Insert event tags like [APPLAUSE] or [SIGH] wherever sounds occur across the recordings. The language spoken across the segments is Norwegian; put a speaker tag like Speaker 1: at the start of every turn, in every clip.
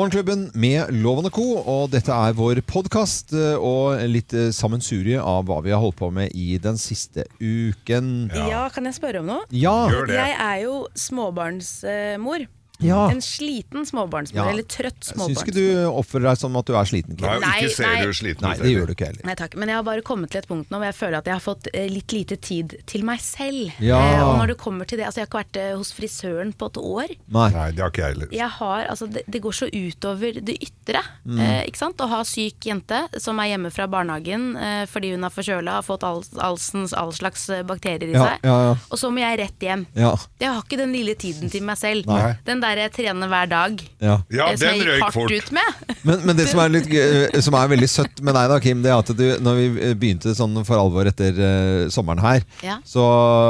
Speaker 1: Morgenklubben med Lovende Co. Og dette er vår podkast og litt eh, sammensurie av hva vi har holdt på med i den siste uken.
Speaker 2: Ja. kan jeg spørre om noe?
Speaker 1: Ja.
Speaker 3: Gjør det.
Speaker 2: Jeg er jo småbarnsmor.
Speaker 1: ja.
Speaker 2: En sliten småbarnsmor,
Speaker 1: Ja.
Speaker 2: eller trøtt
Speaker 1: Syns
Speaker 2: småbarnsmor.
Speaker 1: ikke du oppfører deg som at du er sliten? Kim?
Speaker 3: Nei,
Speaker 2: Nei,
Speaker 3: ikke
Speaker 2: nei.
Speaker 3: ser du sliten
Speaker 1: Nei, det gjør du ikke heller.
Speaker 2: Nei takk, men jeg har bare kommet til et punkt nå hvor jeg føler at jeg har fått eh, litt lite tid til meg selv.
Speaker 1: Ja.
Speaker 2: Eh, og når det kommer til det, altså Jeg har ikke vært eh, hos frisøren på et år.
Speaker 1: Nei.
Speaker 3: Nei, det har ikke jeg heller.
Speaker 2: Jeg har, altså det, det går så utover det ytre.
Speaker 1: Mm.
Speaker 2: Eh, ikke sant? Å ha syk jente som er hjemme fra barnehagen eh, fordi hun er forkjøla, har fått all, allsens, all slags eh, bakterier i
Speaker 1: Ja,
Speaker 2: seg.
Speaker 1: ja, ja.
Speaker 2: Og så må jeg rett hjem.
Speaker 1: Ja.
Speaker 2: Jeg har ikke den lille tiden til meg selv.
Speaker 3: Nei.
Speaker 2: Den der jeg trener hver dag.
Speaker 1: Ja.
Speaker 3: Ja,
Speaker 2: eh, som jeg
Speaker 3: den
Speaker 2: gikk
Speaker 3: røyk
Speaker 2: hardt
Speaker 3: fort.
Speaker 1: [LAUGHS]
Speaker 2: ut med.
Speaker 1: Men, men det som er, litt, gøy- eh, som er veldig søtt med deg, da, Kim, det er at du, når vi begynte sånn for alvor etter eh, sommeren her,
Speaker 2: Ja.
Speaker 1: så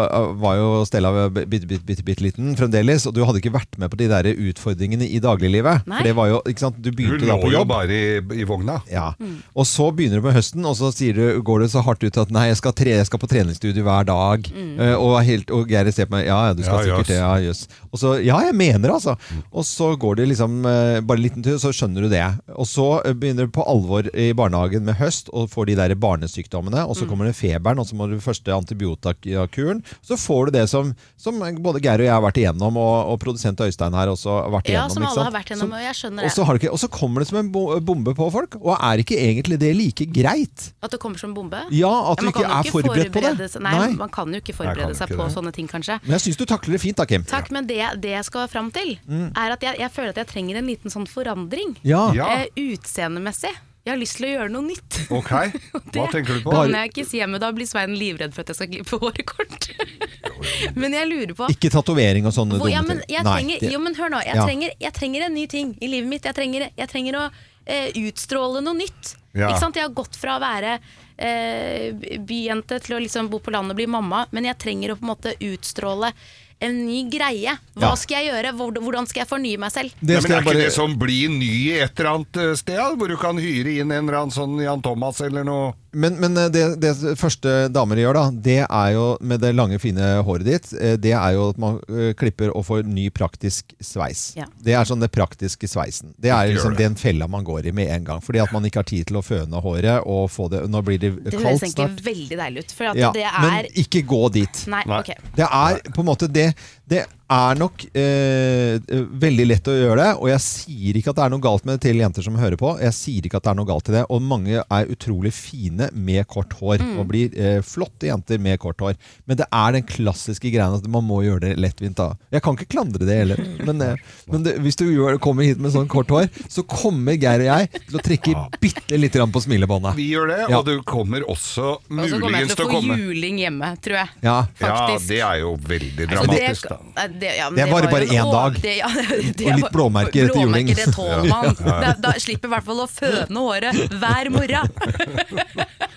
Speaker 1: eh, var jo Stella bitte, bitte, bitte, bitte liten fremdeles, og du hadde ikke vært med på de der utfordringene i dagliglivet.
Speaker 2: Nei.
Speaker 1: For det var jo, ikke sant, du
Speaker 3: Hun
Speaker 1: begynte da
Speaker 3: lå
Speaker 1: på
Speaker 3: jo
Speaker 1: jobb.
Speaker 3: bare i, i vogna.
Speaker 1: Ja.
Speaker 2: Mm.
Speaker 1: Og så begynner du med høsten, og så sier du, går det så hardt ut at nei, jeg skal, tre, jeg skal på treningsstudio hver dag.
Speaker 2: Mm.
Speaker 1: Eh, og helt, og Geir ser på meg, ja, ja, du skal
Speaker 3: Ja, jøss. Mm.
Speaker 1: sikkert det, ja, jøss. Og så, ja, jeg mener det, altså. Og så går det liksom eh, bare en liten tur, så skjønner du det. Og så eh, begynner du på alvor i barnehagen med høst, og får de der barnesykdommene,
Speaker 2: Mm.
Speaker 1: og så kommer det feberen, og så må du første antibiotikakuren. Så får du det som, som både Geir og jeg har vært igjennom, og, og produsent Øystein her også har vært
Speaker 2: Ja,
Speaker 1: igjennom.
Speaker 2: som
Speaker 1: ikke
Speaker 2: alle
Speaker 1: sant?
Speaker 2: har vært gjennom, og jeg skjønner
Speaker 1: Og så,
Speaker 2: det.
Speaker 1: har du ikke, og så kommer det som en bo- bombe på folk, og er ikke egentlig det like greit?
Speaker 2: At det kommer som bombe.
Speaker 1: Ja, at du
Speaker 2: man
Speaker 1: ikke
Speaker 2: kan jo
Speaker 1: er forberedt på det.
Speaker 2: forberede seg- Nei, man kan jo ikke forberede
Speaker 3: jo
Speaker 2: seg
Speaker 3: ikke
Speaker 2: på
Speaker 3: det.
Speaker 2: sånne ting, kanskje.
Speaker 1: Men jeg syns du takler det fint da, Kim.
Speaker 2: Takk, men det, det jeg skal fram til, er at jeg, jeg føler at jeg trenger en liten sånn forandring.
Speaker 1: Mm. Ja.
Speaker 3: Ja.
Speaker 2: Eh, utseendemessig. Jeg har lyst til å gjøre noe nytt.
Speaker 3: Ok, hva
Speaker 2: [LAUGHS] Det
Speaker 3: tenker du på?
Speaker 2: Kan jeg ikke si hjemme, da blir Svein livredd for at jeg skal klippe håret
Speaker 3: [LAUGHS]
Speaker 2: kort. men jeg lurer på
Speaker 1: Ikke tatovering og sånne
Speaker 2: hvor, ja,
Speaker 1: dumme
Speaker 2: men, jeg
Speaker 1: ting. Nei,
Speaker 2: trenger,
Speaker 1: det-
Speaker 2: jo, men hør nå. Jeg,
Speaker 1: Ja.
Speaker 2: trenger, jeg trenger en ny ting i livet mitt. Jeg trenger, jeg trenger å eh, utstråle noe nytt.
Speaker 3: Ja.
Speaker 2: Ikke sant? Jeg har gått fra å være eh, byjente til å liksom bo på landet og bli mamma, men jeg trenger å på en måte utstråle en ny greie. Hva
Speaker 1: Ja.
Speaker 2: skal jeg gjøre? Hvor- Hvordan skal jeg fornye meg selv?
Speaker 1: det
Speaker 3: Nei, men
Speaker 1: skal
Speaker 3: Er
Speaker 1: jeg bare
Speaker 3: ikke det som blir ny i et eller annet eh, sted, da? hvor du kan hyre inn en eller annen sånn Jan Thomas eller noe?
Speaker 1: Men, men eh, det, det første damer gjør, da, det er jo med det lange, fine håret ditt, eh, det er jo at man eh, klipper og får ny praktisk sveis.
Speaker 2: Ja.
Speaker 1: Det er sånn det praktiske sveisen. Det er
Speaker 3: Ikke gjør
Speaker 1: liksom
Speaker 3: det.
Speaker 1: den fella man går i med en gang. Fordi at man ikke har tid til å føne håret, og få det Nå blir det
Speaker 2: Det høres
Speaker 1: kaldt
Speaker 2: egentlig
Speaker 1: snart.
Speaker 2: veldig deilig ut. For at
Speaker 1: Ja,
Speaker 2: det
Speaker 1: men
Speaker 2: er
Speaker 1: ikke gå dit.
Speaker 2: Nei,
Speaker 3: Nei.
Speaker 2: ok.
Speaker 1: Det er på en måte det Det er nok eh, veldig lett å gjøre det, og jeg sier ikke at det er noe galt med det til jenter som hører på. Jeg sier ikke at det er noe galt i det, og mange er utrolig fine med kort hår.
Speaker 2: Mm.
Speaker 1: Og blir eh, flotte jenter med kort hår. Men det er den klassiske greia at man må gjøre det lettvint. da Jeg kan ikke klandre det heller, men, eh, men det, hvis du gjør, kommer hit med sånn kort hår, så kommer Geir og jeg til å trekke bitte lite grann på smilebåndet.
Speaker 3: Vi gjør det,
Speaker 1: Ja.
Speaker 3: og du kommer også
Speaker 2: Og så kommer jeg
Speaker 3: muligens
Speaker 2: til å
Speaker 3: til
Speaker 2: få
Speaker 3: å komme.
Speaker 2: juling hjemme, tror jeg.
Speaker 1: Ja.
Speaker 3: Ja,
Speaker 2: Faktisk.
Speaker 3: det er jo veldig
Speaker 2: Så
Speaker 3: dramatisk,
Speaker 2: det-
Speaker 3: da.
Speaker 2: Nei, Det, ja, men
Speaker 1: Det varer
Speaker 2: var
Speaker 1: bare
Speaker 2: jo en
Speaker 1: én
Speaker 2: år-
Speaker 1: dag.
Speaker 2: Det, ja, [LAUGHS] det, det
Speaker 1: Og litt
Speaker 2: var-
Speaker 1: blåmerker etter juling.
Speaker 2: Blåmerker, det tåler man. Da, da slipper i hvert fall å føne håret hver morgen.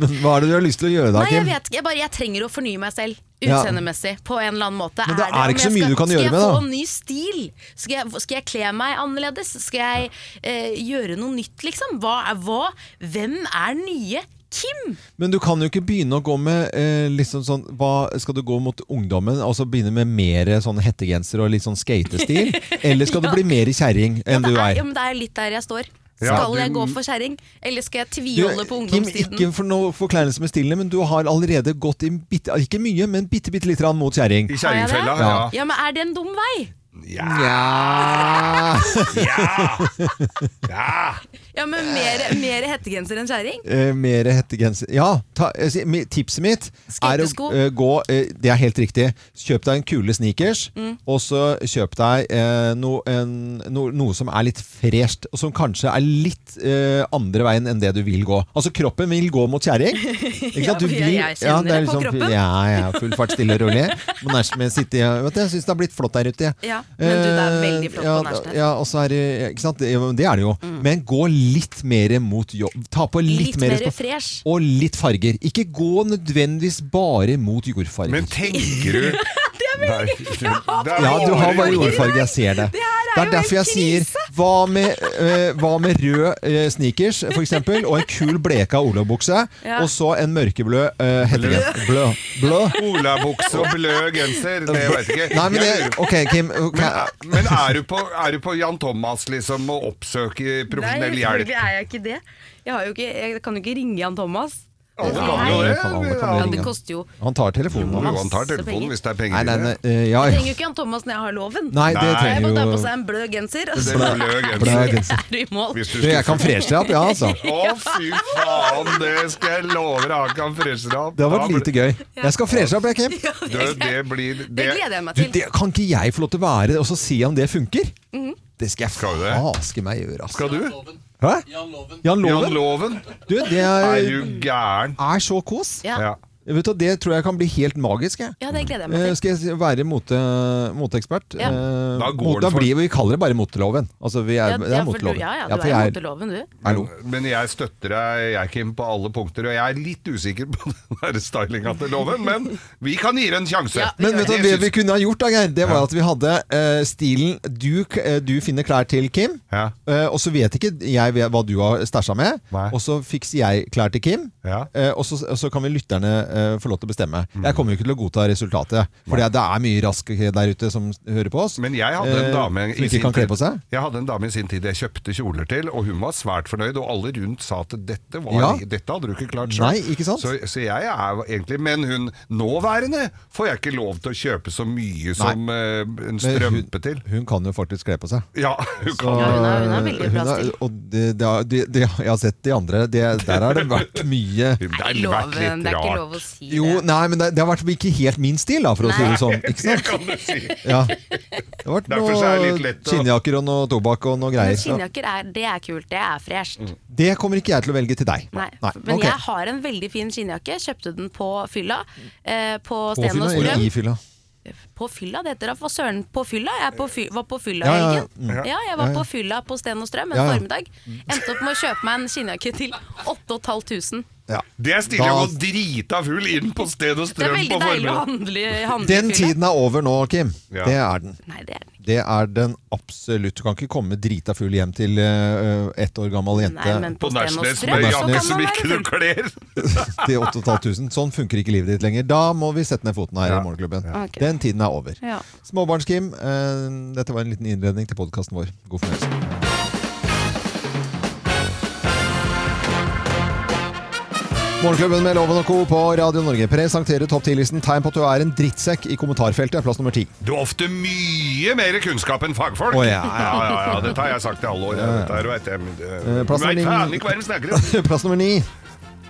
Speaker 1: Men hva er det du har lyst til å gjøre da,
Speaker 2: Nei, jeg
Speaker 1: Kim?
Speaker 2: vet ikke. Jeg, bare, jeg trenger å fornye meg selv.
Speaker 1: Ja.
Speaker 2: Utseendemessig, på en eller annen måte.
Speaker 1: Men det er
Speaker 2: om
Speaker 1: ikke så
Speaker 2: jeg
Speaker 1: mye
Speaker 2: skal-
Speaker 1: du kan gjøre med,
Speaker 2: Skal jeg
Speaker 1: da.
Speaker 2: få en ny stil? Skal jeg, skal jeg kle meg annerledes? Skal jeg eh, gjøre noe nytt, liksom? Hva er hva? Hvem er nye Kim?
Speaker 1: Men du kan jo ikke begynne å gå med eh, liksom sånn, hva, Skal du gå mot ungdommen og så begynne med mer sånn hettegenser og litt
Speaker 2: [LAUGHS]
Speaker 1: sånn skatestil? Eller skal
Speaker 2: Ja.
Speaker 1: du bli mer kjerring enn
Speaker 2: Det
Speaker 1: du
Speaker 2: er,
Speaker 1: er?
Speaker 2: ja, men det er litt der jeg står.
Speaker 3: Ja,
Speaker 2: Skal
Speaker 3: du-
Speaker 2: jeg gå for kjerring, eller skal jeg
Speaker 1: Du,
Speaker 2: tviholde på
Speaker 1: Kim,
Speaker 2: ungdomstiden?
Speaker 1: ikke for noe forkleinelse med stilene, men du har allerede gått i bitte, ikke mye, men bitte, bitte litt mot kjerring.
Speaker 2: Har jeg
Speaker 3: I
Speaker 2: det?
Speaker 3: kjerringfella, ja.
Speaker 2: Ja, men er det en dum vei?
Speaker 3: Ja.
Speaker 1: Ja.
Speaker 3: ja.
Speaker 2: Ja, men mer, mer hettegenser enn kjerring?
Speaker 1: Eh, mer hettegenser Ja, ta, eh, si- mi- tipset mitt er å
Speaker 2: Skatesko.
Speaker 1: eh, gå eh, Det er helt riktig. Kjøp deg en kule sneakers,
Speaker 2: Mm.
Speaker 1: og så kjøp deg eh, no, en, no, noe som er litt fresht, og som kanskje er litt eh, andre veien enn det du vil gå. Altså, kroppen vil gå
Speaker 2: [LAUGHS]
Speaker 1: mot kjerring. Ikke
Speaker 2: Ja,
Speaker 1: sant? Du
Speaker 2: jeg-
Speaker 1: vil-
Speaker 2: jeg kjenner
Speaker 1: det er
Speaker 2: det på
Speaker 1: liksom-
Speaker 2: kroppen.
Speaker 1: Ja, ja, full fart, stille og rolig. Må nærmest med sitte i- Vet du, jeg syns det har blitt flott der ute, jeg.
Speaker 2: Ja, men du, det er veldig flott
Speaker 1: Eh, ja,
Speaker 2: på Nærstad.
Speaker 1: Ja, og så er det Ikke sant, det, det er det jo. Men gå litt mer mot jobb. Ta på litt,
Speaker 2: Mm. Litt mer
Speaker 1: stoff.
Speaker 2: fresh.
Speaker 1: Og litt farger. Ikke gå nødvendigvis bare mot
Speaker 2: [LAUGHS]
Speaker 1: jordfarger.
Speaker 3: Men tenker du Det er veldig
Speaker 2: har
Speaker 1: ja, du har
Speaker 2: farger
Speaker 3: [LAUGHS]
Speaker 1: bare
Speaker 2: i dag.
Speaker 1: jordfarger, jeg ser det.
Speaker 2: Det her
Speaker 1: Det er
Speaker 4: jo helt
Speaker 1: derfor jeg sier hva med, eh, hva med rød eh, sneakers for eksempel, og en kul bleka olabukse,
Speaker 2: Ja.
Speaker 1: og så en mørkeblå eh, hettegenser. Blå. Blå.
Speaker 3: Olabukse og blø genser, det veit jeg ikke.
Speaker 1: Nei, men det,
Speaker 3: Jeg lurer på-
Speaker 1: ok, Kim. ok.
Speaker 3: men men er, du på, er du på Jan Thomas liksom og oppsøker profesjonell
Speaker 2: Nei,
Speaker 3: hjelp?
Speaker 2: selvfølgelig [LAUGHS] er jeg ikke det. Jeg, har jo ikke, jeg kan jo ikke ringe Jan Thomas.
Speaker 3: Alle
Speaker 1: Nei,
Speaker 3: kan jo det.
Speaker 1: kan alle kan
Speaker 2: Ja,
Speaker 1: ringe.
Speaker 2: det koster jo
Speaker 1: Han tar telefonen.
Speaker 3: Jo,
Speaker 1: Han.
Speaker 3: han tar telefonen hvis det er penger
Speaker 1: Nei, nei,
Speaker 3: i
Speaker 1: nei,
Speaker 3: det.
Speaker 1: eh, ja.
Speaker 2: Jeg trenger jo ikke Jan Thomas når jeg har loven.
Speaker 1: nei, det
Speaker 2: jeg
Speaker 3: Nei.
Speaker 2: må ta
Speaker 1: trenger
Speaker 2: på
Speaker 1: jo
Speaker 2: seg en blød genser, og
Speaker 3: Det
Speaker 2: så
Speaker 3: er blø
Speaker 2: [LAUGHS]
Speaker 1: Blø
Speaker 3: genser.
Speaker 1: genser.
Speaker 2: er du i mål.
Speaker 3: Hvis
Speaker 1: Du, jeg
Speaker 3: skulle-
Speaker 1: kan freshe deg opp, ja, altså.
Speaker 3: Å, fy faen, det skal jeg love deg. Han kan freshe deg opp.
Speaker 1: Det har
Speaker 3: Da
Speaker 1: vært
Speaker 3: blir-
Speaker 1: lite gøy. Jeg skal freshe deg opp, jeg, Kim.
Speaker 2: Ja,
Speaker 3: Du, det blir det,
Speaker 2: Det gleder jeg meg
Speaker 1: Du,
Speaker 2: til.
Speaker 1: det kan ikke jeg få lov til å være, og så si om det funker?
Speaker 2: Mhm.
Speaker 1: Det skal jeg
Speaker 3: Skal du det?
Speaker 1: faske meg gjøre, altså.
Speaker 3: Skal du?
Speaker 1: Hæ?
Speaker 5: Jan Loven.
Speaker 1: Jan
Speaker 3: Jan
Speaker 1: Loven?
Speaker 3: Loven?
Speaker 1: Du, det
Speaker 3: Er
Speaker 1: er,
Speaker 3: du gæren?
Speaker 1: er så kos.
Speaker 2: Ja,
Speaker 3: Ja.
Speaker 1: Vet du, Det tror jeg kan bli helt magisk. Jeg.
Speaker 2: ja det gleder jeg meg
Speaker 1: Eh,
Speaker 2: til.
Speaker 1: skal jeg si- være mote, moteekspert?
Speaker 2: Ja.
Speaker 1: Eh,
Speaker 3: Da går
Speaker 1: mot,
Speaker 3: det
Speaker 1: da
Speaker 3: for-
Speaker 1: blir vi, vi kaller det bare moteloven. Altså, vi er,
Speaker 2: Ja,
Speaker 1: det
Speaker 2: ja,
Speaker 1: er
Speaker 2: for du,
Speaker 1: moteloven.
Speaker 2: ja, ja,
Speaker 1: Ja,
Speaker 2: du
Speaker 1: for
Speaker 2: er
Speaker 1: jeg
Speaker 2: moteloven, du.
Speaker 1: Hallo.
Speaker 3: Men jeg støtter deg, jeg Kim, på alle punkter. Og jeg er litt usikker på [LAUGHS] den der stylinga til loven, men vi kan gi det en sjanse.
Speaker 2: Ja,
Speaker 1: Men vet du, hva det
Speaker 3: Jeg
Speaker 1: vi
Speaker 3: synes-
Speaker 1: kunne ha gjort, da, Geir, det var at vi hadde eh, stilen du, k- eh, du finner klær til Kim,
Speaker 3: Ja.
Speaker 1: eh, og så vet ikke jeg vet hva du har stæsja med,
Speaker 3: Nei.
Speaker 1: og så fikser jeg klær til Kim.
Speaker 3: Ja. Mm.
Speaker 1: eh, og, så, og så kan vi lytterne eh, få lov til å bestemme. Jeg kommer jo ikke til å godta resultatet. For det er mye rask der ute som hører på oss.
Speaker 3: Men jeg hadde en
Speaker 1: eh,
Speaker 3: dame
Speaker 1: som ikke kan kle på seg.
Speaker 3: Jeg hadde en dame i sin tid jeg kjøpte kjoler til, og hun var svært fornøyd, og alle rundt sa at dette, var,
Speaker 1: Ja.
Speaker 3: dette hadde du ikke klart
Speaker 1: Nei,
Speaker 3: selv.
Speaker 1: ikke sant?
Speaker 3: Så, så jeg er egentlig Men hun nåværende får jeg ikke lov til å kjøpe så mye som eh, en
Speaker 1: Men
Speaker 3: strømpe til.
Speaker 1: Hun kan jo faktisk kle på seg.
Speaker 3: Ja, hun
Speaker 1: Og,
Speaker 3: kan
Speaker 2: Ja, hun er- hun er veldig
Speaker 1: hun
Speaker 2: bra
Speaker 1: er-
Speaker 2: stil.
Speaker 1: Og det, det, har- det, det, jeg har sett de andre, det, der har det vært mye
Speaker 3: Det
Speaker 2: Nei,
Speaker 3: har vært
Speaker 2: loven, det
Speaker 3: litt
Speaker 2: er ikke lov
Speaker 3: rart.
Speaker 2: å si det.
Speaker 1: Jo, nei, men det, det har vært ikke helt min stil, da, for å si det sånn. Ikke
Speaker 3: Det
Speaker 1: sant?
Speaker 3: kan du si.
Speaker 1: Ja. Det har vært
Speaker 3: Derfor så er det litt
Speaker 1: noe
Speaker 3: lett å-
Speaker 1: skinnjakker og noe tobakk og noe greier.
Speaker 2: Men
Speaker 1: Så
Speaker 2: skinnjakker, er, det er kult. Det er fresht.
Speaker 3: Mm.
Speaker 1: det kommer ikke jeg til å velge til deg.
Speaker 2: Nei. Men
Speaker 1: ok.
Speaker 2: jeg har en veldig fin skinnjakke. Kjøpte den på fylla. Eh, på
Speaker 1: På
Speaker 2: Sten og
Speaker 1: fylla eller
Speaker 2: Strøm.
Speaker 1: i fylla?
Speaker 2: På fylla, det heter det. Hva søren, på fylla? Jeg er på fy, var på fylla i
Speaker 1: Ja, Mm. ja, ja.
Speaker 2: helgen. Ja, jeg var på fylla på Sten og Strøm en
Speaker 1: Ja, Mm. ja.
Speaker 2: formiddag. Endte opp med å kjøpe meg en skinnjakke til 8500.
Speaker 1: Ja.
Speaker 3: Det er stilig å gå drita full inn på sted og
Speaker 2: Det er
Speaker 3: strøm på
Speaker 2: veldig deilig å
Speaker 3: formiddagen.
Speaker 2: handle handle i
Speaker 1: Den
Speaker 2: fylla.
Speaker 1: tiden er over nå, Kim.
Speaker 3: Ja.
Speaker 1: Det er den.
Speaker 2: Nei, det er den ikke.
Speaker 1: Det er den absolutt. Du kan ikke komme drita full hjem til uh, ett år gammel
Speaker 2: Nei, men
Speaker 1: jente
Speaker 3: På
Speaker 2: på Sten og
Speaker 3: Nærsnes
Speaker 2: Strøm
Speaker 3: med
Speaker 2: så
Speaker 3: jakke
Speaker 2: kan
Speaker 3: som
Speaker 2: man
Speaker 3: ikke
Speaker 2: være
Speaker 3: du
Speaker 2: full.
Speaker 1: [LAUGHS]
Speaker 3: kler.
Speaker 1: til 8500. Sånn funker ikke livet ditt lenger. Da må vi sette ned foten her
Speaker 3: Ja.
Speaker 1: i Morgenklubben.
Speaker 2: Ok.
Speaker 1: Den tiden er over.
Speaker 2: Ja.
Speaker 1: Småbarns-Kim, eh, dette var en liten innredning til podkasten vår. God fornøyelse. Morgenklubben med Loven og Co. på Radio Norge presenterer topp 10-listen tegn på at du er en drittsekk i kommentarfeltet. Plass nummer ti. [LAUGHS]
Speaker 3: Du har ofte mye mer kunnskap enn fagfolk.
Speaker 1: Å, ja.
Speaker 3: ja, ja, ja, Dette har jeg sagt i alle år. Dette her vet jeg. men det-
Speaker 1: Eh, plass
Speaker 3: Nei,
Speaker 1: nummer
Speaker 3: faen
Speaker 1: ni.
Speaker 3: ikke hva de snakker om.
Speaker 1: Plass nummer ni.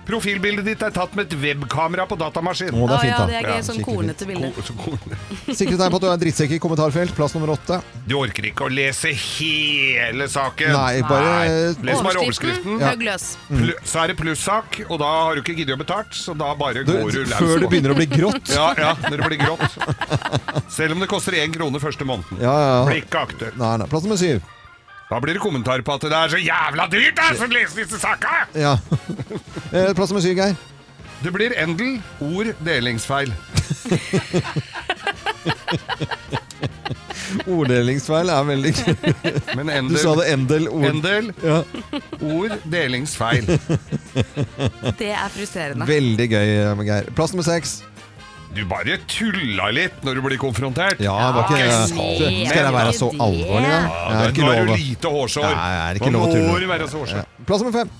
Speaker 3: Profilbildet ditt er tatt med et webkamera på datamaskin.
Speaker 1: Å, det
Speaker 2: Å
Speaker 1: er fint,
Speaker 2: ja,
Speaker 1: da.
Speaker 2: det er
Speaker 3: Ja,
Speaker 2: gøy. Sånn
Speaker 1: skikkelig
Speaker 2: kornete bilder.
Speaker 3: Ko- så ko-
Speaker 1: Sikre tegn på at du er en drittsekk i kommentarfelt. Plass nummer åtte.
Speaker 3: Du orker ikke å lese hele saken.
Speaker 1: Nei, bare-
Speaker 3: Les bare overskriften.
Speaker 2: Høg løs.
Speaker 3: Plu- Så er det plussak, og da har du ikke giddet å betalt, så da bare
Speaker 1: Du,
Speaker 3: går du løs.
Speaker 1: før det begynner å bli [LAUGHS] grått.
Speaker 3: Ja, ja, når det blir grått. Selv om det koster én krone første måneden.
Speaker 1: Ja, ja.
Speaker 3: Blir ikke aktuelt.
Speaker 1: Nei, nei. Plass nummer syv.
Speaker 3: Da blir det kommentarer på at det er så jævla dyrt da, som leser disse sakene!
Speaker 1: Ja. [LAUGHS] Eh, Plass nummer syv, Geir.
Speaker 3: Det blir endel, ord, delingsfeil.
Speaker 1: Orddelingsfeil er veldig gøy.
Speaker 3: Men
Speaker 1: Du
Speaker 3: endel,
Speaker 1: sa det endel ord.
Speaker 3: endel
Speaker 1: Ja.
Speaker 3: ord, delingsfeil.
Speaker 2: Det er frustrerende.
Speaker 1: Veldig gøy, eh, Geir. Plass nummer seks.
Speaker 3: Du bare tulla litt når du blir konfrontert.
Speaker 1: Ja, var ikke
Speaker 2: Ja,
Speaker 1: det
Speaker 2: men-
Speaker 1: Skal jeg være så alvorlig, da?
Speaker 2: Ja,
Speaker 1: Jeg er ikke
Speaker 3: Nå er
Speaker 1: lov.
Speaker 3: du
Speaker 1: å-
Speaker 3: lite hårsår.
Speaker 1: Nei, er det ikke
Speaker 3: Nå
Speaker 1: lov å tulle?
Speaker 3: må du være så hårsår.
Speaker 1: Plass nummer fem.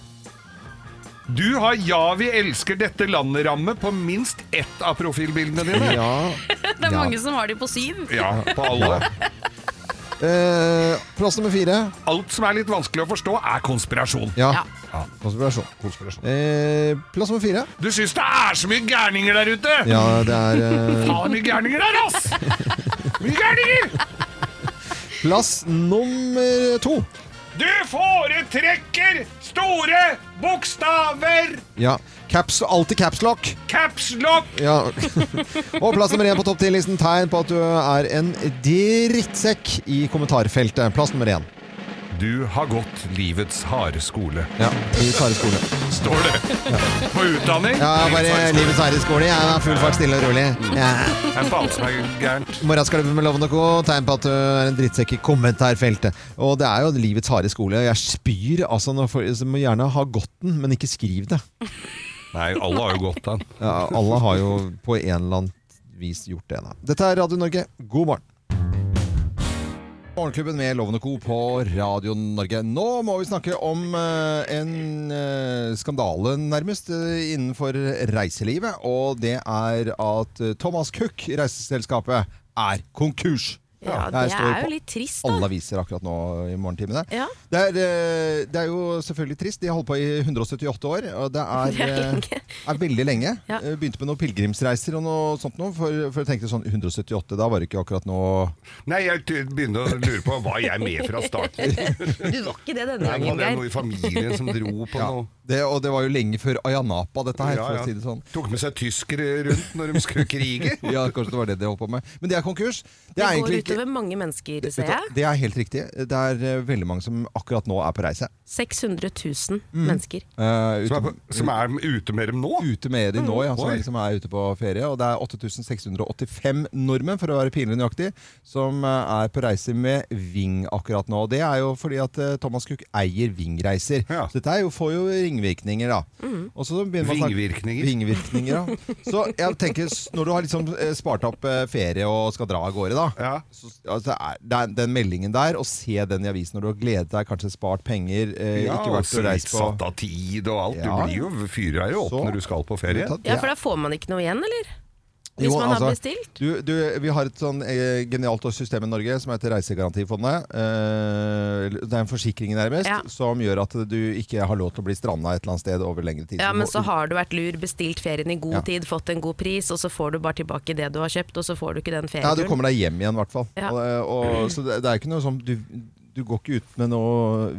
Speaker 3: Du har 'Ja, vi elsker dette landet'-ramme på minst ett av profilbildene dine.
Speaker 1: Ja.
Speaker 2: Det er
Speaker 1: Ja.
Speaker 2: mange som har de på syv.
Speaker 3: Ja, på alle.
Speaker 1: Eh, plass nummer fire.
Speaker 3: Alt som er litt vanskelig å forstå, er konspirasjon.
Speaker 1: Ja.
Speaker 2: Ja.
Speaker 1: Konspirasjon.
Speaker 3: konspirasjon.
Speaker 1: Eh, plass nummer fire.
Speaker 3: Du syns det er så mye gærninger der ute!
Speaker 1: Ja, det
Speaker 3: [LAUGHS]
Speaker 1: er eh,
Speaker 3: Faen, mye gærninger der, ass! Mye gærninger!
Speaker 1: Plass nummer to.
Speaker 3: Du foretrekker store bokstaver!
Speaker 1: Ja. Caps, alltid caps lock.
Speaker 3: Caps lock!
Speaker 1: Ja. [LAUGHS] Og plass nummer én på topp ti-listen tegn på at du er en drittsekk i kommentarfeltet. Plass nummer én.
Speaker 3: Du har gått livets harde skole,
Speaker 1: Ja, Livets harde skole.
Speaker 3: står det. På utdanning.
Speaker 1: Ja,
Speaker 3: livets harde
Speaker 1: bare
Speaker 3: skole.
Speaker 1: livets harde skole. Mm. Jeg er full fart, stille og rolig. Ja.
Speaker 3: Det er faen som er gærent.
Speaker 1: I morgen skal det bli med Loven og Co. Tegn på at du er en drittsekk i kommentarfeltet. Og det er jo livets harde skole. Jeg spyr. altså når folk så må gjerne ha gått den, men ikke skriv det.
Speaker 3: Nei, alle har jo gått den.
Speaker 1: Ja, alle har jo på en eller annen vis gjort det. Da. Dette er Radio Norge, god morgen. Morgenklubben med Loven og Co. på Radio Norge. Nå må vi snakke om eh, en eh, skandale, nærmest, eh, innenfor reiselivet. Og det er at eh, Thomas Cook, reiseselskapet, er konkurs.
Speaker 6: Ja,
Speaker 1: Der
Speaker 6: det
Speaker 1: står
Speaker 6: er
Speaker 1: på
Speaker 6: jo litt trist,
Speaker 1: alle
Speaker 6: da.
Speaker 1: aviser akkurat nå i morgentimene.
Speaker 6: Ja.
Speaker 1: Det, er, eh, det er jo selvfølgelig trist. De har holdt på i 178 år. Og
Speaker 6: [LAUGHS]
Speaker 1: det er,
Speaker 6: Det er
Speaker 1: eh,
Speaker 6: lenge.
Speaker 1: er veldig lenge.
Speaker 6: Ja.
Speaker 1: Eh, Begynte med noen pilegrimsreiser og noe sånt nå, for, for jeg tenkte sånn 178, da var det ikke akkurat noe
Speaker 3: Nei, jeg ty- begynner å lure på hva jeg er med fra
Speaker 1: [LAUGHS]
Speaker 3: starten.
Speaker 2: Du var ikke det denne
Speaker 3: Nei, men
Speaker 2: gangen,
Speaker 3: det er
Speaker 2: Geir.
Speaker 3: noe i familien som dro på noe.
Speaker 1: det, Og det var jo lenge før Ayanapa, dette her,
Speaker 3: Ja,
Speaker 1: for
Speaker 3: ja.
Speaker 1: å si det sånn.
Speaker 3: Tok med seg tyskere rundt når de skulle krige.
Speaker 1: [LAUGHS] Ja, kanskje det var det de holdt på med. Men det er konkurs. Det,
Speaker 2: Det
Speaker 1: er
Speaker 2: går
Speaker 1: egentlig ikke
Speaker 2: utover mange mennesker,
Speaker 1: Vet
Speaker 2: ser
Speaker 1: du hva?
Speaker 2: jeg.
Speaker 1: Det er helt riktig. Det er eh, veldig mange som akkurat nå er på reise.
Speaker 2: 600 000
Speaker 1: Mm.
Speaker 2: mennesker.
Speaker 1: Eh,
Speaker 3: Som er,
Speaker 1: ute,
Speaker 3: på- som er ute med dem nå?
Speaker 1: ute med de nå, ja, som,
Speaker 3: Oi.
Speaker 1: er, som er ute på ferie. Og det er 8685 nordmenn, for å være pinlig nøyaktig, som eh, er på reise med Ving akkurat nå. Og det er jo fordi at eh, Thomas Cook eier Ving-reiser.
Speaker 3: Ja.
Speaker 1: Så dette er jo, får jo ringvirkninger, da.
Speaker 2: Mm.
Speaker 1: Og så begynner man å snakke-
Speaker 3: Vingvirkninger.
Speaker 1: Vingvirkninger, ja. Så jeg tenker, s- når du har liksom eh, spart opp eh, ferie og skal dra av gårde, da.
Speaker 3: Ja.
Speaker 1: Så, altså, er, det er den meldingen der, og se den i avisen når du har gledet deg, kanskje spart penger, eh,
Speaker 3: Ja,
Speaker 1: ikke
Speaker 3: og
Speaker 1: vært og reist på
Speaker 3: satt av tid og alt.
Speaker 1: Ja.
Speaker 3: Du blir jo fyra jo opp
Speaker 1: Så.
Speaker 3: når du skal på ferie.
Speaker 2: Ja, for da får man ikke noe igjen, eller?
Speaker 1: Jo,
Speaker 2: Hvis man har
Speaker 1: altså,
Speaker 2: bestilt?
Speaker 1: Du, du, vi har et sånn eh, genialt system i Norge som heter Reisegarantifondet. Eh, det er en forsikring nærmest
Speaker 2: Ja.
Speaker 1: som gjør at du ikke har lov til å bli stranda et eller annet sted over lengre tid.
Speaker 2: Ja,
Speaker 1: Du
Speaker 2: men
Speaker 1: må-
Speaker 2: så har du vært lur, bestilt ferien i god
Speaker 1: Ja.
Speaker 2: tid, fått en god pris, og så får du bare tilbake det du har kjøpt, og så får du ikke den
Speaker 1: ja, du
Speaker 2: ferieturen.
Speaker 1: kommer deg hjem igjen, i hvert fall.
Speaker 2: Ja.
Speaker 1: Og, eh, og, så det, det er ikke noe sånn du, du går ikke ut med noe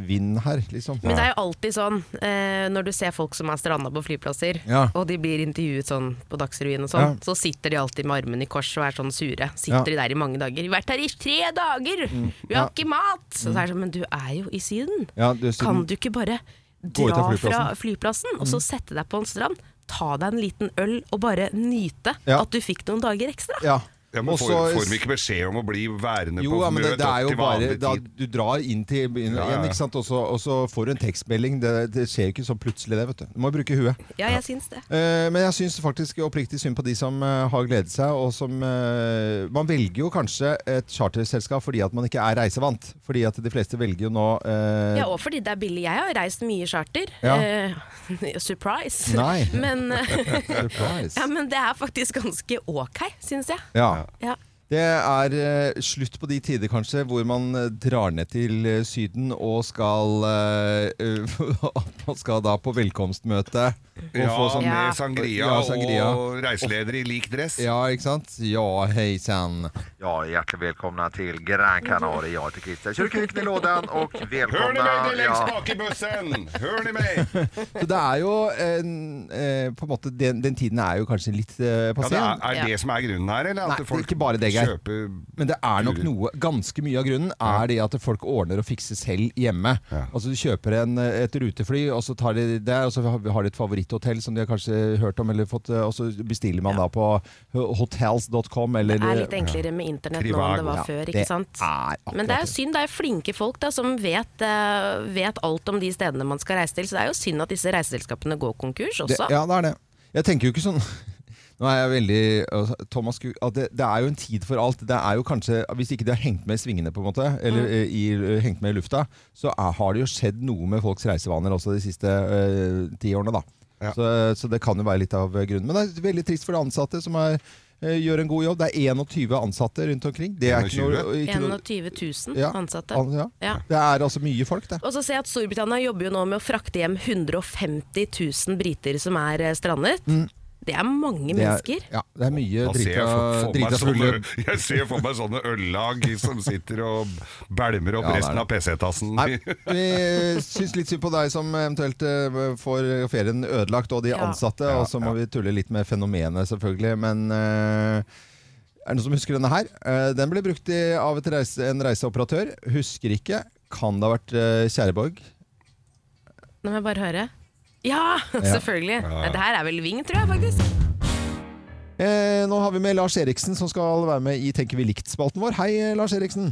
Speaker 1: vind her, liksom.
Speaker 2: Men det er jo alltid sånn eh, når du ser folk som er stranda på flyplasser,
Speaker 1: Ja.
Speaker 2: og de blir intervjuet sånn på Dagsrevyen og sånn,
Speaker 1: Ja.
Speaker 2: så sitter de alltid med armene i kors og er sånn sure. Sitter
Speaker 1: Ja. Mm.
Speaker 2: de der i mange dager. Vi har vært her i tre dager! Vi
Speaker 1: Ja.
Speaker 2: har ikke mat! Så er det sånn, men du er jo i Syden.
Speaker 1: Ja, du,
Speaker 2: Kan
Speaker 1: siden,
Speaker 2: du ikke bare
Speaker 1: Gå ut
Speaker 2: dra
Speaker 1: av Mm.
Speaker 2: fra flyplassen og så sette deg på en strand? Ta deg en liten øl og bare nyte
Speaker 1: Ja.
Speaker 2: at du fikk noen dager ekstra.
Speaker 1: ja.
Speaker 3: Ja, men
Speaker 1: Og
Speaker 3: får,
Speaker 1: så-
Speaker 3: får de ikke beskjed om å bli værende
Speaker 1: Jo,
Speaker 3: på
Speaker 1: ja, men det,
Speaker 3: møtet
Speaker 1: det er jo
Speaker 3: til
Speaker 1: bare
Speaker 3: vanlig
Speaker 1: da,
Speaker 3: tid?
Speaker 1: Du drar inn til inn,
Speaker 3: Ja, ja.
Speaker 1: igjen, ikke sant? Og, så, og så får du en tekstmelding. Det, det skjer jo ikke sånn plutselig, det. vet Du Du må bruke huet.
Speaker 2: Ja, jeg syns det.
Speaker 1: Eh, Men jeg syns faktisk oppriktig synd på de som eh, har gledet seg. Og som, eh, man velger jo kanskje et charterselskap fordi at man ikke er reisevant. Fordi at de fleste velger jo nå eh,
Speaker 2: Ja, og fordi det er billig. Jeg har reist mye charter.
Speaker 1: Ja.
Speaker 2: Eh, [LAUGHS] surprise!
Speaker 1: Nei.
Speaker 2: [LAUGHS]
Speaker 1: [LAUGHS]
Speaker 2: Men, eh, ja,
Speaker 1: Surprise.
Speaker 2: men det er faktisk ganske ok, syns jeg.
Speaker 1: Ja.
Speaker 2: Ja.
Speaker 1: Det er eh, slutt på de tider kanskje hvor man eh, drar ned til eh, Syden og skal eh, [LAUGHS] At man skal da på velkomstmøte og
Speaker 3: Ja,
Speaker 1: få sånn
Speaker 2: Ja.
Speaker 3: med sangria,
Speaker 1: Ja, sangria.
Speaker 3: og reiseleder i lik dress.
Speaker 1: Ja, ikke sant? Ja, hei sann.
Speaker 7: Ja, hjärtligt välkomna till Gran Canaria. Jag heter Christer. Kör kuken i lådan och
Speaker 3: Hør ni
Speaker 7: välkomna.
Speaker 3: meg, det
Speaker 7: Ja.
Speaker 3: lengst bak i bussen! Hør ni meg!
Speaker 1: [LAUGHS] Så det er jo en, eh, på en måte, den, den tiden er jo kanskje litt eh,
Speaker 3: Ja,
Speaker 1: passé.
Speaker 3: det er, er
Speaker 2: Ja.
Speaker 3: det som er grunnen her, eller?
Speaker 1: Nei,
Speaker 3: At
Speaker 1: det er
Speaker 3: folk
Speaker 1: ikke bare det, Geir.
Speaker 3: kjøper
Speaker 1: Men det er nok noe, ganske mye av grunnen er det at folk ordner og fikser selv hjemme.
Speaker 3: Ja.
Speaker 1: Altså Du kjøper en, et rutefly, og så tar de det, og så har har de et favoritthotell som de har kanskje hørt om, eller fått, eh, og så bestiller man da på hotels.com
Speaker 2: Det
Speaker 1: eller
Speaker 2: er litt enklere med internett nå enn det var
Speaker 1: Ja,
Speaker 2: før,
Speaker 1: det
Speaker 2: ikke sant?
Speaker 1: er akkurat
Speaker 2: Men det er jo
Speaker 1: det.
Speaker 2: synd, det er flinke folk da, som vet, eh, vet alt om de stedene man skal reise til, så det er jo synd at disse reiseselskapene går konkurs
Speaker 1: det,
Speaker 2: også.
Speaker 1: Ja, det er det. Jeg tenker jo ikke sånn [LAUGHS] nå er jeg veldig, altså, Thomas, Cook, at det, det er jo en tid for alt. Det er jo kanskje, Hvis ikke de har hengt med i svingene, på en måte, eller
Speaker 3: Mm.
Speaker 1: eh, i, eh, hengt med i lufta, så er, har det jo skjedd noe med folks reisevaner også de siste eh, ti årene. da.
Speaker 3: Ja.
Speaker 1: Så, så det kan jo være litt av grunnen. Men det er veldig trist for de ansatte som er, eh, gjør en god jobb. Det er 21 ansatte rundt omkring. Det er ikke noe, ikke noe
Speaker 2: 21 000
Speaker 1: Ja,
Speaker 2: ansatte.
Speaker 1: an- ja.
Speaker 2: Ja.
Speaker 1: Det er altså mye folk, det.
Speaker 2: Og så ser jeg at Storbritannia jobber jo nå med å frakte hjem 150 000 briter som er eh, strandet. Det er mange
Speaker 1: Mm. Det er,
Speaker 2: mennesker.
Speaker 1: ja, det er mye
Speaker 3: Da ser jeg
Speaker 1: drita,
Speaker 3: for- for meg
Speaker 1: drita fulle
Speaker 3: sånne- [LAUGHS] Jeg ser for meg sånne øllag som sitter og bælmer opp
Speaker 1: Ja, det er
Speaker 3: resten av PC-tassen. [LAUGHS]
Speaker 1: Nei, vi syns litt synd på deg som eventuelt eh, får ferien ødelagt, og de
Speaker 2: Ja.
Speaker 1: ansatte. og så må vi tulle litt med fenomenet, selvfølgelig. Men eh, er det noen som husker denne her? Eh, den ble brukt i, av et reise, en reiseoperatør. Husker ikke. Kan det ha vært eh, Kjæreborg?
Speaker 4: Nå må jeg bare høre. Ja, [LAUGHS] selvfølgelig. Nei, Det her er vel Ving, tror jeg faktisk.
Speaker 1: Eh, nå har vi med Lars Eriksen, som skal være med i Tenker vi likt-spalten vår. Hei, eh, Lars Eriksen.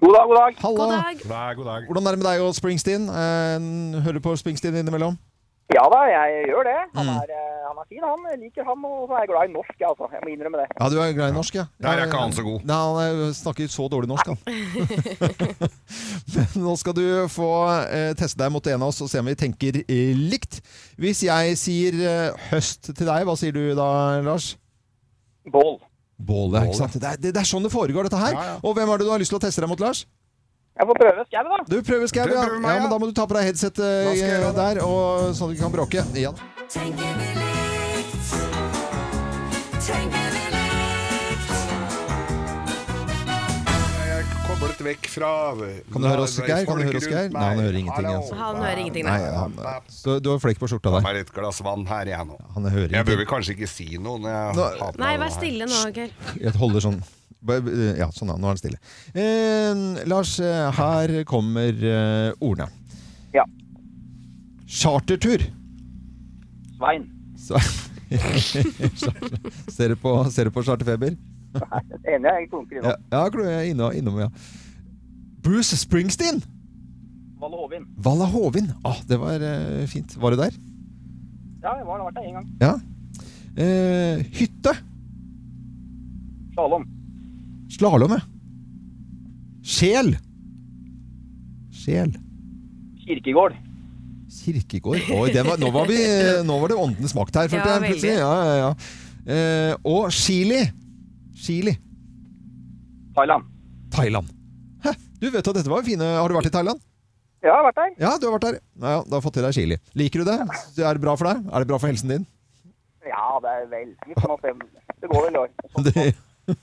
Speaker 8: God dag, god dag.
Speaker 1: Halla.
Speaker 4: God dag.
Speaker 3: God dag, god dag.
Speaker 1: Hvordan er det med deg og Springsteen? Eh, hører du på Springsteen innimellom?
Speaker 8: Ja da, jeg gjør det. Han
Speaker 1: Mm.
Speaker 8: er, eh, han er fin, han. Jeg liker ham, og så er jeg glad i norsk, jeg, altså. Jeg må innrømme det.
Speaker 1: Ja, du er glad i norsk, ja.
Speaker 3: Der er ikke han så god.
Speaker 1: Nei, han eh, snakker så dårlig norsk, han. [LAUGHS] Men nå skal du få eh, teste deg mot en av oss og se om vi tenker eh, likt. Hvis jeg sier eh, høst til deg, hva sier du da, Lars?
Speaker 8: Bål.
Speaker 1: Bål, ja.
Speaker 3: Bål,
Speaker 1: Ikke sant? Det, er, det, det er sånn det foregår, dette her.
Speaker 3: Ja, ja.
Speaker 1: Og hvem er det du har lyst til å teste deg mot, Lars?
Speaker 8: Jeg får prøve skau, da.
Speaker 1: Du prøver Skau,
Speaker 3: Du
Speaker 1: ja.
Speaker 3: prøver meg,
Speaker 1: ja.
Speaker 3: ja.
Speaker 1: Men da må du ta på deg headsetet
Speaker 3: Da skal jeg
Speaker 1: eh,
Speaker 3: gjøre det.
Speaker 1: der, og, sånn at du ikke kan bråke. Ja.
Speaker 9: Tenker vi likt? Tenker vi likt?
Speaker 10: Jeg er koblet vekk fra
Speaker 1: Kan du høre oss, Geir? Kan du høre oss, Geir? Nei, han hører ingenting, altså.
Speaker 4: Han hører ingenting,
Speaker 1: Nei,
Speaker 4: nei.
Speaker 1: han, så du har flekk på skjorta
Speaker 3: Ta
Speaker 1: der.
Speaker 3: meg et glass vann her, jeg nå.
Speaker 1: Han hører
Speaker 3: Jeg bør
Speaker 1: ingenting.
Speaker 3: vel kanskje ikke si noe når jeg
Speaker 1: Nå-
Speaker 3: har på
Speaker 4: Nei, vær
Speaker 3: meg noe her.
Speaker 4: stille nå, Geir.
Speaker 1: Jeg holder sånn Ja, sånn, ja. Nå er han stille. Eh, Lars, eh, her kommer eh, ordene.
Speaker 8: Ja.
Speaker 1: Chartertur.
Speaker 8: Svein.
Speaker 1: Så, [LAUGHS] ser, du på, ser du på Charterfeber?
Speaker 8: Enig, jeg klunker
Speaker 1: Ja,
Speaker 8: innom.
Speaker 1: ja klo- jeg er innom, innom, ja. Bruce Springsteen!
Speaker 8: Valle Hovin.
Speaker 1: Valla Hovin. Ah, det var eh, fint. Var du der?
Speaker 8: Ja, jeg var der vært der en gang.
Speaker 1: Ja. Eh, hytte.
Speaker 8: Slalåm.
Speaker 1: Slalåm, ja. Sjel. Sjel.
Speaker 8: Kirkegård.
Speaker 1: Kirkegård. Oi, det var, nå, var vi, nå var det åndenes makt her, følte
Speaker 4: Ja,
Speaker 1: jeg plutselig. Ja, ja, ja. Eh, og Chili. Chili.
Speaker 8: Thailand.
Speaker 1: Thailand. Hæ? Du vet at dette var jo fine Har du vært i Thailand?
Speaker 8: Ja, jeg har vært der.
Speaker 1: Ja, du har vært der. Ja, ja, da har du fått til deg chili. Liker du det? Er det bra for deg? Er det bra for helsen din? [LAUGHS]
Speaker 8: Ja, det er vel. Vi får nå se. Det går vel i år.
Speaker 1: Det-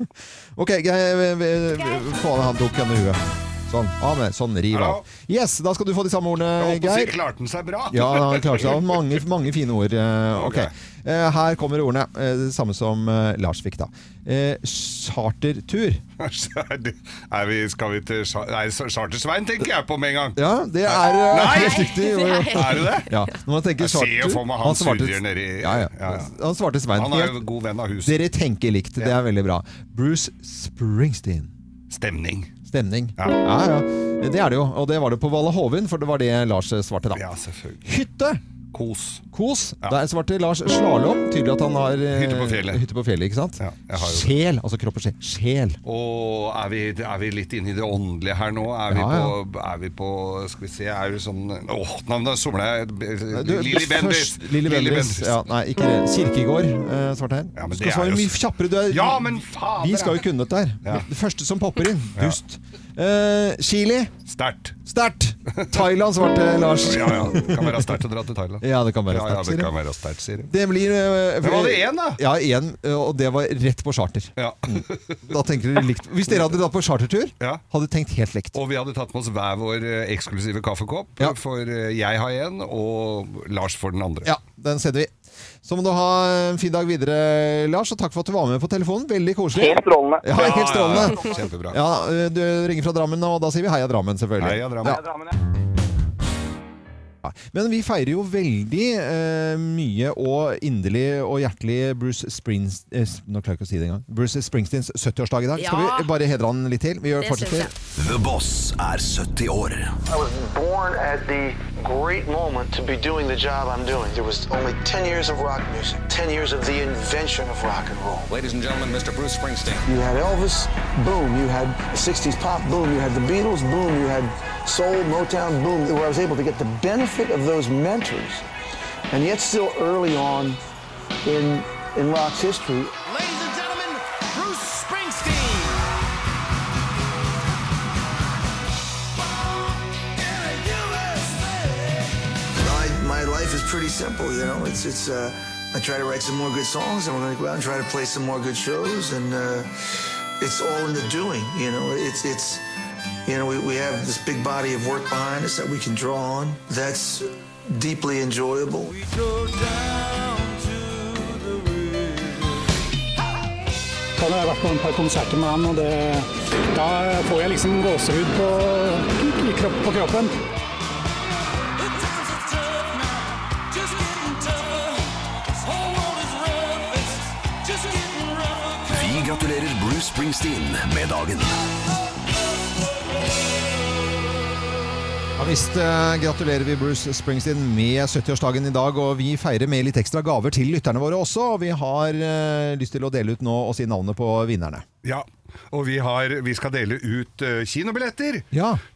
Speaker 1: OK, jeg, vi- vi- faen, han tok henne i huet. Sånn. Av med. Sånn. Riv av.
Speaker 3: Hallo?
Speaker 1: Yes, da skal du få de samme
Speaker 3: Jeg
Speaker 1: ordene,
Speaker 3: holdt på å si,
Speaker 1: Geir.
Speaker 3: klarte den seg bra?
Speaker 1: Ja, han klarte seg. Mange, mange fine ord. eh, ok.
Speaker 3: Ok.
Speaker 1: Eh, her kommer ordene. eh, det samme som eh, Lars fikk, da. Eh, chartertur.
Speaker 3: [LAUGHS] Så er det- er vi, skal vi til Sja- Nei, så- Charter-Svein tenker jeg på med en gang.
Speaker 1: Ja, det er eh,
Speaker 3: Nei!
Speaker 1: [LAUGHS] helt riktig. Jo, jo.
Speaker 3: [LAUGHS] Er du det?
Speaker 1: Ja, når man tenker
Speaker 3: Jeg ser jo
Speaker 1: chartertur
Speaker 3: for meg han surrer nedi-
Speaker 1: ja, ja.
Speaker 3: Ja, ja.
Speaker 1: Han svarte Svein.
Speaker 3: Han er jo
Speaker 1: Helt-
Speaker 3: god venn av huset.
Speaker 1: Dere tenker likt. Det
Speaker 3: Ja.
Speaker 1: er veldig bra. Bruce Springsteen.
Speaker 3: Stemning.
Speaker 1: Stemning.
Speaker 3: Ja.
Speaker 1: ja. ja. Det er det jo. Og det var det på Valle Hovin, for det var det Lars eh, svarte, da.
Speaker 3: Ja, selvfølgelig.
Speaker 1: Hytte!
Speaker 3: Kos.
Speaker 1: Kos.
Speaker 3: Ja.
Speaker 1: Der svarte Lars slalåm. Tydelig at han har eh,
Speaker 3: Hytte på fjellet.
Speaker 1: Hytte på fjellet, ikke sant?
Speaker 3: Ja, jeg har jo det.
Speaker 1: sjel, altså kropp og sjel. Sjel.
Speaker 3: Og er vi, er vi litt inne i det åndelige her nå? Er vi,
Speaker 1: Ja, ja.
Speaker 3: På, er vi på Skal vi se Er vi sånn Åh, nå, nå somler jeg
Speaker 1: Du,
Speaker 3: Lilly Bendriss.
Speaker 1: først- Lilly Bendriss. Ja, nei, ikke det. Kirkegård, eh, svarte her.
Speaker 3: Ja,
Speaker 1: du
Speaker 3: men det
Speaker 1: skal
Speaker 3: er
Speaker 1: svare
Speaker 3: jo-
Speaker 1: mye kjappere. Du er,
Speaker 3: Ja, men fader!
Speaker 1: vi skal jo kunne dette her.
Speaker 3: Ja.
Speaker 1: Det første som popper inn. Dust. Eh, Chili.
Speaker 3: Sterkt.
Speaker 1: Sterkt. Thailand, svarte Lars.
Speaker 3: Ja, ja. Det kan være sterkt å dra til Thailand.
Speaker 1: Ja, det kan være
Speaker 3: Ja, ja,
Speaker 1: sterkt, sier
Speaker 3: det
Speaker 1: du.
Speaker 3: kan være sterkt, sier du.
Speaker 1: Det blir eh,
Speaker 3: Men var det én, da?
Speaker 1: Ja, én. eh, Og det var rett på charter.
Speaker 3: Ja.
Speaker 1: Da tenker dere likt. Hvis dere hadde dratt på chartertur,
Speaker 3: [LAUGHS] Ja.
Speaker 1: hadde dere tenkt helt likt.
Speaker 3: Og vi hadde tatt med oss hver vår eh, eksklusive kaffekopp.
Speaker 1: Ja.
Speaker 3: For eh, jeg har en, og Lars får den andre.
Speaker 1: Ja, den sender vi. Så må du ha en fin dag videre, Lars, og takk for at du var med på telefonen. Veldig koselig.
Speaker 8: Helt strålende.
Speaker 1: Ja, helt strålende.
Speaker 3: ja, Kjempebra.
Speaker 1: Ja, Du ringer fra Drammen, og da sier vi heia Drammen, selvfølgelig.
Speaker 3: Heia Drammen.
Speaker 1: Ja.
Speaker 8: Ja, Drammen, ja.
Speaker 1: Men vi feirer jo veldig eh, mye og inderlig og hjertelig Bruce, Springs, eh, nå klarer jeg ikke å si det engang. Bruce Springsteens 70-årsdag i dag.
Speaker 4: Ja.
Speaker 1: Skal vi bare hedre han litt til? Vi gjør
Speaker 4: Det syns
Speaker 1: fortsetter.
Speaker 4: jeg.
Speaker 11: The Boss er 70 år.
Speaker 12: I was born at the great moment to be doing the job I'm doing. There was only 10 years of rock music, 10 years of the invention of rock and roll.
Speaker 11: Ladies and gentlemen, Mr. Bruce Springsteen.
Speaker 12: You had Elvis, boom. You had 60s pop, boom. You had the Beatles, boom. You had soul, Motown, boom. Where I was able to get the benefit of those mentors, and yet still early on in, in rock's history,
Speaker 11: Ladies and gentlemen, Bruce Springsteen.
Speaker 12: My, my life is pretty simple, you know. It's it's. Uh, I try to write some more good songs, and we're gonna go out and try to play some more good shows, and uh, it's all in the doing, you know. It's it's. You know, we, we have this big body of work behind us that we can draw on. That's deeply enjoyable.
Speaker 13: Jeg har vært på et par konserter med han, og det,
Speaker 14: Da får jeg liksom gåsehud på, i kropp, på kroppen.
Speaker 13: Vi gratulerer Bruce Springsteen med dagen.
Speaker 1: Ja visst eh, gratulerer vi Bruce Springsteen med 70-årsdagen i dag, og vi feirer med litt ekstra gaver til lytterne våre også. Og vi har eh, lyst til å dele ut nå og si navnet på vinnerne.
Speaker 3: Ja, og vi, har, vi skal dele ut eh, kinobilletter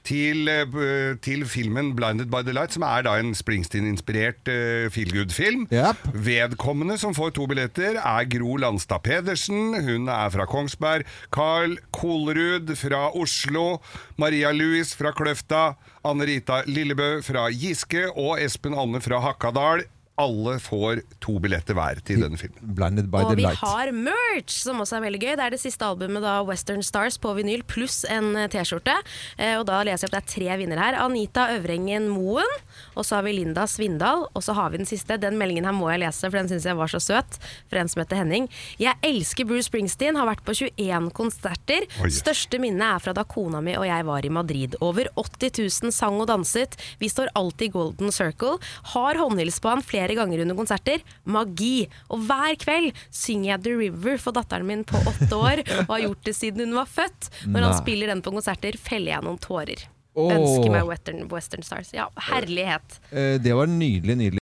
Speaker 3: til, eh, b- til filmen 'Blinded by the Light', som er da en Springsteen-inspirert uh, feelgood-film. Vedkommende som får to billetter, er Gro Landstad Pedersen. Hun er fra Kongsberg. Carl Kolerud fra Oslo. Maria Louis fra Kløfta. Anne-Rita Lillebø fra Giske. Og Espen Alne fra Hakadal. Alle får to billetter hver til denne filmen.
Speaker 1: Blinded by
Speaker 2: Og
Speaker 1: the
Speaker 2: vi
Speaker 1: Light.
Speaker 2: har merch, som også er veldig gøy. Det er det siste albumet da Western Stars på vinyl pluss en eh, T-skjorte. Eh, Og da leser jeg opp det er tre vinnere her. Anita Øvrengen Moen. Og så har vi Linda Svindal. Og så har vi den siste. Den meldingen her må jeg lese, for den syns jeg var så søt. Fra en som heter Henning. Jeg elsker Bruce Springsteen. Har vært på 21 konserter.
Speaker 9: Oi.
Speaker 2: Største minne er fra da kona mi og jeg var i Madrid. Over 80 000 sang og danset. Vi står alltid i Golden Circle. Har håndhils på han flere ganger under konserter. Magi! Og hver kveld synger jeg The River for datteren min på åtte år, og har gjort det siden hun var født. Når han
Speaker 1: Nei.
Speaker 2: spiller den på konserter, feller jeg noen tårer.
Speaker 1: Åh.
Speaker 2: Ønsker meg Western, Western Stars. Ja, herlighet.
Speaker 1: Eh, Det var nydelig, nydelig.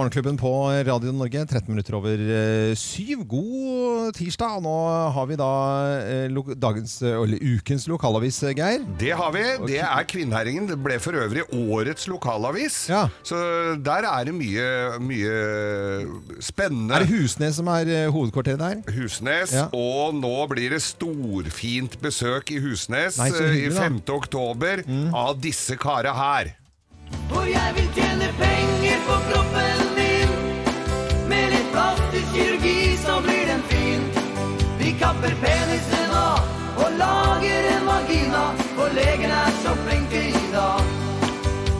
Speaker 1: Morgenklubben på Radio Norge, 13 minutter over eh, syv. God tirsdag. Og nå har vi da eh, lo- dagens, eh, eller ukens lokalavis, eh, Geir.
Speaker 3: Det har vi. Det er Kvinnherringen. Det ble for øvrig årets lokalavis. Så der er det mye, mye spennende.
Speaker 1: Er det Husnes som er eh, hovedkvarteret der?
Speaker 3: Husnes,
Speaker 1: Ja.
Speaker 3: og nå blir det storfint besøk i Husnes
Speaker 1: Nei, så
Speaker 3: eh, i
Speaker 1: hyggelig, da. Mm.
Speaker 3: 5. oktober av disse kara her.
Speaker 9: Og jeg vil tjene penger på kroppen min. Med litt plastisk kirurgi så blir den fin. Vi kapper penisen av og lager en vagina. For legen er så flink til i dag.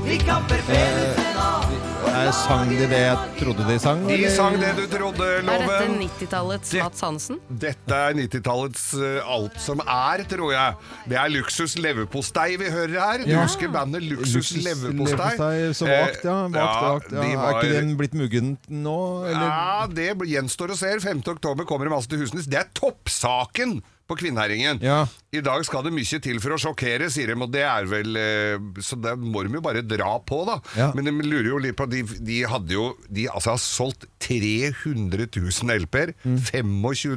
Speaker 9: Vi kapper penisen av.
Speaker 1: Eh, sang de det jeg trodde de sang?
Speaker 3: De
Speaker 1: eller?
Speaker 3: sang det du trodde,
Speaker 2: Er dette
Speaker 3: Loven.
Speaker 2: 90-tallets Mats Hansen?
Speaker 3: Dette er 90-tallets eh, alt som er, tror jeg. Det er Luksus leverpostei vi hører her. Du
Speaker 1: Ja.
Speaker 3: husker bandet Luksus,
Speaker 1: Luksus
Speaker 3: leverpostei?
Speaker 1: leverpostei, Så
Speaker 3: Eh,
Speaker 1: vagt, ja. Vagt, vagt, ja.
Speaker 3: de
Speaker 1: Er
Speaker 3: var-
Speaker 1: ikke den blitt muggen nå? Eller?
Speaker 3: Ja, det gjenstår å se. 5. oktober kommer det masse til Husnes. Det er toppsaken på Kvinnherringen. I dag skal det mye til for å sjokkere, sier de, og det er vel eh, Så da må de jo bare dra på, da. Men de lurer jo litt på De, de hadde jo De altså har solgt 300 000 LP-er. 25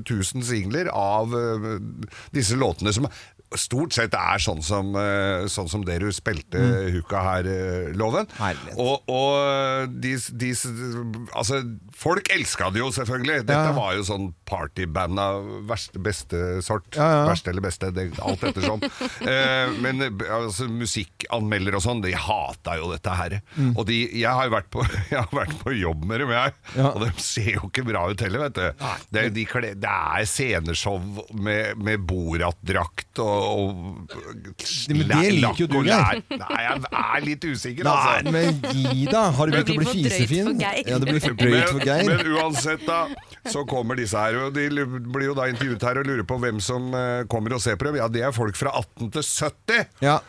Speaker 3: 000 singler av eh, disse låtene som Stort sett er sånn som, eh, sånn som det du spilte huka her, eh, Loven. Og, og de, de Altså, folk elska det jo, selvfølgelig. Dette
Speaker 1: Ja.
Speaker 3: var jo sånn partyband av verste, beste sort.
Speaker 1: Ja, ja.
Speaker 3: Verste eller beste, det, alt
Speaker 1: [LAUGHS]
Speaker 3: ettersom. eh, men eh, altså, musikkanmeldere og sånn, de hata jo dette her.
Speaker 1: Mm.
Speaker 3: Og de, jeg, har jo vært på, [LAUGHS] jeg har vært på jobb med dem, jeg. Og de ser jo ikke bra ut heller, vet du. Det, er- de, kle- det er sceneshow med, med Borat-drakt og, og
Speaker 1: men det liker jo
Speaker 3: lakk
Speaker 1: du,
Speaker 3: og
Speaker 1: Geir.
Speaker 3: lær. Nei, jeg er litt usikker,
Speaker 1: Nei,
Speaker 3: altså.
Speaker 1: men gi da! Har du
Speaker 3: Men-
Speaker 1: begynt å bli fisefin? Ja, det blir for drøyt for Geir.
Speaker 3: Men, men uansett, da, så kommer disse her. Og de lu- blir jo da intervjuet her og lurer på hvem som eh, kommer og ser på dem. Ja, det er folk fra 18 til 70. Jeg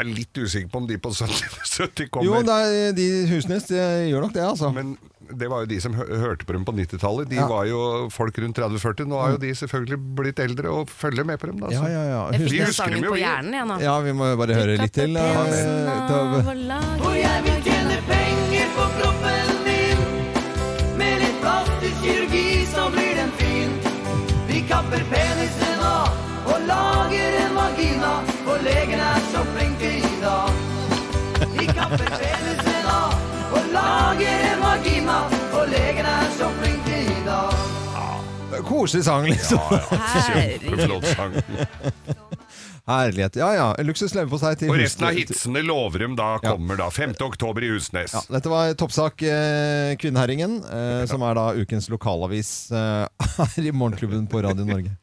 Speaker 3: er litt usikker på om de på [LAUGHS] 70, 70 kommer.
Speaker 1: Jo, det er de Husnes de gjør nok det, altså.
Speaker 3: Men det var jo de som hø hørte på dem på 90-tallet. De
Speaker 1: Ja. Mm.
Speaker 3: var jo folk rundt 30-40. Nå har jo de selvfølgelig blitt eldre og følger med på dem. Da,
Speaker 1: Ja,
Speaker 3: så.
Speaker 1: ja, ja.
Speaker 2: Jeg
Speaker 3: De
Speaker 2: fikk den
Speaker 3: husker
Speaker 2: sangen
Speaker 3: dem jo,
Speaker 2: på
Speaker 3: vi.
Speaker 2: hjernen, jeg nå.
Speaker 1: Ja, vi må jo bare høre litt til. da. Ta-
Speaker 9: Og jeg vil tjene penger på kroppen min. Med litt plastisk kirurgi så blir den fin. Vi kapper penisen av og lager en vagina. For legen er så flink til i dag. Vi kapper penisen av og lager en vagina. For legen er så flink til i dag.
Speaker 1: Koselig sang, liksom. [LAUGHS]
Speaker 3: Kjempeflott sang.
Speaker 1: Herlighet. Ja ja. Luksus leverpostei til
Speaker 3: Og resten av
Speaker 1: Husnes.
Speaker 3: hitsene lover dem da kommer da. 5. oktober i Husnes.
Speaker 1: Ja, dette var toppsak eh, Kvinnherringen, eh, som er da ukens [LAUGHS] lokalavis eh, her i Morgenklubben på Radio Norge.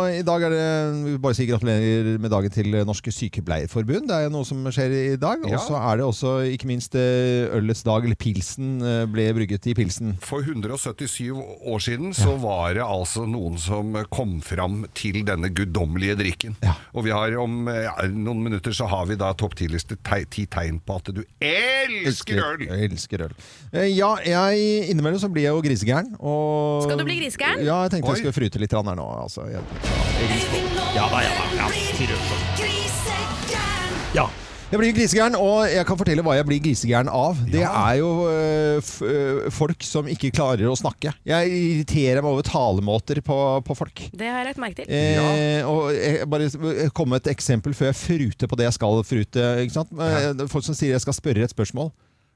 Speaker 1: Og I dag er det vi vil bare si gratulerer med dagen til Norske Sykepleierforbund. Det er noe som skjer i dag.
Speaker 3: Ja.
Speaker 1: Og så er det også ikke minst eh, ølets dag, eller pilsen, eh, ble brygget i pilsen.
Speaker 3: For 177 år siden så var det altså noen som kom fram til denne guddommelige drikken. Og vi har om ja, noen minutter så har vi da topp 10-liste te- ti tegn på at du elsker øl!
Speaker 1: Jeg elsker øl. Eh, Ja, jeg innimellom så blir jeg jo grisegæren. Og...
Speaker 4: Skal du bli grisegæren?
Speaker 1: Ja, jeg tenkte
Speaker 4: Oi.
Speaker 1: jeg skulle fryte litt grann her nå. Altså. Jeg... Ja da, ja da. Ja, sier du. Ja. Jeg blir grisegæren, og jeg kan fortelle hva jeg blir grisegæren av. Det er jo øh, f øh, folk som ikke klarer å snakke. Jeg irriterer meg over talemåter på, på folk.
Speaker 4: Det har jeg lagt merke til.
Speaker 1: Eh, og jeg bare s- komme med et eksempel før jeg fruter på det jeg skal frute. Ikke sant? Eh, Folk som sier jeg skal spørre et spørsmål.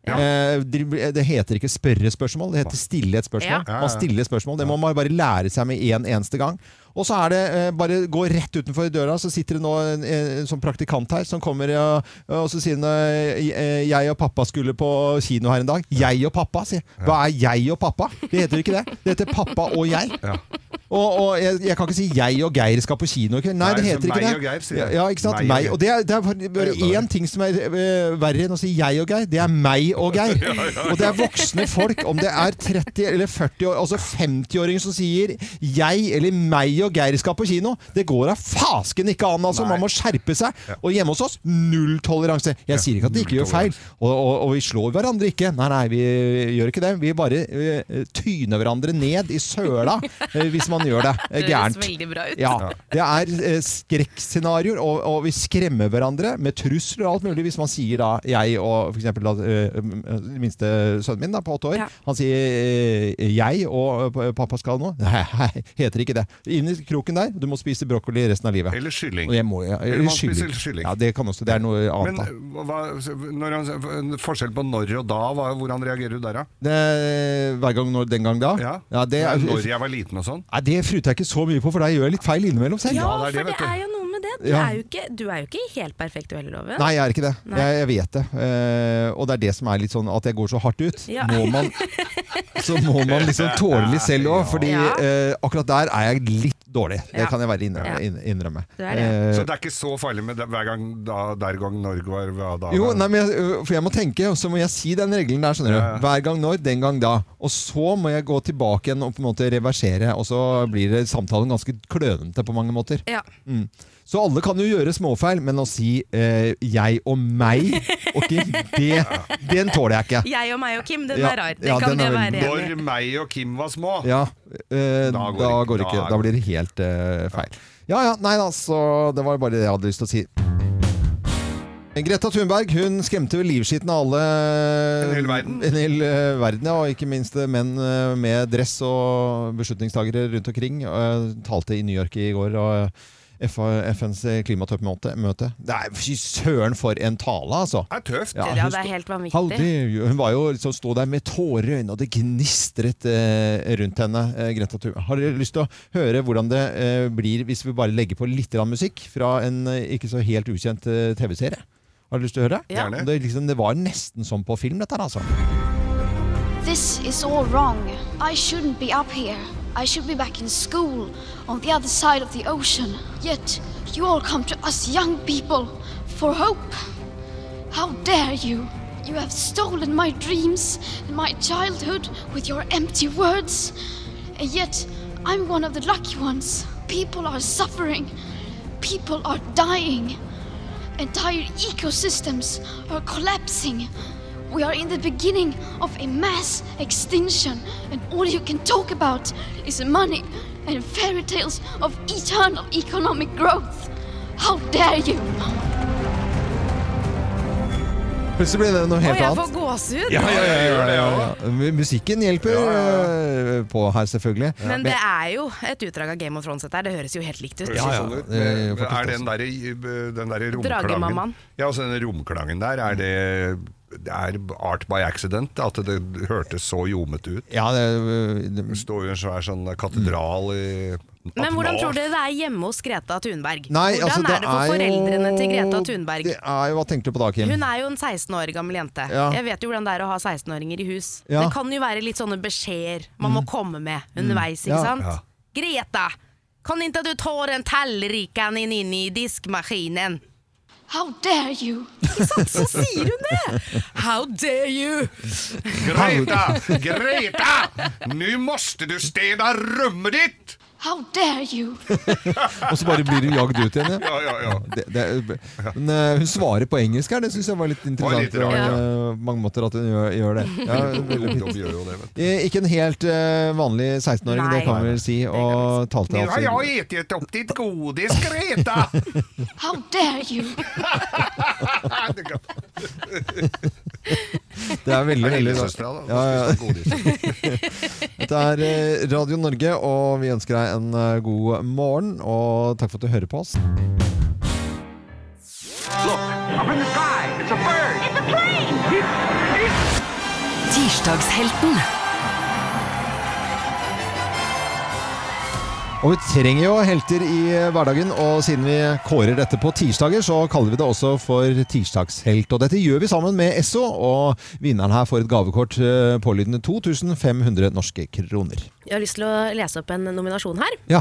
Speaker 1: Eh, de- Det heter ikke spørre et spørsmål, det heter stille et spørsmål.
Speaker 3: Ja.
Speaker 1: Man stiller et spørsmål, Det må man bare lære seg med en eneste gang. Og så er det eh, bare gå rett utenfor døra, så sitter det nå en, en, en sånn praktikant her som kommer og, og så sier hun eh, jeg og pappa skulle på kino her en dag. Jeg og pappa, sier jeg. Hva er jeg og pappa? Det heter ikke det. Det heter pappa og jeg. Og, og jeg, jeg kan ikke si 'jeg og Geir skal på kino' i kveld. Nei,
Speaker 3: Nei,
Speaker 1: det
Speaker 3: så
Speaker 1: heter ikke
Speaker 3: meg
Speaker 1: det.
Speaker 3: og Geir, sier
Speaker 1: ja,
Speaker 3: jeg.
Speaker 1: ja, ikke sant?
Speaker 3: Meg og
Speaker 1: Meg,
Speaker 3: Geir.
Speaker 1: og det er, det er bare- bare én ting som er eh, verre enn å si 'jeg og Geir'. Det er meg og Geir.
Speaker 3: [LAUGHS] Ja, ja, ja.
Speaker 1: Og det er voksne folk. Om det er 30 eller 40 år, altså 50-åringer som sier 'jeg' eller 'meg og Geir skal på kino', det går da fasken ikke an. altså. Man må skjerpe seg. Og hjemme hos oss null toleranse. Jeg sier ikke at de ikke gjør feil, og, og, og vi slår hverandre ikke. Nei, nei, vi gjør ikke det. Vi bare eh, tyner hverandre ned i
Speaker 2: [LAUGHS]
Speaker 1: søla eh, hvis man gjør det eh,
Speaker 2: Det høres
Speaker 1: gærent.
Speaker 2: veldig bra ut.
Speaker 1: Ja, det er eh, skrekkscenarioer, og, og vi skremmer hverandre med trusler og alt mulig. Hvis man sier da, jeg og for eksempel da, eh, m- minste sønnen min da, på åtte år, han sier eh, jeg og eh, pappa skal nå. Nei, nei, heter ikke det. Inn i kroken der, du må spise brokkoli resten av livet.
Speaker 3: Eller kylling.
Speaker 1: Og Jeg må, ja,
Speaker 3: Eller
Speaker 1: eller
Speaker 3: man spiser kylling.
Speaker 1: Ja, det kan også, det er noe
Speaker 3: Men eh,
Speaker 1: annet da.
Speaker 3: hva, når han, forskjell på når og da, hva, hvordan reagerer du der da?
Speaker 1: Det, hver gang når, den gang da. Ja, det er...
Speaker 3: når jeg var liten og sånn?
Speaker 1: Nei, det fruter jeg ikke så mye på, for der gjør jeg litt feil innimellom selv.
Speaker 4: Ja, for det er jo noe med det. Du
Speaker 1: Ja.
Speaker 4: er jo ikke, du er jo ikke helt perfekt du heller, Loven.
Speaker 1: Nei, jeg er ikke det.
Speaker 4: Nei.
Speaker 1: Jeg, jeg vet det. Eh, og det er det som er litt sånn at jeg går så hardt ut.
Speaker 4: Ja.
Speaker 1: Må
Speaker 3: [LAUGHS]
Speaker 1: man, så må man liksom tåle litt selv òg, fordi
Speaker 3: Ja.
Speaker 1: eh, akkurat der er jeg litt dårlig. Det
Speaker 3: Ja.
Speaker 1: kan jeg være innrømme.
Speaker 3: Ja.
Speaker 1: inn- innrømme. Eh,
Speaker 3: Så det er ikke så farlig med det, hver gang da, der gang Norge var hva da?
Speaker 1: jo, nei, men jeg, ø, for jeg må tenke, og så må jeg si den regelen der. skjønner
Speaker 3: Ja, ja.
Speaker 1: du Hver gang når, den gang da. Og så må jeg gå tilbake igjen og på en måte reversere, og så blir det samtalen ganske klønete på mange måter.
Speaker 4: Ja.
Speaker 1: Mm. Så alle kan jo gjøre småfeil, men å si eh, 'jeg og meg' og Kim, det, den tåler jeg ikke.
Speaker 4: Jeg og meg og Kim, den
Speaker 1: Ja,
Speaker 4: er rar. Det
Speaker 1: ja,
Speaker 4: kan
Speaker 1: den
Speaker 4: det
Speaker 1: er
Speaker 4: være
Speaker 1: veldig-
Speaker 4: enig i.
Speaker 3: Når meg og Kim var små
Speaker 1: Ja, eh, da
Speaker 3: går
Speaker 1: går, det
Speaker 3: det ikke.
Speaker 1: ikke.
Speaker 3: Da-
Speaker 1: Da blir det helt eh, feil. Ja ja, nei da, så det var bare det jeg hadde lyst til å si. Greta Thunberg hun skremte vel livskiten av alle En hel verden. eh, verden, ja, Og ikke minst eh, menn eh, med dress og beslutningstagere rundt omkring. eh, talte i New York i går. og eh, F- FNs klimatoppmøte. møte. Nei, fy søren for en tale, altså!
Speaker 3: Det er tøft.
Speaker 1: Ja,
Speaker 4: Ja,
Speaker 1: hun
Speaker 4: det
Speaker 1: sto-
Speaker 4: er helt
Speaker 1: Aldri,
Speaker 4: vanvittig.
Speaker 1: hun var jo liksom stå der med tårer i øynene, og det gnistret eh, rundt henne. Eh, Greta Thun. Har dere lyst til å høre hvordan det eh, blir hvis vi bare legger på litt grann musikk fra en eh, ikke så helt ukjent eh, TV-serie? Har dere lyst til å høre?
Speaker 15: Ja. Gjerne.
Speaker 1: Det, liksom, det var nesten som på film, dette her, altså.
Speaker 15: This is all wrong. I shouldn't be up here. I should be back in school, on the other side of the ocean. Yet, you all come to us young people for hope. How dare you! You have stolen my dreams and my childhood with your empty words. And yet, I'm one of the lucky ones. People are suffering. People are dying. Entire ecosystems are collapsing. We are in the beginning of a mass extinction, and all you can talk about is money and fairy tales of eternal economic growth. How dare you!
Speaker 1: Plutselig ble det noe helt
Speaker 4: Å, jeg får
Speaker 1: annet.
Speaker 4: gåsehud!
Speaker 1: Ja, ja, ja, ja, ja, ja. Mu- Musikken hjelper eh, på her, selvfølgelig.
Speaker 4: Men det er jo et utdrag av Game of Thrones, dette her. Det høres jo helt likt ut.
Speaker 3: Høres jo sånn ut,
Speaker 1: det er jo
Speaker 3: men
Speaker 1: faktisk
Speaker 3: Er den der, den der romklangen
Speaker 4: Dragemammaen.
Speaker 3: Ja, altså den romklangen der, er det, det er art by accident? At det hørtes så jomete ut?
Speaker 1: Ja, det,
Speaker 3: står jo en svær sånn katedral i
Speaker 4: Men hvordan tror dere det er hjemme hos Greta Thunberg?
Speaker 1: Nei,
Speaker 4: hvordan
Speaker 1: altså,
Speaker 4: er det for
Speaker 1: er jo-
Speaker 4: foreldrene til Greta Thunberg?
Speaker 1: Det er jo, hva tenkte du på da, Kim?
Speaker 4: Hun er jo en 16 år gammel jente.
Speaker 1: Ja.
Speaker 4: Jeg vet jo hvordan det er å ha 16-åringer i hus.
Speaker 1: Ja.
Speaker 4: Det kan jo være litt sånne beskjeder man må komme med
Speaker 1: Mm.
Speaker 4: underveis, ikke
Speaker 1: Ja.
Speaker 4: sant?
Speaker 1: Ja.
Speaker 4: Greta!
Speaker 2: Kan inte du ta den tallriken in i
Speaker 1: [LAUGHS]
Speaker 2: diskmaskinen?
Speaker 15: How dare you?
Speaker 2: Så sier hun det! How dare you!
Speaker 3: Greta! Greta! Nå måste du städa rummet ditt!
Speaker 15: How dare you?
Speaker 1: Og så bare blir du jagd ut igjen.
Speaker 3: Ja, ja, ja.
Speaker 1: Det, det, er- men eh, hun svarer på engelsk her, det syns jeg var litt interessant.
Speaker 3: litt rart,
Speaker 1: eh, mange måter at hun gjør, gjør det. Ja, veldig
Speaker 3: De
Speaker 1: fint.
Speaker 3: gjør jo det, vet du.
Speaker 1: Eh, Ikke en helt eh, vanlig 16-åring, det
Speaker 3: Nei.
Speaker 1: kan vi vel si. Og talte
Speaker 3: Nu har
Speaker 1: altså
Speaker 3: jag ätit upp ditt godis, Greta!
Speaker 15: How dare you?
Speaker 1: Det er veldig, veldig
Speaker 3: Det er lillesøstera, da.
Speaker 1: Ja, ja. Dette er eh, Radio Norge, og vi ønsker deg en eh, god morgen. Og takk for at du hører på oss.
Speaker 13: Up in the sky, it's a bird. It's a plane.
Speaker 16: Tirsdagshelten.
Speaker 1: Og vi trenger jo helter i eh, hverdagen, og siden vi kårer dette på tirsdager, så kaller vi det også for tirsdagshelt. Og dette gjør vi sammen med Esso, og vinneren her får et gavekort eh, pålydende 2500 norske kroner.
Speaker 2: Jeg har lyst til å lese opp en nominasjon her.
Speaker 1: Ja.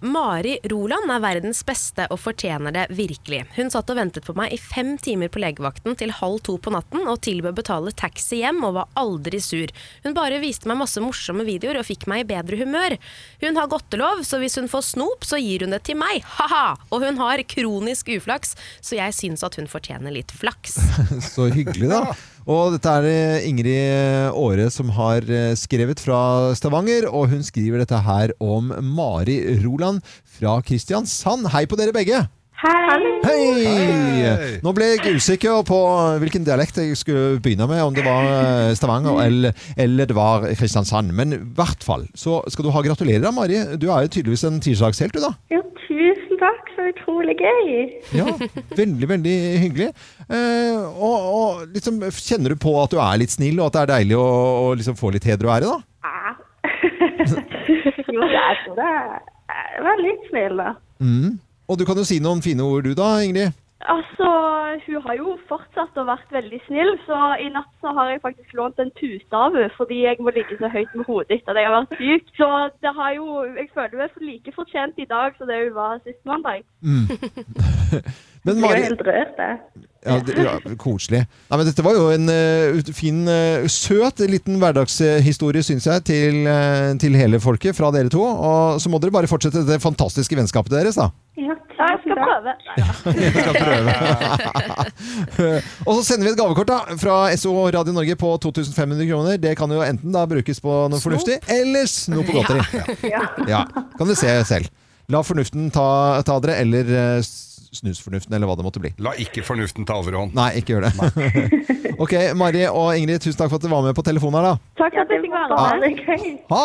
Speaker 2: Mari Roland er verdens beste og fortjener det virkelig. Hun satt og ventet på meg i fem timer på legevakten til halv to på natten og tilbød betale taxi hjem og var aldri sur. Hun bare viste meg masse morsomme videoer og fikk meg i bedre humør. Hun har godtelov, så hvis hun får snop, så gir hun det til meg. Ha-ha! Og hun har kronisk uflaks, så jeg syns at hun fortjener litt flaks.
Speaker 1: [LAUGHS] Så hyggelig, da. Og dette er det Ingrid Aare som har eh, skrevet fra Stavanger, og hun skriver dette her om Mari Roland fra Kristiansand. Hei på dere begge! Hei! Nå ble jeg usikker på hvilken dialekt jeg skulle begynne med, om det var eh, Stavanger eller, eller det var Kristiansand. Men i hvert fall så skal du ha gratulerer, da, Mari. Du er jo tydeligvis en tirsdagshelt, du, da.
Speaker 8: Jo, tusen takk, så utrolig gøy.
Speaker 1: Ja, veldig, veldig hyggelig. Eh, og, og liksom, kjenner du på at du er litt snill, og at det er deilig å, å liksom få litt heder og ære, da?
Speaker 8: Jo, det er så det. er- Vær litt snill, da.
Speaker 1: Mm. Og du kan jo si noen fine ord, du da, Ingrid?
Speaker 8: Altså, hun har jo fortsatt å vært veldig snill, så i natt så har jeg faktisk lånt en pute av henne, fordi jeg må ligge så høyt med hodet etter at jeg har vært syk. Så det har jo, jeg føler meg like fortjent i dag som det hun var sist mandag.
Speaker 1: Mm. Men
Speaker 8: Jeg er
Speaker 1: Mari
Speaker 8: helt rørt, jeg.
Speaker 1: ja, det, ja, Koselig. Nei, men dette var jo en eh, ut- fin, eh, søt liten hverdagshistorie, syns jeg, til, eh, til hele folket fra dere to. Og så må dere bare fortsette det fantastiske vennskapet deres, da.
Speaker 8: Ja, jeg skal prøve.
Speaker 1: [LAUGHS] og så sender vi et gavekort da fra SO og Radio Norge på 2500 kroner. Det kan jo enten da brukes på noe
Speaker 13: Snop.
Speaker 1: fornuftig, eller snop og godteri.
Speaker 13: Ja. [LAUGHS]
Speaker 1: Ja, kan du se selv. La fornuften ta, ta dere, eller eh, snusfornuften, eller hva det måtte bli.
Speaker 3: La ikke fornuften ta overhånd.
Speaker 1: Nei, ikke gjør det. [LAUGHS] ok, Mari og Ingrid, tusen takk for at dere var med på telefonen her, da.
Speaker 8: Takk for at jeg fikk være
Speaker 1: Ja.
Speaker 8: med. Det er gøy.
Speaker 1: Ha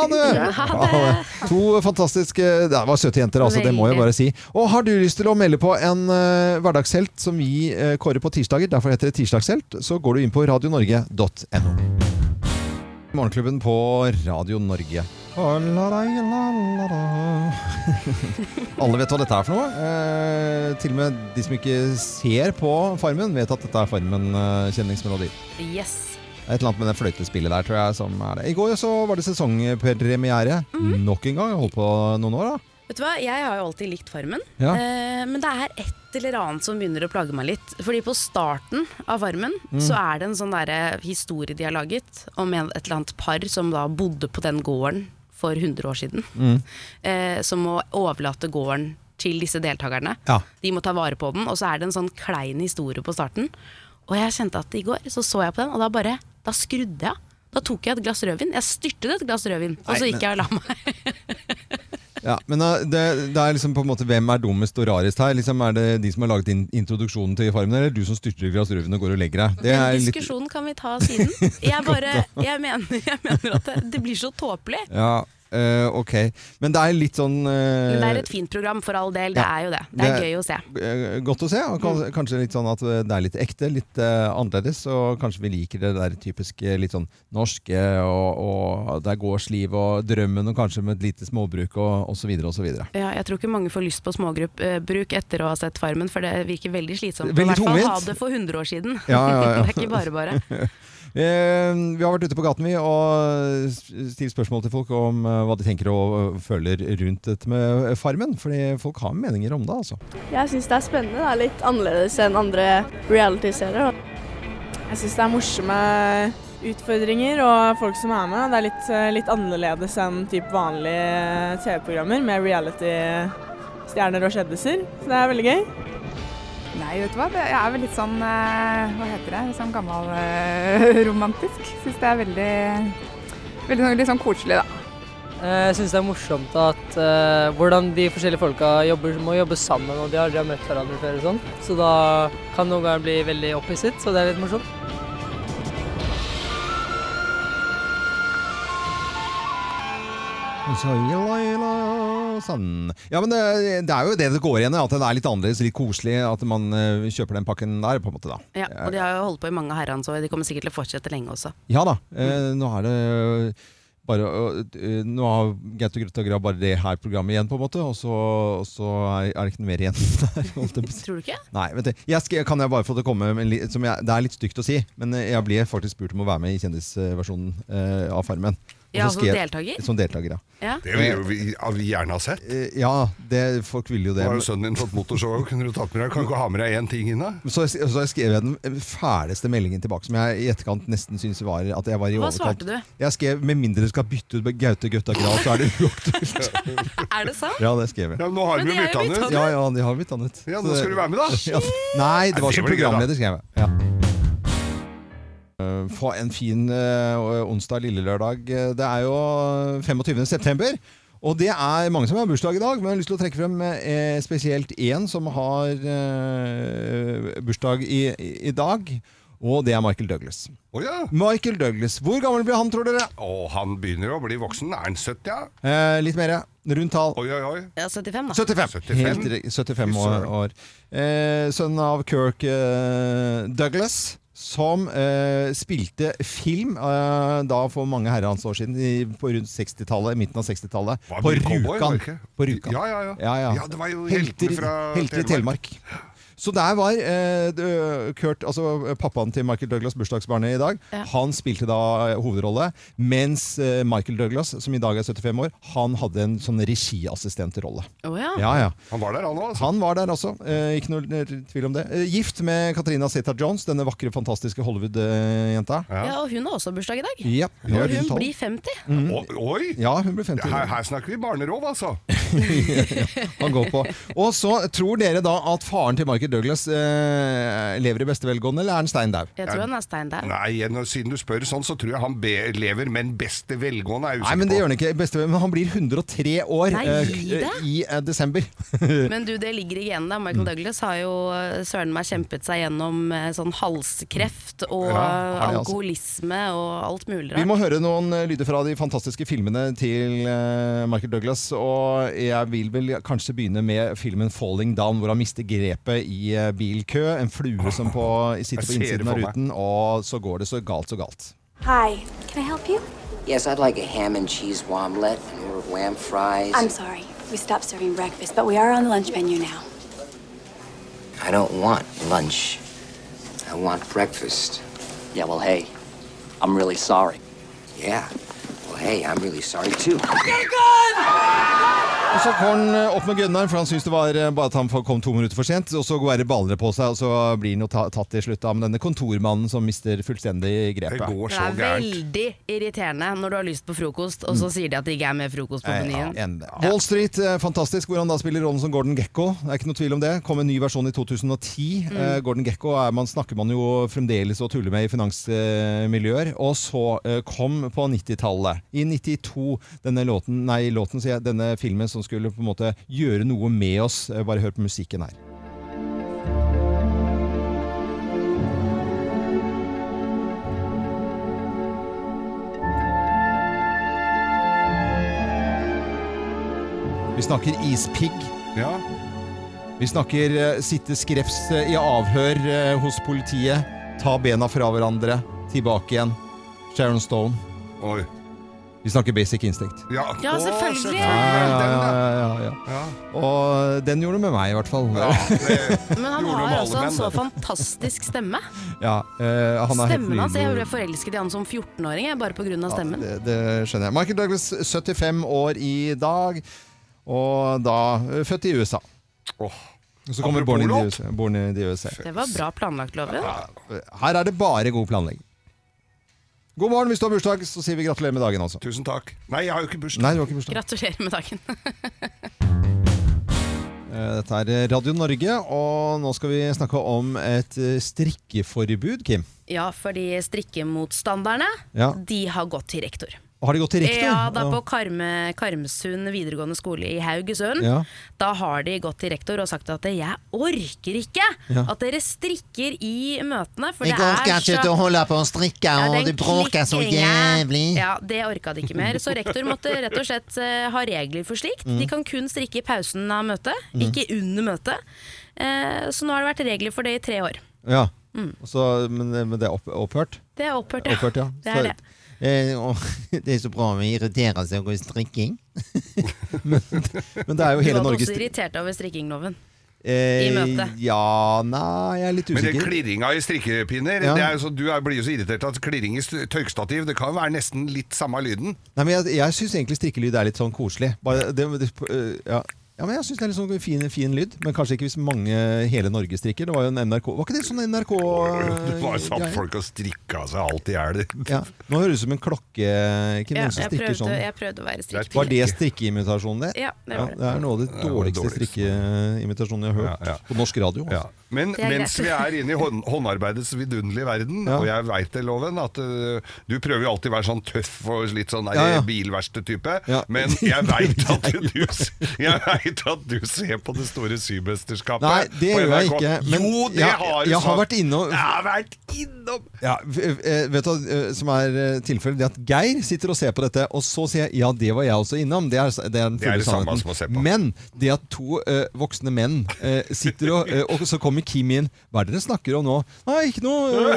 Speaker 1: [LAUGHS] det! To fantastiske Det var søte jenter, altså. Det må jeg
Speaker 8: Veldig.
Speaker 1: bare si. Og har du lyst til å melde på en eh, hverdagshelt som vi eh, kårer på tirsdager, derfor heter det Tirsdagshelt, så går du inn på radionorge.no. Morgenklubben på Radio Norge. [LAUGHS] Alle vet hva dette er for noe. Eh, til og med de som ikke ser på Farmen, eh, vet at dette er Farmen-kjenningsmelodier.
Speaker 2: Yes.
Speaker 1: Det er Et eller annet med det fløytespillet der, tror jeg, som er det. I går så var det sesongpremiere.
Speaker 2: Mhm.
Speaker 1: Nok en gang. Jeg holdt på noen år, da.
Speaker 2: Vet du hva, Jeg har jo alltid likt Farmen,
Speaker 1: Ja.
Speaker 2: eh, men det er et eller annet som begynner å plage meg litt. Fordi på starten av Farmen
Speaker 17: Mm.
Speaker 2: så er det en sånn derre historie de har laget om en- et eller annet par som da bodde på den gården for 100 år siden.
Speaker 1: Mm.
Speaker 2: Eh, som må overlate gården til disse deltakerne.
Speaker 1: Ja.
Speaker 2: De må ta vare på den, og så er det en sånn klein historie på starten. Og jeg kjente at i går så så jeg på den, og da bare Da skrudde jeg av. Da tok jeg et glass rødvin. Jeg styrtet et glass rødvin, og så
Speaker 1: Nei, men-
Speaker 2: gikk jeg og la meg.
Speaker 1: Ja, men eh, det, det er liksom på en måte Hvem er dummest og rarest her? Liksom Er det de som har laget in introduksjonen til Farmen, eller du som styrter i glass røven og går og legger deg? Det er
Speaker 2: Den
Speaker 1: litt
Speaker 2: diskusjonen kan vi ta
Speaker 1: [LAUGHS]
Speaker 2: siden. Jeg bare, jeg mener, jeg mener at det, det blir så tåpelig.
Speaker 1: Ja, eh, ok. Men det er litt sånn eh,
Speaker 2: Men det er et fint program, for all del. Det
Speaker 1: ja.
Speaker 2: er jo det. Det er gøy å se. Mm.
Speaker 1: eh, Godt å se, og kan- kanskje litt sånn at eh, det er litt ekte, litt eh, annerledes. Og kanskje vi liker det der typiske litt sånn norske, og, og det er gårdsliv og drømmen, og kanskje med et lite småbruk og osv. osv.
Speaker 2: Ja, jeg tror ikke mange får lyst på småbruk etter å ha sett Farmen, for det virker veldig slitsomt.
Speaker 1: Veldig
Speaker 2: I hvert fall
Speaker 1: tungvint.
Speaker 2: ha [LAUGHS] det for 100 år siden.
Speaker 1: Ja, ja, ja.
Speaker 2: Det er ikke bare bare.
Speaker 1: Eh, vi har vært ute på gaten vi og stilt spørsmål til folk om eh, hva de tenker og eh, føler rundt dette med eh, Farmen. Fordi folk har meninger om det, altså.
Speaker 18: Jeg syns det er spennende. Det er litt annerledes enn andre reality-serier.
Speaker 19: Jeg syns det er morsomme utfordringer og folk som er med. Det er litt, eh, litt annerledes enn typ vanlige eh, TV-programmer med reality-stjerner og kjendiser. Så det er veldig gøy.
Speaker 20: Nei, vet du hva. Det- Jeg er vel litt sånn eh, Hva heter det? Litt Sånn gammel eh, romantisk. Syns det er veldig Veldig sånn- litt sånn koselig, da.
Speaker 6: Eh, Jeg syns det er morsomt at eh, hvordan de forskjellige folka jobber, må jobbe sammen, og de har aldri har møtt hverandre før og sånn. Så da kan noen ganger bli veldig opphisset, så det er litt morsomt.
Speaker 1: Og så, la, la, sånn. Ja, men det, det er jo det det går igjen i. At det er litt annerledes, litt koselig. At man eh, kjøper den pakken der, på en måte. da.
Speaker 2: Ja, og de har jo holdt på i mange herrens år, de kommer sikkert til å fortsette lenge også.
Speaker 1: Ja da. Eh, nå er det eh, bare å- eh, Nå har Gaute Grøtta Grav bare det her programmet igjen, på en måte. Og så, og så er, er det ikke noe mer igjen [LAUGHS] der. holdt jeg på å si.
Speaker 2: Tror du ikke?
Speaker 1: Nei, vent litt. jeg skal, Kan jeg bare få det komme med en li- som jeg, Det er litt stygt å si, men eh, jeg blir faktisk spurt om å være med i kjendisversjonen eh, av Farmen. Og
Speaker 2: Ja,
Speaker 1: så skal
Speaker 2: som
Speaker 1: jeg-
Speaker 2: deltaker?
Speaker 1: Som deltaker, ja.
Speaker 2: Ja.
Speaker 3: Det vil jo vi ja, vi gjerne ha sett.
Speaker 1: Eh, Ja, det, folk ville jo det.
Speaker 3: Nå har jo sønnen din fått motorshow, kunne du tatt med deg? Kan du ikke ha med deg én ting inn, da?
Speaker 1: Så, så skrev jeg den fæleste meldingen tilbake, som jeg i etterkant nesten syns var at jeg var i
Speaker 2: Hva
Speaker 1: overkant.
Speaker 2: svarte du?
Speaker 1: Jeg skrev med mindre du skal bytte ut med Gaute Gøtta Grav, så er [LAUGHS] det uaktuelt.
Speaker 2: Er det sant?
Speaker 1: Ja, det skrev jeg.
Speaker 3: Ja, nå har Men de jo de er jo byttet byttet ut. ut.
Speaker 1: Ja, ja, de har bytta den ut.
Speaker 3: Ja,
Speaker 1: Så
Speaker 3: nå
Speaker 1: det-
Speaker 3: skal du være med, da.
Speaker 1: Ja. Nei, det var
Speaker 3: Nei, det
Speaker 1: som
Speaker 3: blir gøy, da.
Speaker 1: programleder, skrev jeg. Ja. Eh, Få en fin eh, onsdag, lille lørdag. Eh, Det er jo 25. september. Og det er mange som har bursdag i dag, men jeg har lyst til å trekke frem eh, spesielt én som har eh, bursdag i, i dag. Og det er Michael Douglas. Michael Douglas. Hvor gammel blir han, tror dere?
Speaker 3: Å, han begynner å bli voksen. Er han 70, ja?
Speaker 1: Eh, litt mer. Rundt tall.
Speaker 3: Oi, oi, oi.
Speaker 2: Ja, 75, da.
Speaker 1: 75. Helt riktig. 75 år. år. Eh, sønnen av Kirk eh, Douglas. Som eh, spilte film eh, da for mange herrens år siden, i, på rundt 60-tallet, midten av 60-tallet.
Speaker 3: Var
Speaker 1: På
Speaker 3: det cowboy, var det
Speaker 1: Rjukan.
Speaker 3: ikke?
Speaker 1: På Rjukan.
Speaker 3: Ja, ja, ja. Ja, det var jo heltene fra
Speaker 1: helter i Telemark. Så der var eh, d- Kurt, altså pappaen til Michael Douglas, bursdagsbarnet i dag,
Speaker 2: Ja.
Speaker 1: han spilte da eh, hovedrolle, mens eh, Michael Douglas, som i dag er 75 år, han hadde en sånn regiassistentrolle.
Speaker 2: Å ja.
Speaker 1: Ja, ja.
Speaker 3: Han var der, han altså. òg.
Speaker 1: Han var der også. Eh, ikke noe eh, tvil om det. Eh, gift med Katrina Zeta-Jones, denne vakre, fantastiske Hollywood-jenta.
Speaker 2: Ja, og hun har også bursdag i dag.
Speaker 1: Ja, hun er
Speaker 2: og hun
Speaker 1: tolv. Mm.
Speaker 2: blir 50.
Speaker 3: Oi!
Speaker 1: Ja, hun ble 50
Speaker 3: Her, her snakker vi barnerov, altså.
Speaker 1: han går på. Og så tror dere da at faren til Michael Douglas eh, lever i beste velgående, eller er han stein dau?
Speaker 2: Jeg tror han er stein der.
Speaker 3: Nei, når, siden du spør sånn, så tror jeg han be lever, men beste velgående er jeg
Speaker 1: Nei, men det gjør han ikke. Beste, men han blir 103 år
Speaker 2: Nei,
Speaker 1: eh,
Speaker 2: gi det.
Speaker 1: i eh, desember.
Speaker 2: Men du, det ligger i genene. da.
Speaker 1: Mm.
Speaker 2: Michael Douglas har jo eh, søren meg kjempet seg gjennom eh, sånn halskreft og
Speaker 1: Ja, har
Speaker 2: eh,
Speaker 1: det, altså.
Speaker 2: alkoholisme og alt mulig
Speaker 1: Vi
Speaker 2: rart.
Speaker 1: må høre noen eh, lyder fra de fantastiske filmene til eh, Michael Douglas. Og jeg vil vel kanskje begynne med filmen 'Falling Down', hvor han mister grepet i eh, bilkø. En flue som på,
Speaker 16: [LAUGHS]
Speaker 1: sitter
Speaker 16: Jeg
Speaker 1: på
Speaker 16: ser det
Speaker 1: innsiden av
Speaker 16: for meg.
Speaker 1: ruten, og så går det så galt, så galt.
Speaker 16: Hi, can I help you?
Speaker 21: Yes, I'd like a ham and cheese omelet and more lamb fries.
Speaker 16: I'm sorry, we stopped serving breakfast, but we are on the lunch menu now.
Speaker 21: I don't want lunch. I want breakfast. Yeah, well, hey, I'm really sorry. Yeah. Well, hey, I'm really sorry too.
Speaker 1: Og så går han eh, opp med gunneren, for han syns det var eh, bare at han kom to minutter for sent. Og så går det baller på seg, og så blir han jo ta- tatt til slutt av denne kontormannen som mister fullstendig grepet.
Speaker 2: Det er veldig irriterende når du har lyst på frokost, og så sier de at det ikke er mer frokost på
Speaker 1: Eh,
Speaker 2: menyen.
Speaker 1: Mm. ja, en- Wall Street, eh, fantastisk, hvor han da spiller rollen som Gordon Gekko. Det er ikke noe tvil om det. Kom en ny versjon i 2010.
Speaker 2: Mm.
Speaker 1: Eh, Gordon Gekko er, man snakker man jo fremdeles og tuller med i finansmiljøer. Og så eh, kom på 90-tallet, i 92, denne låten, nei, låten, sier jeg, denne filmen som skulle på en måte gjøre noe med oss. Eh, Bare hør på musikken her. Vi snakker ispigg. Vi snakker eh, sitte skrevs eh, i avhør eh, hos politiet. Ta bena fra hverandre. Tilbake igjen. Sharon Stone.
Speaker 3: Oi.
Speaker 1: Vi snakker Basic Instinct.
Speaker 3: Ja,
Speaker 2: Ja,
Speaker 3: å,
Speaker 2: selvfølgelig.
Speaker 1: Ja,
Speaker 3: Den,
Speaker 1: ja,
Speaker 3: da.
Speaker 1: ja, ja, ja. Og den gjorde det med meg, i hvert fall. [LAUGHS] Ja,
Speaker 2: Men han
Speaker 1: Gjorde noe
Speaker 2: har
Speaker 1: med alle
Speaker 2: altså en
Speaker 1: menn,
Speaker 2: så
Speaker 1: det.
Speaker 2: fantastisk stemme.
Speaker 1: eh, [LAUGHS] han er helt
Speaker 2: Stemmen hans. Jeg
Speaker 1: nydelig.
Speaker 2: ble forelsket i han som 14-åring jeg, bare pga. stemmen.
Speaker 1: Det, det skjønner jeg. Michael Douglas, 75 år i dag, og da eh, født i USA. Og så kommer
Speaker 2: Apropos
Speaker 1: Born in, the
Speaker 2: låt.
Speaker 1: USA, Born in the USA.
Speaker 2: Det var bra planlagt, Loven.
Speaker 1: Her er det bare god planlegging. God morgen, hvis du har bursdag, så sier vi gratulerer med dagen, altså.
Speaker 3: Tusen takk. Nei, jeg har jo ikke bursdag.
Speaker 1: Nei, du har ikke bursdag.
Speaker 2: Gratulerer med dagen. [LAUGHS]
Speaker 1: Eh, Dette er Radio Norge, og nå skal vi snakke om et eh, strikkeforbud, Kim.
Speaker 2: Ja, fordi strikkemotstanderne,
Speaker 1: Ja.
Speaker 2: de har gått til rektor.
Speaker 1: Har det gått til rektor?
Speaker 2: Ja, da på Karme, Karmsund videregående skole i Haugesund.
Speaker 1: Ja.
Speaker 2: Da har de gått til rektor og sagt at 'jeg orker ikke
Speaker 12: Ja.
Speaker 2: at dere strikker i møtene'. For
Speaker 12: Jeg
Speaker 2: det er
Speaker 12: orker ikke
Speaker 2: så-
Speaker 12: at du holder på å strikke,
Speaker 2: Ja,
Speaker 12: og
Speaker 2: den
Speaker 12: du bråker så
Speaker 2: klikkinga.
Speaker 12: jævlig.
Speaker 2: Ja, Det orka de ikke mer. Så rektor måtte rett og slett eh, ha regler for slikt.
Speaker 12: Mm.
Speaker 2: De kan kun strikke i pausen av møtet,
Speaker 1: Mm.
Speaker 2: ikke under møtet. Eh, så nå har det vært regler for det i tre år.
Speaker 1: Ja.
Speaker 2: Mm.
Speaker 1: Og Så, men, men det er opp, opphørt?
Speaker 2: Det er opphørt, ja.
Speaker 1: Opphørt, ja.
Speaker 2: Det er det.
Speaker 12: Eh,
Speaker 1: [LAUGHS]
Speaker 12: og Det er så bra vi irriterer seg over strikking.
Speaker 1: Men det er jo
Speaker 2: Du
Speaker 1: hele
Speaker 2: var
Speaker 1: Norges
Speaker 2: også irritert over strikkingloven.
Speaker 1: eh,
Speaker 2: i møtet.
Speaker 1: Ja, nei, jeg er litt
Speaker 3: Men det
Speaker 1: usikker.
Speaker 3: klirringa i strikkepinner
Speaker 1: Ja.
Speaker 3: det er jo så, Du er, blir jo så irritert at klirring i st- tørkestativ Det kan jo være nesten litt samme lyden.
Speaker 1: Nei, men jeg, jeg syns egentlig strikkelyd er litt sånn koselig. Bare det, det, øh, ja. ja, men Jeg syns det er litt sånn fin, fin lyd. Men kanskje ikke hvis mange hele Norge strikker. Det var jo en NRK Var ikke det sånn NRK
Speaker 3: Det var jo satt
Speaker 1: greier?
Speaker 3: folk og strikka seg alt i hjel.
Speaker 1: Øh,
Speaker 3: [LAUGHS]
Speaker 1: Ja. Nå høres det ut som en klokke, Kim,
Speaker 2: Ja,
Speaker 1: noen som
Speaker 2: jeg,
Speaker 1: strikker
Speaker 2: prøvde,
Speaker 1: sånn.
Speaker 2: jeg prøvde å være strikkepinne.
Speaker 1: Var det strikkeimitasjonen det?
Speaker 2: Ja, det var det.
Speaker 1: det er noe av det dårligste strikkeimitasjonen jeg har hørt på norsk radio. Altså.
Speaker 3: Men
Speaker 2: Det er
Speaker 3: mens
Speaker 2: greit.
Speaker 3: vi er inne i hånd, håndarbeidets vidunderlige verden, og jeg veit det, Loven, at øh, du prøver jo alltid å være sånn tøff og litt sånn
Speaker 1: Ja, ja.
Speaker 3: bilverste-type,
Speaker 1: Ja. [LAUGHS]
Speaker 3: men jeg veit at, du- jeg vet at du ser på det store symesterskapet
Speaker 1: Nei, det
Speaker 3: på
Speaker 1: gjør jeg
Speaker 3: NRK.
Speaker 1: ikke. Men
Speaker 3: jo, det
Speaker 1: jeg,
Speaker 3: har du
Speaker 1: jeg har
Speaker 3: sagt.
Speaker 1: vært inne og
Speaker 3: Jeg har vært innom
Speaker 1: ja, v- eh, Vet du hva eh, som er eh, tilfellet? Det er at Geir sitter og ser på dette, og så sier jeg ja, det var jeg også innom. Det er, det er den
Speaker 3: Det er
Speaker 1: fulle
Speaker 3: det samme som å se
Speaker 1: sannheten. Men det at to eh, voksne menn eh, sitter og eh, Og så kommer Kim inn. Hva er det dere snakker om nå? Nei, ikke noe.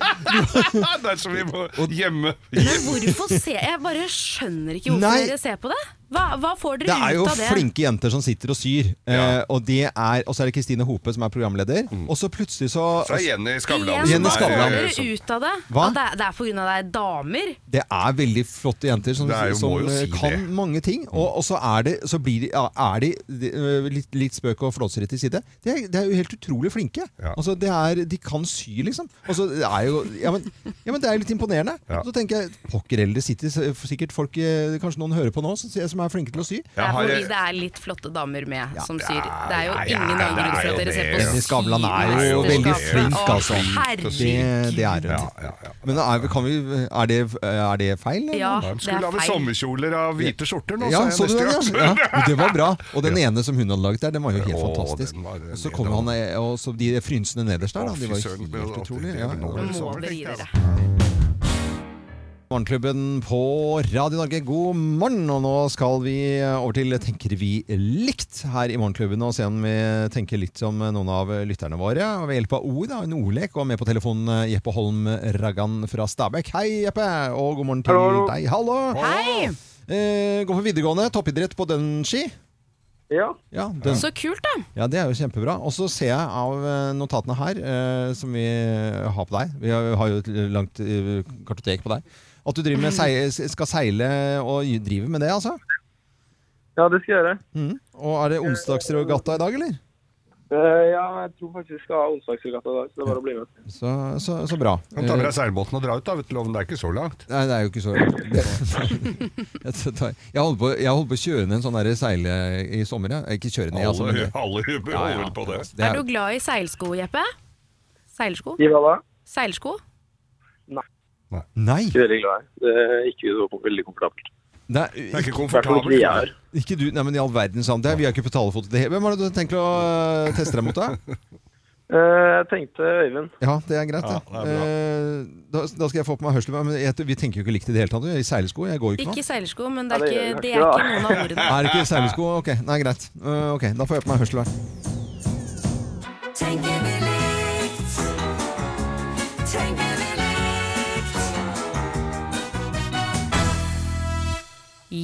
Speaker 1: eh."
Speaker 3: Det er som vi må hjemme.
Speaker 2: Men hvorfor ser Jeg bare skjønner ikke hvorfor
Speaker 1: Nei.
Speaker 2: dere ser på det. Hva, hva får dere
Speaker 1: Det er jo
Speaker 2: ut av det?
Speaker 1: flinke jenter som sitter og syr. Eh, og, det er, og så er det Kristine Hope som er programleder. Og så plutselig så
Speaker 3: Mm. Så er Jenny Skavlan.
Speaker 1: Igjen. Jenny
Speaker 2: Hva får
Speaker 1: Skavlan.
Speaker 2: dere ut av det?
Speaker 1: Hva?
Speaker 2: At det er, det er på grunn av det er damer?
Speaker 1: Det er veldig flotte jenter som,
Speaker 3: Det er jo-
Speaker 1: som eh,
Speaker 3: må jo si
Speaker 1: kan
Speaker 3: det.
Speaker 1: mange ting. Og, og så er det, så blir de, ja, er de, de øh, litt, litt spøk og flåsere til side. De er, de er jo helt utrolig flinke. Altså, det er, de kan sy, liksom. Altså, det er jo, ja, men, ja, men det er jo litt imponerende.
Speaker 3: Ja.
Speaker 1: Så tenker jeg, pokker heller, det sitter s- sikkert folk eh, Kanskje noen hører på nå som, som er flinke til å sy.
Speaker 2: Det er fordi det er litt flotte damer med som syr. Det er jo
Speaker 1: ja,
Speaker 2: ingen
Speaker 1: ja,
Speaker 2: annen
Speaker 1: det er
Speaker 2: grunn til
Speaker 1: jo
Speaker 2: at dere ser på
Speaker 1: det. Jenny Skavlan er
Speaker 2: syv
Speaker 1: jo veldig
Speaker 2: mesterskapet.
Speaker 1: flink,
Speaker 2: Å,
Speaker 1: altså. Det,
Speaker 2: herregud.
Speaker 1: det er hun. Men er, kan vi, er, det, er det feil? eller?
Speaker 2: Ja,
Speaker 3: De
Speaker 2: det
Speaker 3: skulle
Speaker 2: er
Speaker 3: lage
Speaker 2: feil.
Speaker 3: sommerkjoler av hvite skjorter nå,
Speaker 1: Ja,
Speaker 3: sa
Speaker 1: så
Speaker 3: jeg
Speaker 1: du den,
Speaker 3: neste
Speaker 1: ja?
Speaker 3: gang. [LAUGHS]
Speaker 1: ja. Men Det var bra. Og den ene som hun hadde laget der, den var jo helt
Speaker 3: Å,
Speaker 1: fantastisk.
Speaker 3: den var-
Speaker 1: Og så kom han, eh, og så de frynsene nederst der, da. De var
Speaker 3: Fy søren, men
Speaker 1: helt
Speaker 3: at
Speaker 1: utrolige.
Speaker 3: det-
Speaker 1: Ja,
Speaker 3: det- nå er det
Speaker 1: ja.
Speaker 3: sommer, tenkte jeg, altså.
Speaker 1: Morgenklubben på Radio Norge, god morgen! Og nå skal vi over til Tenker vi likt her i Morgenklubben, og se om vi tenker likt som noen av lytterne våre. Og ved hjelp av ord, da, en ordlek, og med på telefonen eh, Jeppe Holm Raggan fra Stabekk. Hei, Jeppe! Og god morgen til
Speaker 22: Hallo.
Speaker 1: deg. Hallo!
Speaker 22: Hei.
Speaker 1: Eh, går på videregående, toppidrett på dønnski.
Speaker 22: Ja.
Speaker 1: Ja, dønn-
Speaker 2: Så kult, da.
Speaker 1: ja, det er jo kjempebra. Og så ser jeg av eh, notatene her, eh, som vi har på deg Vi har- har jo et langt eh, kartotek på deg. At du driver med sei- skal seile og driver med det, altså?
Speaker 22: Ja, det skal jeg gjøre.
Speaker 1: Mhm. Og er det onsdagsregatta i dag, eller?
Speaker 22: Eh, ja, jeg tror faktisk vi skal ha onsdagsregatta i dag, så det er bare å bli med.
Speaker 1: Så, så, så bra. Eh,
Speaker 3: Kan ta med deg seilbåten og dra ut, da. Vet du, loven, det er ikke så langt.
Speaker 1: Nei, det er jo ikke så Jeg tar- [LAUGHS] Jeg holdt på, jeg holdt på å kjøre ned en sånn der seile i sommer. jeg. Ikke kjøre ned, altså. men
Speaker 3: Alle,
Speaker 1: det-
Speaker 3: alle huber
Speaker 1: Ja, ja.
Speaker 3: holder på det.
Speaker 1: Det
Speaker 2: Er du glad i seilsko, Jeppe? Seilsko?
Speaker 22: I hva da?
Speaker 2: Seilsko?
Speaker 1: Nei.
Speaker 22: Ikke veldig glad i. Det er ikke noe veldig komfortabelt.
Speaker 1: Det er,
Speaker 22: Det er ikke komfortabelt. Det er ikke jeg er.
Speaker 1: Ikke du, nei, men i all verden sant. Det er, vi er ikke på talefot. Det- Hvem er det du tenker å øh, teste deg mot, da?
Speaker 22: Eh, jeg tenkte Øyvind.
Speaker 1: Ja, det er greit, det.
Speaker 22: Ja, det er bra.
Speaker 1: Eh, da, da skal jeg få på meg hørsel. Men jeg, vi tenker jo ikke likt i det hele tatt. I seilesko. Jeg går jo ikke
Speaker 2: Ikke
Speaker 1: noe.
Speaker 2: seilsko, men det
Speaker 22: Ja,
Speaker 2: er
Speaker 22: det gjør
Speaker 2: ikke,
Speaker 22: vi
Speaker 2: det er
Speaker 22: ikke, da.
Speaker 2: ikke noen av ordene.
Speaker 1: [LAUGHS] Er det ikke seilesko? Ok, nei, greit. Eh, ok, Da får jeg på meg hørsel. da.
Speaker 9: Tenker vi likt? Tenker vi likt?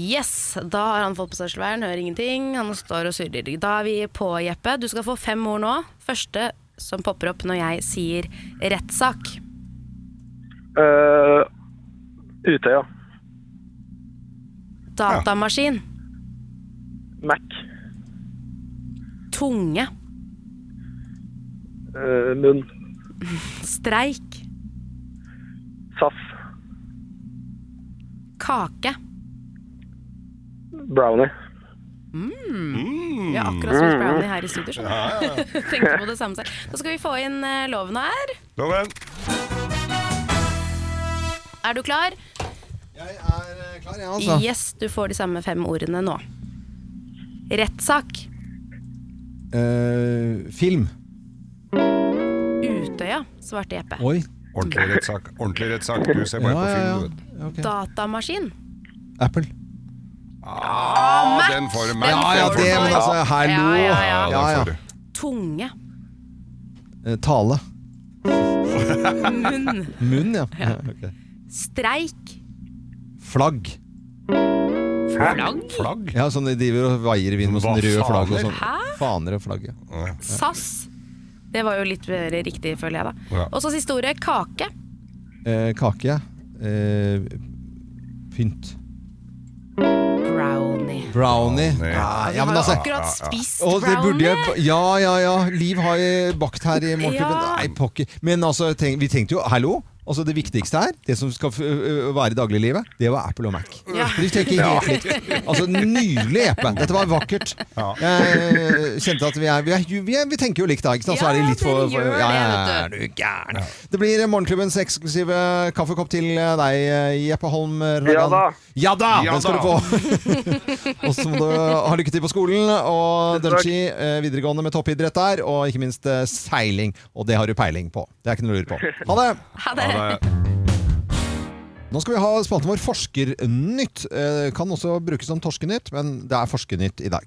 Speaker 2: Yes, da har han fått på seg sløren, hører ingenting. Han står og surrer. Da er vi på, Jeppe. Du skal få fem ord nå. Første som popper opp når jeg sier rettssak.
Speaker 22: Eh, Utøya.
Speaker 2: Datamaskin.
Speaker 22: Mac.
Speaker 2: Tunge.
Speaker 22: Eh, munn.
Speaker 2: [LAUGHS] Streik.
Speaker 22: SAS.
Speaker 2: Kake.
Speaker 22: Brownie.
Speaker 2: Mm. Vi har akkurat spist brownie her i studio. skjønner du.
Speaker 3: Ja, ja.
Speaker 2: [LAUGHS] Tenkte på det samme selv. Da skal vi få inn eh, loven her.
Speaker 3: Loven.
Speaker 2: Er du klar?
Speaker 1: Klar, ja, altså.
Speaker 2: Yes, du får de samme fem ordene nå. Rettssak.
Speaker 1: Eh, film.
Speaker 2: Utøya, svarte Jeppe.
Speaker 1: Oi.
Speaker 3: Ordentlig rettssak. Ordentlig rettssak. Du ser bare
Speaker 1: Ja,
Speaker 3: på
Speaker 1: ja,
Speaker 3: film,
Speaker 1: ja.
Speaker 3: du vet.
Speaker 2: Datamaskin.
Speaker 1: Apple.
Speaker 3: Ah, den får du. Mac
Speaker 1: Ja, ja,
Speaker 3: får du.
Speaker 1: det, men altså, hallo.
Speaker 2: Ja, ja, ja.
Speaker 1: Ja, ja.
Speaker 2: Tunge.
Speaker 1: Eh, Tale.
Speaker 2: Munn.
Speaker 1: Munn, ja. ja ok.
Speaker 2: Streik.
Speaker 1: Flagg.
Speaker 2: Flagg?
Speaker 3: Flagg?
Speaker 1: Ja, sånn de driver og vaier i vinden med sånn
Speaker 3: Hva
Speaker 1: røde flagg og
Speaker 3: faner?
Speaker 1: sånn. Faner og flagg,
Speaker 3: ja.
Speaker 2: SAS. Det var jo litt mer riktig, føler jeg, da.
Speaker 1: Ja.
Speaker 2: Og så siste ordet kake.
Speaker 1: Eh, kake. Eh, pynt.
Speaker 2: Brownie.
Speaker 1: Brownie. Ah,
Speaker 2: Ja, vi har
Speaker 1: altså,
Speaker 2: jo akkurat spist
Speaker 1: Og det burde jeg,
Speaker 2: brownie.
Speaker 1: ja, ja, ja. Liv har eh, bakt her i morgenklubben.
Speaker 2: Ja.
Speaker 1: Nei, pokker. Men altså, tenk, vi tenkte jo Hallo? Altså Det viktigste her, det som skal f- ø- ø, være i dagliglivet, det var Apple og Mac.
Speaker 2: Ja.
Speaker 1: Vi tenker
Speaker 2: Ja.
Speaker 1: helt likt. Altså Nydelig, Jeppe. Dette var vakkert. Jeg eh, kjente at vi er Vi, er, jo- vi, er, vi tenker jo likt, da. Ikke sant? Så er det litt for, for ja, ja,
Speaker 2: det,
Speaker 1: er du gæren? Det blir morgenklubbens eksklusive kaffekopp til eh, deg, Jeppe Holm Ragan.
Speaker 22: Ja da.
Speaker 1: Ja da!
Speaker 22: Ja
Speaker 1: Den skal du
Speaker 22: da.
Speaker 1: få. [LAUGHS] og så må du ha lykke til på skolen og
Speaker 22: Tusen takk.
Speaker 1: Dunchi eh, videregående med toppidrett der, og ikke minst eh, seiling. Og det har du peiling på. Det er ikke noe å lure på. Ha det!
Speaker 2: Ha det.
Speaker 1: Nå skal vi ha spalten vår Forskernytt. Eh, Kan også brukes som Torskenytt, men det er Forskernytt i dag.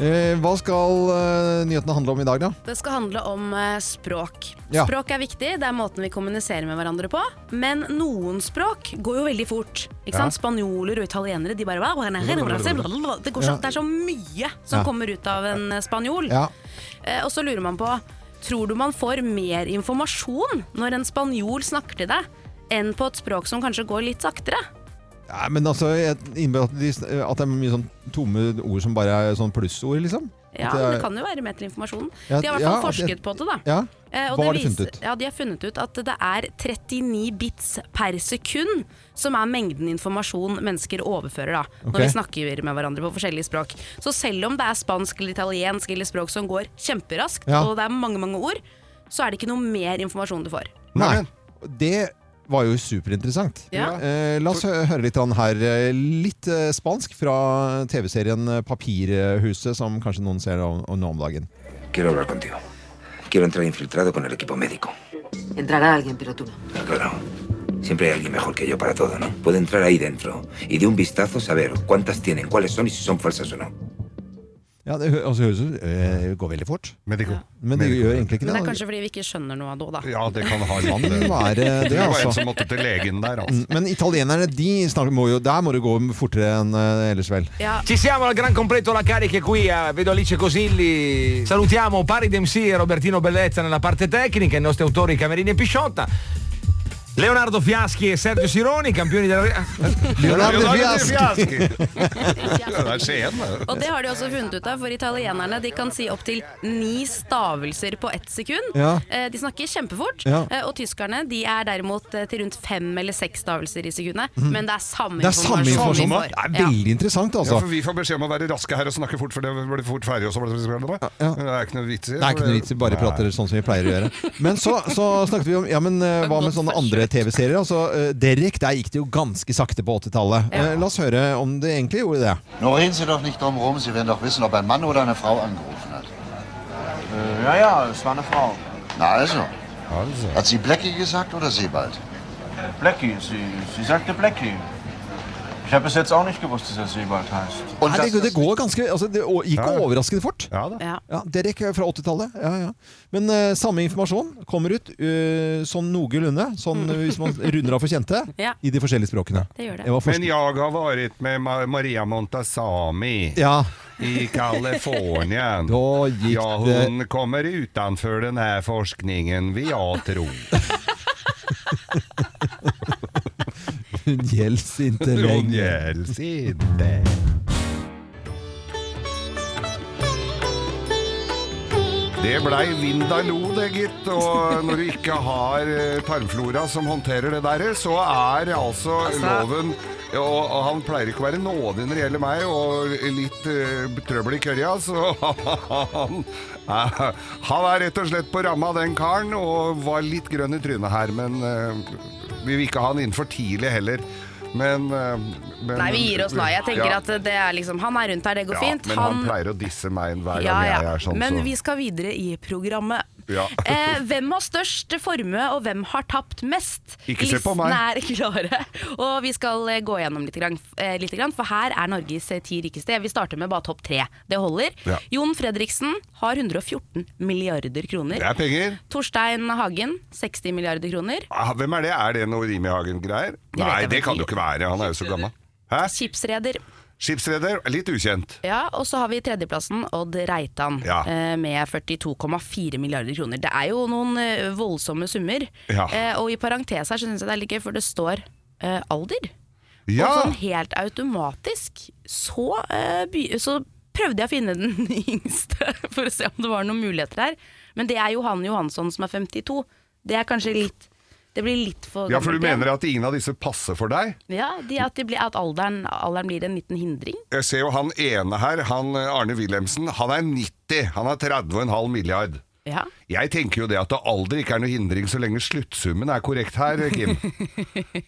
Speaker 1: Eh, Hva skal eh, nyhetene handle om i dag, da?
Speaker 2: Det skal handle om eh, språk.
Speaker 1: Ja.
Speaker 2: Språk er viktig, det er måten vi kommuniserer med hverandre på. Men noen språk går jo veldig fort. Ikke
Speaker 1: Ja.
Speaker 2: sant? Spanjoler og italienere de bare Det, går så,
Speaker 1: Ja.
Speaker 2: det er så mye som
Speaker 1: Ja.
Speaker 2: kommer ut av en eh, spanjol.
Speaker 1: Ja.
Speaker 2: Eh, Og så lurer man på Tror du man får mer informasjon når en spanjol snakker til deg, enn på et språk som kanskje går litt saktere?
Speaker 1: Nei, men altså, jeg innbiller at, de, sn- at det er mye sånn tomme ord som bare er sånn plussord, liksom.
Speaker 2: Ja,
Speaker 1: At
Speaker 2: men
Speaker 1: er-
Speaker 2: det kan jo være mer til informasjonen. De
Speaker 1: Ja,
Speaker 2: har i hvert
Speaker 1: ja,
Speaker 2: fall
Speaker 1: at
Speaker 2: forsket
Speaker 1: jeg-
Speaker 2: på det, da.
Speaker 1: Ja.
Speaker 2: Eh, og
Speaker 1: Hva
Speaker 2: det
Speaker 1: har de
Speaker 2: viser-
Speaker 1: funnet ut?
Speaker 2: Ja, de har funnet ut at det er 39 bits per sekund som er mengden informasjon mennesker overfører da, når
Speaker 1: Ok.
Speaker 2: vi snakker med hverandre på forskjellige språk. Så selv om det er spansk eller italiensk eller språk som går kjemperaskt,
Speaker 1: Ja.
Speaker 2: og det er mange, mange ord, så er det ikke noe mer informasjon du får.
Speaker 1: Nei, det var jo superinteressant.
Speaker 2: Ja.
Speaker 1: Eh, la oss hø høre litt an her. eh, Litt eh, spansk fra TV-serien eh, Papirhuset, som kanskje noen ser om, om nå om dagen.
Speaker 11: Quiero hablar contigo. Quiero entrar infiltrado con el equipo médico.
Speaker 5: Entrará alguien, pero tú no.
Speaker 11: Claro. Siempre hay alguien mejor que yo para todo, ¿no? Puedo entrar ahí dentro y de un vistazo saber cuántas tienen, cuáles son y si son falsas o no.
Speaker 1: Ja, det hø- altså, høres ut eh, går veldig fort. Men det gjør egentlig
Speaker 2: Men
Speaker 1: ikke
Speaker 2: det er
Speaker 1: det.
Speaker 2: kanskje fordi vi ikke skjønner noe av det, da.
Speaker 3: Ja, det kan ha
Speaker 1: Kan
Speaker 3: litt eh,
Speaker 1: være
Speaker 3: [LAUGHS]
Speaker 1: det,
Speaker 3: var en
Speaker 1: altså.
Speaker 3: som måtte til legen der, altså.
Speaker 1: Mm, Men italienerne, de snakker, må jo, der må det gå fortere enn eh, ellers, vel.
Speaker 23: Ci siamo al gran completo la cariche qui, eh, vedo Alice Cosilli. Salutiamo Pari Dempsey e Robertino Bellezza nella parte tecnica, i nostri autori Camerini e Pisciotta. Leonardo Fiaschi e Sergio Sironi, campioni della...
Speaker 1: Leonardo [LAUGHS] Fiaschi.
Speaker 3: Ja, det er Skien,
Speaker 2: Og
Speaker 3: det.
Speaker 2: det har de også funnet ut av, for italienerne de kan si opptil ni stavelser på ett sekund.
Speaker 3: Ja.
Speaker 2: Eh, De snakker kjempefort.
Speaker 1: Ja.
Speaker 2: Eh, Og tyskerne de er derimot eh, til rundt fem eller seks stavelser i sekundet.
Speaker 1: Mhm.
Speaker 2: Men det er samme
Speaker 1: Det er samme
Speaker 2: informasjon.
Speaker 1: informasjon.
Speaker 2: vi
Speaker 1: Det er
Speaker 2: får. Ja.
Speaker 1: veldig interessant,
Speaker 3: Ja,
Speaker 1: altså.
Speaker 3: for vi får beskjed om å være raske her og snakke fort, for det blir fort ferdig. Og så blir det, Men det er ikke noe vits i.
Speaker 1: Det er ikke noe vits i bare
Speaker 3: Nei.
Speaker 1: prater sånn som vi pleier å gjøre. Men så, så snakket vi om ja, men, eh, hva med sånne andre TV-serier? Altså, eh, Derek, der gikk det jo ganske sakte på 80-tallet. Eh, La oss høre om det egentlig gjorde det.
Speaker 24: Nun reden Sie doch nicht drum rum, Sie werden doch wissen, ob ein Mann oder eine Frau angerufen hat. Äh,
Speaker 23: ja, ja, es war eine Frau.
Speaker 24: Na also. Hat sie Blackie gesagt oder Sebald?
Speaker 23: Blackie, sie, sie sagte Blackie.
Speaker 24: Ich habe bis jetzt auch nicht gewusst, dass er Sebald heißt.
Speaker 1: Ja, det, det går ganske altså Det å- gikk overraskende fort. Ja, Derek er fra 80-tallet. Ja, ja. Men eh, samme informasjon kommer ut eh, sånn noenlunde, sånn eh, hvis man runder av for kjente,
Speaker 2: Ja.
Speaker 1: i de forskjellige språkene. Jeg var
Speaker 3: Men
Speaker 1: forsk-
Speaker 3: jag har varit med Ma- Maria Montazami
Speaker 1: Ja.
Speaker 3: i
Speaker 1: [LAUGHS]
Speaker 3: Kalifornien. ja,
Speaker 1: det-
Speaker 3: hon kommer utanför den här forskningen, vi jag tror.
Speaker 1: [LAUGHS] Hun gjelds ikke
Speaker 3: Hon
Speaker 1: lenger.
Speaker 3: gälls inte. Det blei Vindaloo, det, gitt. Og når du ikke har eh, tarmflora som håndterer det der, så er altså, loven og, og han pleier ikke å være nådig når det gjelder meg, og litt eh, trøbbel i kørja, så [LAUGHS] han, eh, han er rett og slett på ramma, den karen, og var litt grønn i trynet her, men eh, vi vil ikke ha han inn for tidlig heller. Men, eh, men
Speaker 2: Nei, vi gir oss nå. Jeg tenker
Speaker 3: Ja.
Speaker 2: at det er liksom Han er rundt her, det går
Speaker 3: ja,
Speaker 2: fint.
Speaker 3: Men han, pleier å disse meg hver gang
Speaker 2: ja, ja.
Speaker 3: jeg er sånn,
Speaker 2: Men
Speaker 3: så
Speaker 2: vi skal videre i programmet.
Speaker 3: ja.
Speaker 2: [LAUGHS] Eh, hvem har størst formue, og hvem har tapt mest?
Speaker 3: Ikke se på
Speaker 2: Listene
Speaker 3: meg.
Speaker 2: er [LAUGHS] klare, og vi skal eh, gå gjennom litt, grann, eh, litt grann, for her er Norges eh, ti rikeste. Vi starter med bare topp tre. Det holder.
Speaker 3: Ja.
Speaker 2: Jon Fredriksen har 114 milliarder kroner.
Speaker 3: Det er penger.
Speaker 2: Torstein Hagen 60 milliarder kroner.
Speaker 3: Ah, Hvem er det? Er det noe Rimi Hagen-greier? Nei, det kan det jo ikke være. Han er jo så gammel. Hæ?
Speaker 2: Skipsreder.
Speaker 3: Skipsreder? Litt ukjent.
Speaker 2: Ja, og så har vi tredjeplassen Odd Reitan
Speaker 3: Ja.
Speaker 2: eh, med 42,4 milliarder kroner. Det er jo noen eh, voldsomme summer.
Speaker 3: Ja.
Speaker 2: Eh, og i parentes her så syns jeg det er litt gøy, for det står eh, alder.
Speaker 3: Ja.
Speaker 2: Og sånn helt automatisk så, eh, by så prøvde jeg å finne den [LAUGHS] yngste for å se om det var noen muligheter her. Men det er Johanne Johansson som er 52. Det er kanskje litt Det blir litt for
Speaker 3: Ja, for du
Speaker 2: gammelt igjen.
Speaker 3: mener at ingen av disse passer for deg?
Speaker 2: Ja, de, at, de blir, at alderen, alderen blir en liten hindring.
Speaker 3: Jeg ser jo han ene her, han eh, Arne Wilhelmsen, han er 90. Han har 30,5 milliard.
Speaker 2: Ja.
Speaker 3: Jeg tenker jo det at det aldri ikke er noe hindring så lenge sluttsummen er korrekt her,
Speaker 2: [LAUGHS]
Speaker 3: Kim.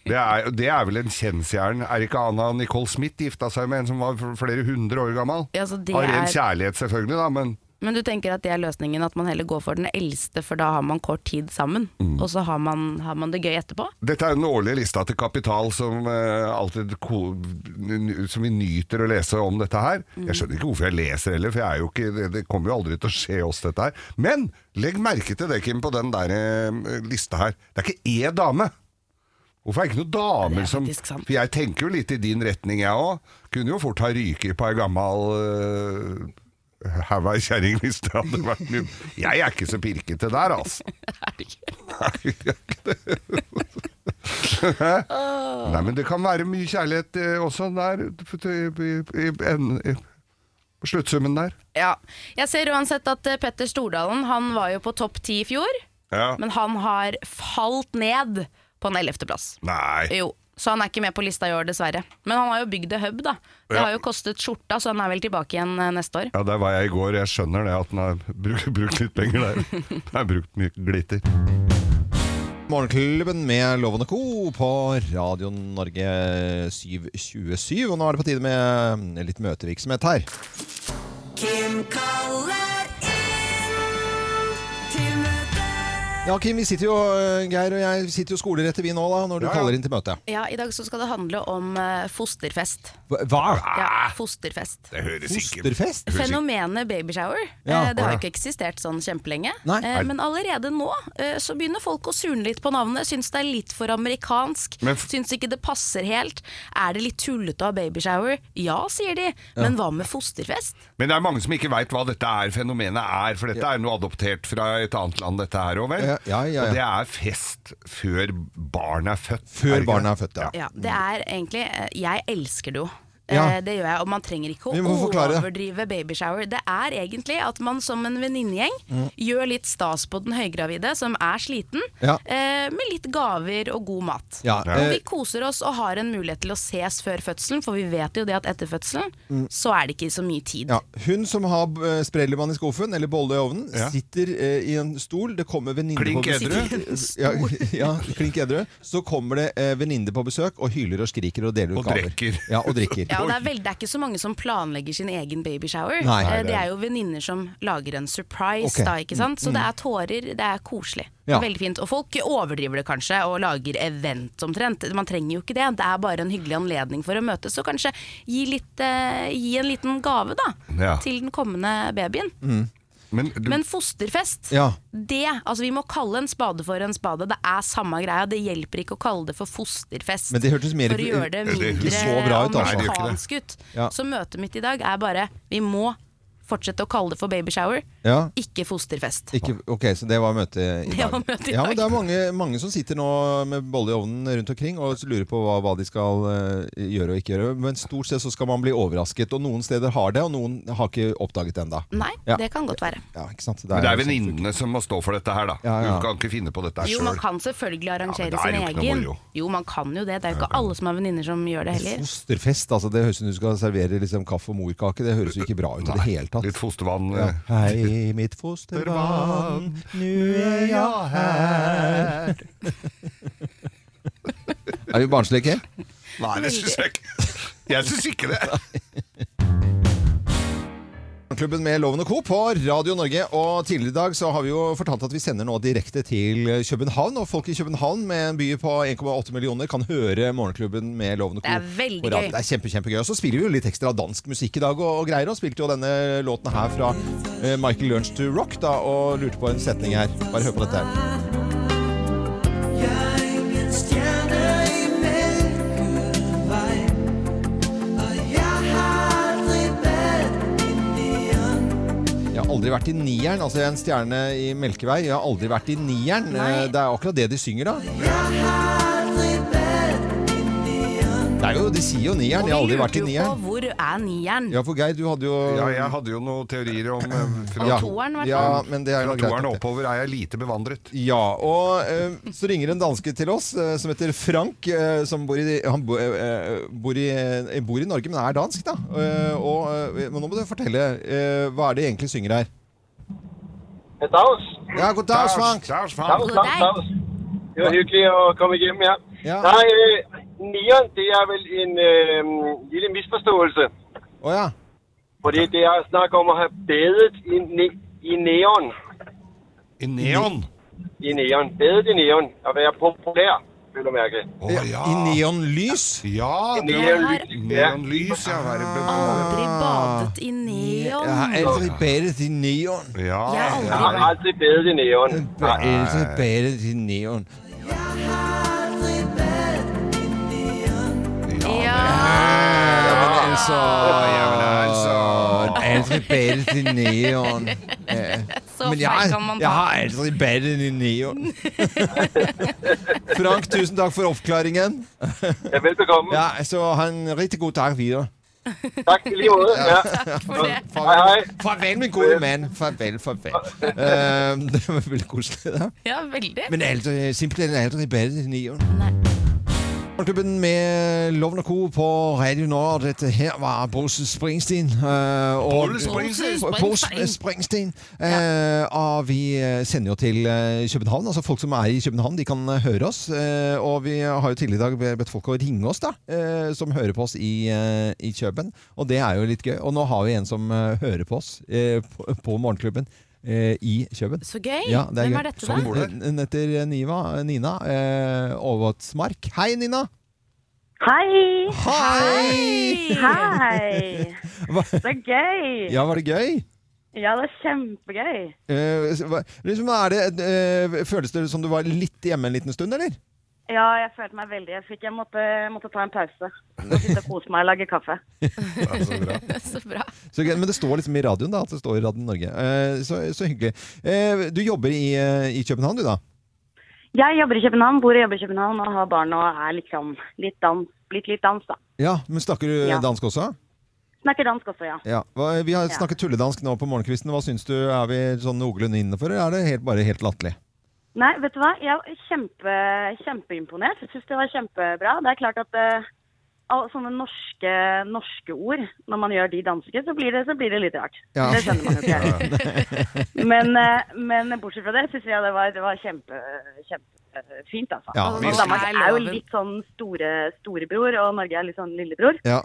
Speaker 3: Det er, det er vel en kjensgjern. Er ikke Anna Nicole Smith gifta seg med en som var f- flere hundre år gammel?
Speaker 2: Ja, så det
Speaker 3: Av ren
Speaker 2: er-
Speaker 3: kjærlighet, selvfølgelig, da, men
Speaker 2: Men du tenker at det er løsningen, at man heller går for den eldste, for da har man kort tid sammen, og så har man, har man det gøy etterpå?
Speaker 3: Dette er jo den årlige lista til Kapital som, eh, alltid ko n- som vi nyter å lese om dette her. Jeg skjønner ikke hvorfor jeg leser heller, for jeg er jo ikke, det, det kommer jo aldri til å skje oss dette her. Men legg merke til det, Kim, på den der eh, lista her. Det er ikke én dame! Hvorfor er det ikke noen damer som For jeg tenker jo litt i din retning, jeg òg. Kunne jo fort ha ryket på ei gammal uh, haug av ei kjerring hvis det hadde vært mye Jeg er ikke så pirkete der, altså. Nei, jeg er ikke det. Nei, men det kan være mye kjærlighet eh, også der i, i, i, en- i, på sluttsummen der.
Speaker 2: Ja. Jeg ser uansett at eh, Petter Stordalen, han var jo på topp ti i fjor,
Speaker 3: Ja.
Speaker 2: men han har falt ned på en ellevteplass.
Speaker 3: Nei.
Speaker 2: Jo. Så han er ikke med på lista i år, dessverre. Men han har jo bygd det hub, da. Det
Speaker 3: Ja.
Speaker 2: har jo kostet skjorta, så han er vel tilbake igjen eh, neste år.
Speaker 3: Ja, der var jeg i går. Jeg skjønner det, at den har [LAUGHS] brukt, brukt litt penger der. Den har brukt mye glitter.
Speaker 1: Morgenklubben med Loven og Co. på Radio Norge 727. Og nå er det på tide med litt møtevirksomhet her.
Speaker 9: Kim kaller inn til møte.
Speaker 1: Ja, Kim, vi sitter jo, eh, Geir og jeg sitter jo skoler etter vi nå, da, når du kaller inn til møte.
Speaker 2: Ja, I dag så skal det handle om eh, fosterfest.
Speaker 1: Hva?
Speaker 2: Ja, fosterfest.
Speaker 3: Det høres ikke
Speaker 1: Fosterfest?
Speaker 2: Fenomenet babyshower
Speaker 1: Ja.
Speaker 2: det har
Speaker 1: Ja.
Speaker 2: jo ikke eksistert sånn kjempelenge.
Speaker 1: Nei.
Speaker 2: Eh, Men allerede nå eh, så begynner folk å surne litt på navnet. Syns det er litt for amerikansk.
Speaker 9: Men f-
Speaker 2: Syns ikke det passer helt. Er det litt tullete å ha babyshower? Ja, sier de. Men hva med fosterfest?
Speaker 3: Men det er mange som ikke veit hva dette er, fenomenet er, for dette er noe adoptert fra et annet land, dette her òg, vel?
Speaker 1: Ja, ja, ja, ja.
Speaker 3: Og det er fest før barnet er født.
Speaker 1: Før
Speaker 3: det ikke
Speaker 1: barnet er
Speaker 3: det?
Speaker 1: født, ja. Mm.
Speaker 2: Ja, det er egentlig eh, Jeg elsker det jo.
Speaker 1: Ja.
Speaker 2: Eh, Det gjør jeg, og man trenger ikke
Speaker 1: Vi
Speaker 2: å
Speaker 1: må forklare det.
Speaker 2: overdrive babyshower. Det er egentlig at man som en venninnegjeng
Speaker 1: Mm.
Speaker 2: gjør litt stas på den høygravide som er sliten,
Speaker 1: Ja.
Speaker 2: eh, med litt gaver og god mat.
Speaker 1: Ja,
Speaker 2: Og vi
Speaker 1: eh,
Speaker 2: koser oss og har en mulighet til å ses før fødselen, for vi vet jo det at etter fødselen
Speaker 1: Mm.
Speaker 2: så er det ikke så mye tid.
Speaker 1: Ja, hun som har eh, sprellemann i skuffen, eller bolle i ovnen,
Speaker 2: Ja.
Speaker 1: sitter eh, i en stol. Det kommer venninne på
Speaker 3: Klink
Speaker 1: besøk. [LAUGHS]
Speaker 3: edru.
Speaker 1: Ja, ja, klink edru. Så kommer det eh, venninne på besøk og hyler og skriker og deler ut
Speaker 3: Og
Speaker 1: gaver.
Speaker 3: drikker.
Speaker 1: Ja, og drikker.
Speaker 2: Ja, og det, er vel, det er ikke så mange som planlegger sin egen babyshower.
Speaker 1: Nei.
Speaker 2: Eh,
Speaker 1: Nei, det
Speaker 2: det
Speaker 1: er-
Speaker 2: er jo venninner som lager en surprise,
Speaker 1: Ok.
Speaker 2: da, ikke sant? Så
Speaker 1: Mm,
Speaker 2: det
Speaker 1: mm.
Speaker 2: er tårer, det er koselig.
Speaker 1: Ja.
Speaker 2: Veldig fint. Og folk overdriver det kanskje, og lager event omtrent. Man trenger jo ikke det. Det er bare en hyggelig anledning for å møtes, så kanskje gi, litt, eh, gi en liten gave, da.
Speaker 3: Ja.
Speaker 2: Til den kommende babyen.
Speaker 3: Men, du,
Speaker 2: Men fosterfest,
Speaker 3: Ja.
Speaker 2: det Altså, vi må kalle en spade for en spade. Det er samme greia. Det hjelper ikke å kalle det for fosterfest.
Speaker 1: Men det hørtes mer-
Speaker 2: For å gjøre det
Speaker 1: det er ikke
Speaker 2: mindre
Speaker 1: så bra ut, altså. Nei, det gjør ikke det.
Speaker 2: amerikansk ut.
Speaker 1: Ja.
Speaker 2: Så møtet mitt i dag er bare Vi må fortsette å kalle det for babyshower,
Speaker 1: Ja.
Speaker 2: ikke fosterfest.
Speaker 1: Ikke, ok, så det var møtet i dag.
Speaker 2: Det var møtet i
Speaker 1: ja,
Speaker 2: dag.
Speaker 1: men det er mange, mange som sitter nå med bolle i ovnen rundt omkring og lurer på hva, hva de skal eh, gjøre og ikke gjøre. Men stort sett så skal man bli overrasket, og noen steder har det, og noen har ikke oppdaget det ennå.
Speaker 2: Nei,
Speaker 1: Ja.
Speaker 2: det kan godt være.
Speaker 1: Ja, ikke sant?
Speaker 3: men det er venninnene som må stå for dette her, da.
Speaker 1: ja.
Speaker 3: Du kan ikke finne på dette
Speaker 2: Jo,
Speaker 3: sjøl.
Speaker 2: man kan selvfølgelig
Speaker 3: Ja, men
Speaker 2: arrangere
Speaker 3: det er
Speaker 2: sin
Speaker 3: jo ikke noe
Speaker 2: egen.
Speaker 3: moro.
Speaker 2: Jo, man kan jo det. Det er jo ikke alle som har venninner som gjør det heller.
Speaker 1: Fosterfest, altså det høres ut som du skal servere liksom kaffe og morkake. Det høres jo ikke bra ut i det hele tatt. Litt
Speaker 3: fostervann. eh,
Speaker 1: Ja. Hei, mitt fostervann, nu er jeg her. [LAUGHS] Er vi barnslige, ikke?
Speaker 3: Nei, det syns jeg ikke. Jeg syns ikke det.
Speaker 1: Morgenklubben med Loven og Co. på Radio Norge. Og tidligere i dag så har vi jo fortalt at vi sender nå direkte til København. Og folk i København med en by på 1,8 millioner kan høre Morgenklubben med Loven og Co.
Speaker 2: Det er veldig
Speaker 1: på radio.
Speaker 2: gøy.
Speaker 1: Det er kjempe, kjempegøy. Og så spiller vi jo litt ekstra dansk musikk i dag og, og greier. Og spilte jo denne låten her fra eh, Michael Learns to Rock da, og lurte på en setning her. Bare hør på dette. Jeg har aldri vært i nieren, altså jeg er en stjerne i Melkevei. Jeg har aldri vært i nieren. Eh, Det er akkurat det de synger, da. Det er jo, De sier jo nieren. Jeg har aldri vært i nieren.
Speaker 2: på hvor er nieren.
Speaker 1: Ja, for Geir, du hadde jo
Speaker 3: Ja, jeg hadde jo noen teorier om eh, fra,
Speaker 1: Ja.
Speaker 3: to-
Speaker 2: toeren, i hvert fall.
Speaker 1: Ja, men det er jo
Speaker 3: fra
Speaker 1: greit
Speaker 3: toeren
Speaker 1: nok, det.
Speaker 3: oppover er jeg lite bevandret.
Speaker 1: Ja, og eh, så ringer en danske til oss eh, som heter Frank, eh, som bor i, han bo, eh, bor, i, eh, bor i Norge, men er dansk, da. Eh, og, eh, men nå må du fortelle, eh, hva er det de egentlig synger her? Ja, god dag, Frank.
Speaker 22: Dags, dags, dags. Det var hyggelig å komme hjem, ja. Nei, øh, nieren, det er vel en øh, lille misforståelse.
Speaker 1: Å ja.
Speaker 22: Fordi det er snakk om å ha badet i, ne i neon.
Speaker 3: I neon?
Speaker 22: I neon. Badet i neon. Å være populær, vil du merke.
Speaker 1: I neonlys?
Speaker 3: Ja,
Speaker 22: I neonlys, ja.
Speaker 3: Neonlys, ja. Være
Speaker 2: Aldri badet i neon.
Speaker 1: Jeg har aldri badet i neon.
Speaker 3: Ja.
Speaker 2: Jeg har aldri
Speaker 22: Jeg har aldri badet i neon.
Speaker 1: Jeg har aldri badet i neon. Altså, ja, men altså. Aldri badet i neon. Ja.
Speaker 2: [LAUGHS] Så
Speaker 1: Men jeg,
Speaker 2: feil kan man ta.
Speaker 1: jeg har aldri badet i
Speaker 2: [LAUGHS]
Speaker 1: neon. Frank, tusen takk for oppklaringen.
Speaker 22: velbekomme.
Speaker 1: Ja, så ha en riktig god dag videre.
Speaker 22: Takk i like måte. Ja. Hei, hei.
Speaker 1: Farvel, farvel min gode mann. Farvel, [LAUGHS] farvel. Eh, [LAUGHS] det var veldig koselig, det.
Speaker 2: Ja, veldig.
Speaker 1: Men aldri, simpelthen aldri badet i neon. Morgenklubben med Loven og Co. på Radio Nord. Dette her var Bruce Springsteen. øh, og-
Speaker 3: Bruce
Speaker 2: Sånn
Speaker 3: Springsteen.
Speaker 1: Bruce øh, Springsteen. Eh, og vi eh, sender jo til eh, København. Altså Folk som er i København, de kan eh, høre oss. Eh, og vi har jo tidligere i dag bedt folk å ringe oss, da. eh, som hører på oss i, eh, i Køben. Og det er jo litt gøy. Og nå har vi en som eh, hører på oss eh, på, på Morgenklubben. eh, I Køben.
Speaker 2: Så gøy.
Speaker 1: Ja, det er
Speaker 2: Hvem
Speaker 1: gøy. Sånn
Speaker 2: er dette da? Som bor der.
Speaker 1: Hun heter Niva, eh, Nina eh, Overtsmark. Hei, Nina!
Speaker 8: Hei!
Speaker 1: Hei!
Speaker 8: Hei! Det er gøy!
Speaker 1: Ja, var det gøy?
Speaker 8: Ja, det er kjempegøy.
Speaker 2: [LAUGHS]
Speaker 1: Eh, hva- liksom, er det, eh, føles det som du var litt hjemme en liten stund, eller?
Speaker 8: Ja, jeg følte meg veldig Jeg fikk, jeg måtte, måtte ta en pause. Og sitte og kose meg og lage kaffe.
Speaker 2: Så bra.
Speaker 1: [LAUGHS] Så, gøy, men det står liksom i radioen, da. At det står i Radio Norge. Eh, så, så hyggelig. Eh, du jobber i, eh, i København, du, da?
Speaker 8: Jeg jobber i København, bor og jobber i København og har barn og er liksom litt dans, blitt litt dans, da.
Speaker 1: Ja, Men snakker du eh,
Speaker 8: Ja.
Speaker 1: dansk også?
Speaker 8: Snakker dansk også, ja.
Speaker 1: Ja. Hva, vi har
Speaker 8: Ja.
Speaker 1: snakket tulledansk nå på morgenkvisten. Hva syns du? Er vi sånn noenlunde innenfor, eller er det helt, bare helt latterlig?
Speaker 8: Nei, vet du hva? Jeg er kjempe, kjempeimponert. Jeg syns det var kjempebra. Det er klart at eh, alle sånne norske, norske ord, når man gjør de danske, så blir det, så blir det litt rart.
Speaker 1: [LAUGHS] Ja.
Speaker 8: Det skjønner man jo ikke. Men, eh, men bortsett fra det syns jeg det var, det var kjempe, kjempefint, altså.
Speaker 1: Ja,
Speaker 8: og
Speaker 1: vi-
Speaker 8: Danmark er jo
Speaker 2: Loven.
Speaker 8: litt sånn store, storebror, og Norge er litt sånn lillebror.
Speaker 1: Ja.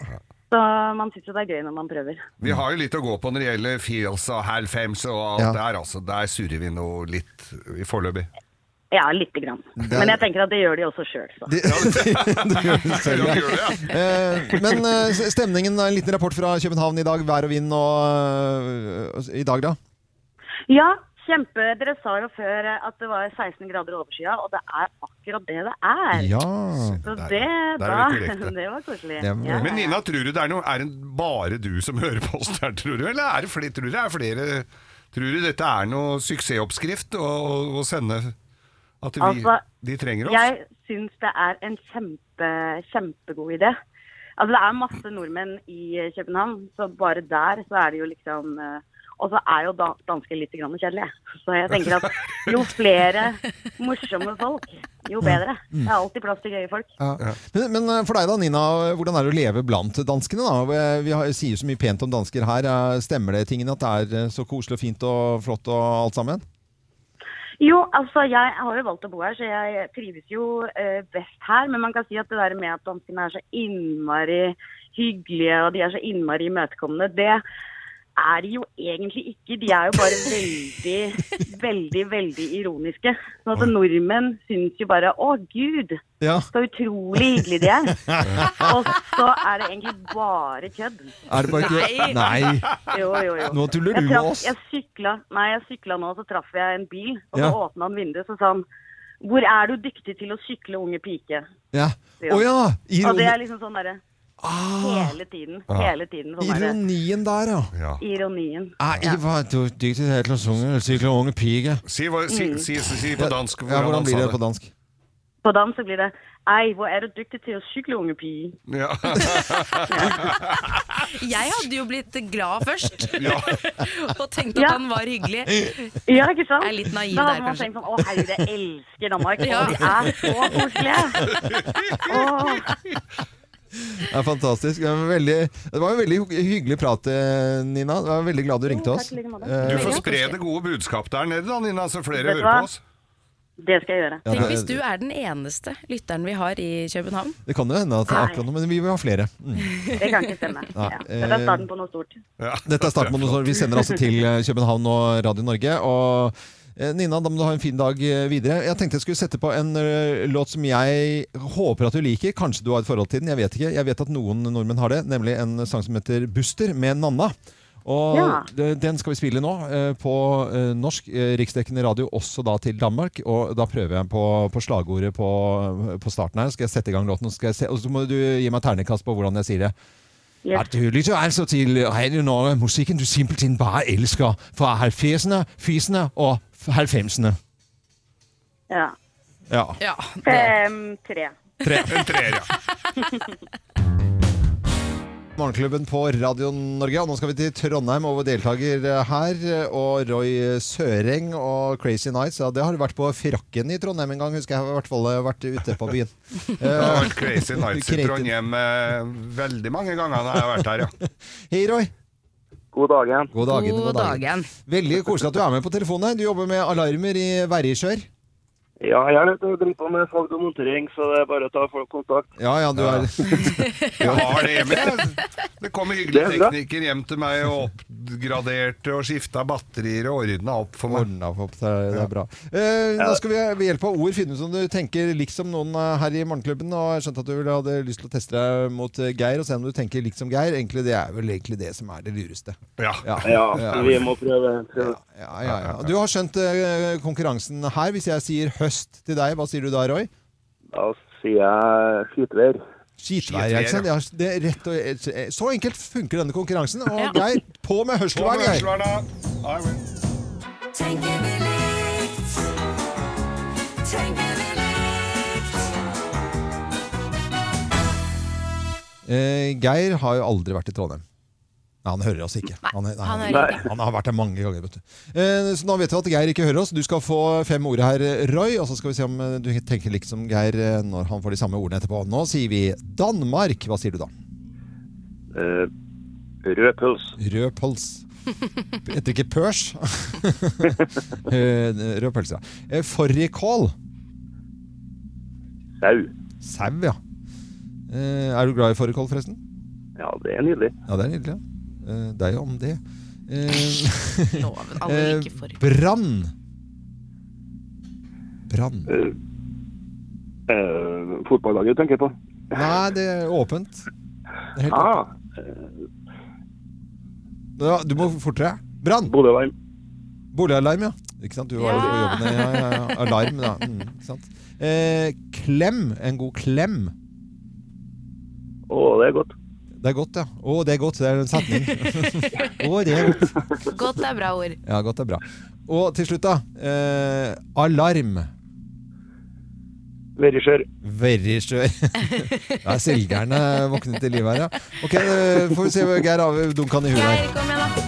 Speaker 8: Så man syns jo det er gøy når man prøver.
Speaker 3: Vi har jo litt å gå på når det gjelder feels og halv fems og alt
Speaker 8: Ja.
Speaker 3: der, altså. Der surrer vi nå litt i foreløpig.
Speaker 8: Ja, lite grann.
Speaker 3: Det-
Speaker 8: Men jeg tenker at det gjør de også sjøl, så.
Speaker 1: Du gjør det selv, ja. Eh, Men eh, s- stemningen, da, en liten rapport fra København i dag. Vær og vind og eh, i dag, da?
Speaker 8: Ja, kjempe. Dere sa jo før eh, at det var 16 grader overskya, og det er akkurat det det er.
Speaker 1: Ja.
Speaker 8: Så det,
Speaker 3: der
Speaker 8: da,
Speaker 3: er vi korrekte.
Speaker 8: [LAUGHS] det var koselig.
Speaker 3: Men
Speaker 8: Ja, ja, ja.
Speaker 3: Nina, tror du det er noe Er det bare du som hører på oss der, tror du? Eller er det flere, tror du det er flere Tror du dette er noe suksessoppskrift å, å sende At vi,
Speaker 8: Altså,
Speaker 3: de trenger oss?
Speaker 8: Jeg syns det er en kjempe, kjempegod idé. Altså, det er masse nordmenn i eh, København, så bare der så er det jo liksom eh, Og så er jo da- dansker litt grann kjedelige. Så jeg tenker at
Speaker 3: [LAUGHS]
Speaker 8: jo flere morsomme folk, jo bedre.
Speaker 3: Mm.
Speaker 8: Det er alltid plass til gøye folk.
Speaker 1: Ja. Men, men eh, for deg da, Nina, hvordan er det å leve blant danskene? da? Eh, Vi har, sier jo så mye pent om dansker her. Eh, Stemmer det tingene at det er eh, så koselig og fint og flott og alt sammen?
Speaker 8: Jo, altså jeg har jo valgt å bo her, så jeg trives jo eh, best her. Men man kan si at det der med at danskene er så innmari hyggelige og de er så innmari imøtekommende, det er de jo egentlig ikke. De er jo bare veldig, veldig, veldig ironiske. Sånn at nordmenn syns jo bare å gud,
Speaker 1: Ja.
Speaker 8: så utrolig hyggelige de er. Og så er det egentlig bare kødd.
Speaker 1: Er det bare kødd? Nei.
Speaker 8: Jo, jo, jo.
Speaker 1: Nå tuller du
Speaker 8: Jeg traff-
Speaker 1: med oss.
Speaker 8: Jeg sykla, nei, jeg sykla nå, så traff jeg en bil, og
Speaker 1: Ja.
Speaker 8: så åpna han vinduet, så sa han Hvor er du dyktig til å sykle, unge pike?
Speaker 1: Ja.
Speaker 8: sier
Speaker 1: Å
Speaker 8: han.
Speaker 1: ja!
Speaker 8: Og det er
Speaker 1: Ironi,
Speaker 8: liksom sånn derre
Speaker 1: Ah.
Speaker 8: Hele tiden.
Speaker 1: Ja.
Speaker 8: Hele tiden sånn derre
Speaker 1: ironien der, ja.
Speaker 8: Ironien.
Speaker 1: Ah, jeg var du dyktig til å synge, sykle unge pige.
Speaker 3: Si, hva- si, si, si, si på dansk
Speaker 1: Ja, hvordan
Speaker 3: han
Speaker 1: blir
Speaker 3: sa
Speaker 1: det på dansk?
Speaker 8: På dans så blir det Ei, hvor er du dyktig til å sykle, unge pike?
Speaker 3: Ja.
Speaker 2: Jeg hadde jo blitt glad først,
Speaker 1: [LAUGHS]
Speaker 2: [LAUGHS] og tenkt at
Speaker 8: Ja.
Speaker 2: han var hyggelig.
Speaker 8: Ja, ikke sant?
Speaker 2: Jeg er litt naiv
Speaker 8: da
Speaker 2: der,
Speaker 8: hadde man
Speaker 2: kanskje.
Speaker 8: tenkt sånn Å, herregud, jeg elsker
Speaker 2: [LAUGHS]
Speaker 8: Danmark.
Speaker 2: Ja.
Speaker 8: Og de er så koselige. Åh.
Speaker 1: Det er fantastisk. Det var, veldig, det var en veldig hy- hyggelig prat, eh, Nina. Jeg var veldig glad du ringte oss. Eh,
Speaker 3: Du får spre det gode budskap der nede da, Nina, så flere
Speaker 2: Vet du
Speaker 3: hører
Speaker 2: hva?
Speaker 3: på oss.
Speaker 8: Det skal jeg gjøre.
Speaker 1: Ja,
Speaker 2: Tenk
Speaker 1: det-
Speaker 2: hvis du er den eneste lytteren vi har i
Speaker 1: [LAUGHS]
Speaker 2: København.
Speaker 1: Det kan jo hende at det er akkurat nå, men vi vil ha flere. Mm.
Speaker 8: Det kan ikke stemme.
Speaker 1: Nei,
Speaker 8: Ja. Dette er starten på noe stort.
Speaker 1: Dette er starten på noe sånt. Vi sender altså til eh, København og Radio Norge. Og eh, Nina, da må du ha en fin dag eh, videre. Jeg tenkte jeg skulle sette på en eh, låt som jeg håper at du liker. Kanskje du har et forhold til den, jeg vet ikke. Jeg vet at noen nordmenn har det, nemlig en sang som heter 'Buster' med Nanna. Og
Speaker 10: Ja.
Speaker 1: eh, den skal vi spille nå eh, på eh, norsk eh, riksdekkende radio, også da til Danmark. Og da prøver jeg på, på slagordet på, på starten her. Skal jeg sette i gang låten, skal jeg se, og så må du gi meg ternekast på hvordan jeg sier det.
Speaker 10: Ja.
Speaker 1: Ja, du lytter altså til Radio Norge, musikken du simpelthen bare elsker, fra 70'erne, 80'erne og 90'erne.
Speaker 8: Ja.
Speaker 1: Ja.
Speaker 8: Fem, tre.
Speaker 1: Tre.
Speaker 3: En treer, ja.
Speaker 1: Morgenklubben på Radio Norge, og nå skal vi til Trondheim og vår deltaker øh, her, og Roy Søreng og Crazy Nights. Ja, det har vært på frakken i Trondheim en gang, husker jeg. jeg har i hvert fall øh, vært ute på [LAUGHS] byen. Eh,
Speaker 3: Det har vært Crazy Nights i
Speaker 1: Crazy-
Speaker 3: Trondheim eh, veldig mange ganger når jeg har vært her, ja.
Speaker 1: Hei, Roy.
Speaker 13: God dagen.
Speaker 1: God dagen. God dagen. Veldig koselig at du er med på telefonen. her. Du jobber med alarmer i Verrisjør.
Speaker 13: Ja, jeg er nødt til å drive på med salg og montering, så det er bare å ta folk kontakt.
Speaker 1: Ja, ja, du er
Speaker 3: Jeg har det hjemme. jeg. Det kommer hyggelige
Speaker 13: Det er bra.
Speaker 3: teknikker hjem til meg og oppgraderte og skifta batterier og ordna opp for meg.
Speaker 1: Ordna opp, det er, det er bra. Eh, nå skal vi ved hjelp av ord finne ut om du tenker likt som noen eh, her i Morgenklubben. Og jeg skjønte at du ville hadde lyst til å teste deg mot eh, Geir og se om du tenker likt som Geir. Egentlig det er vel egentlig det som er det lureste.
Speaker 3: Ja.
Speaker 13: Ja, vi må prøve. prøve.
Speaker 1: Ja, ja, ja. Du har skjønt eh, konkurransen her. Hvis jeg sier høst til deg, hva sier du da, Roy?
Speaker 13: Da sier jeg skitvær.
Speaker 1: Skitvær, ja. ikke sant? Ja, Det er rett og, eh, så enkelt funker denne konkurransen. Og Geir, på med
Speaker 3: På
Speaker 1: hørselvern,
Speaker 3: med
Speaker 1: Geir!
Speaker 3: hørselvern, da. Ja, vel.
Speaker 9: Tenker vi likt? Tenker vi likt?
Speaker 1: Eh, Geir har jo aldri vært i Trondheim. Nei, han hører oss ikke. Han, nei,
Speaker 9: han
Speaker 1: han,
Speaker 9: hører ikke.
Speaker 1: han har vært der mange ganger. Vet du. Eh, så nå vet vi at Geir ikke hører oss. Du skal få fem ord her, Roy. Og så skal vi se om eh, du tenker likt som Geir eh, når han får de samme ordene etterpå. Nå sier vi Danmark. Hva sier du da?
Speaker 13: Eh, rød puls.
Speaker 1: Rød pøls. Heter det ikke pørs? [LAUGHS] Eh, Rød pølse, ja. Eh, Fårikål.
Speaker 13: Sau.
Speaker 1: Sau, ja. Eh, Er du glad i fårikål, forresten?
Speaker 13: Ja, det er nydelig.
Speaker 1: Ja, det er nydelig. ja. Eh, Det er jo om det. Eh,
Speaker 2: Loven, alle
Speaker 1: eh,
Speaker 2: like form.
Speaker 1: Brann. Brann.
Speaker 13: Eh, fotballaget tenker jeg på.
Speaker 1: Nei, det er åpent. Det er helt
Speaker 13: Ah,
Speaker 1: åpent. Ja, du må fortere. Brann!
Speaker 13: Boligalarm.
Speaker 1: Boligalarm, ja. Ikke sant? Du var jo på
Speaker 13: Ja.
Speaker 1: jobben. Ja, ja, ja. Alarm, da. Mm, ikke sant? Eh, klem. En god klem.
Speaker 13: Å, det er godt.
Speaker 1: Det er godt, ja. Å, det er godt. Det er en setning. Å, det er godt.
Speaker 2: Godt er bra ord.
Speaker 1: Ja, godt er bra. Og til slutt, da. Eh, alarm.
Speaker 13: Veriskjør.
Speaker 1: Veriskjør. Da er selgerne våknet til liv her, ja. Ok, eh, får vi se hva Geir Ave dunker han i huet her.
Speaker 2: Geir, kom igjen, da.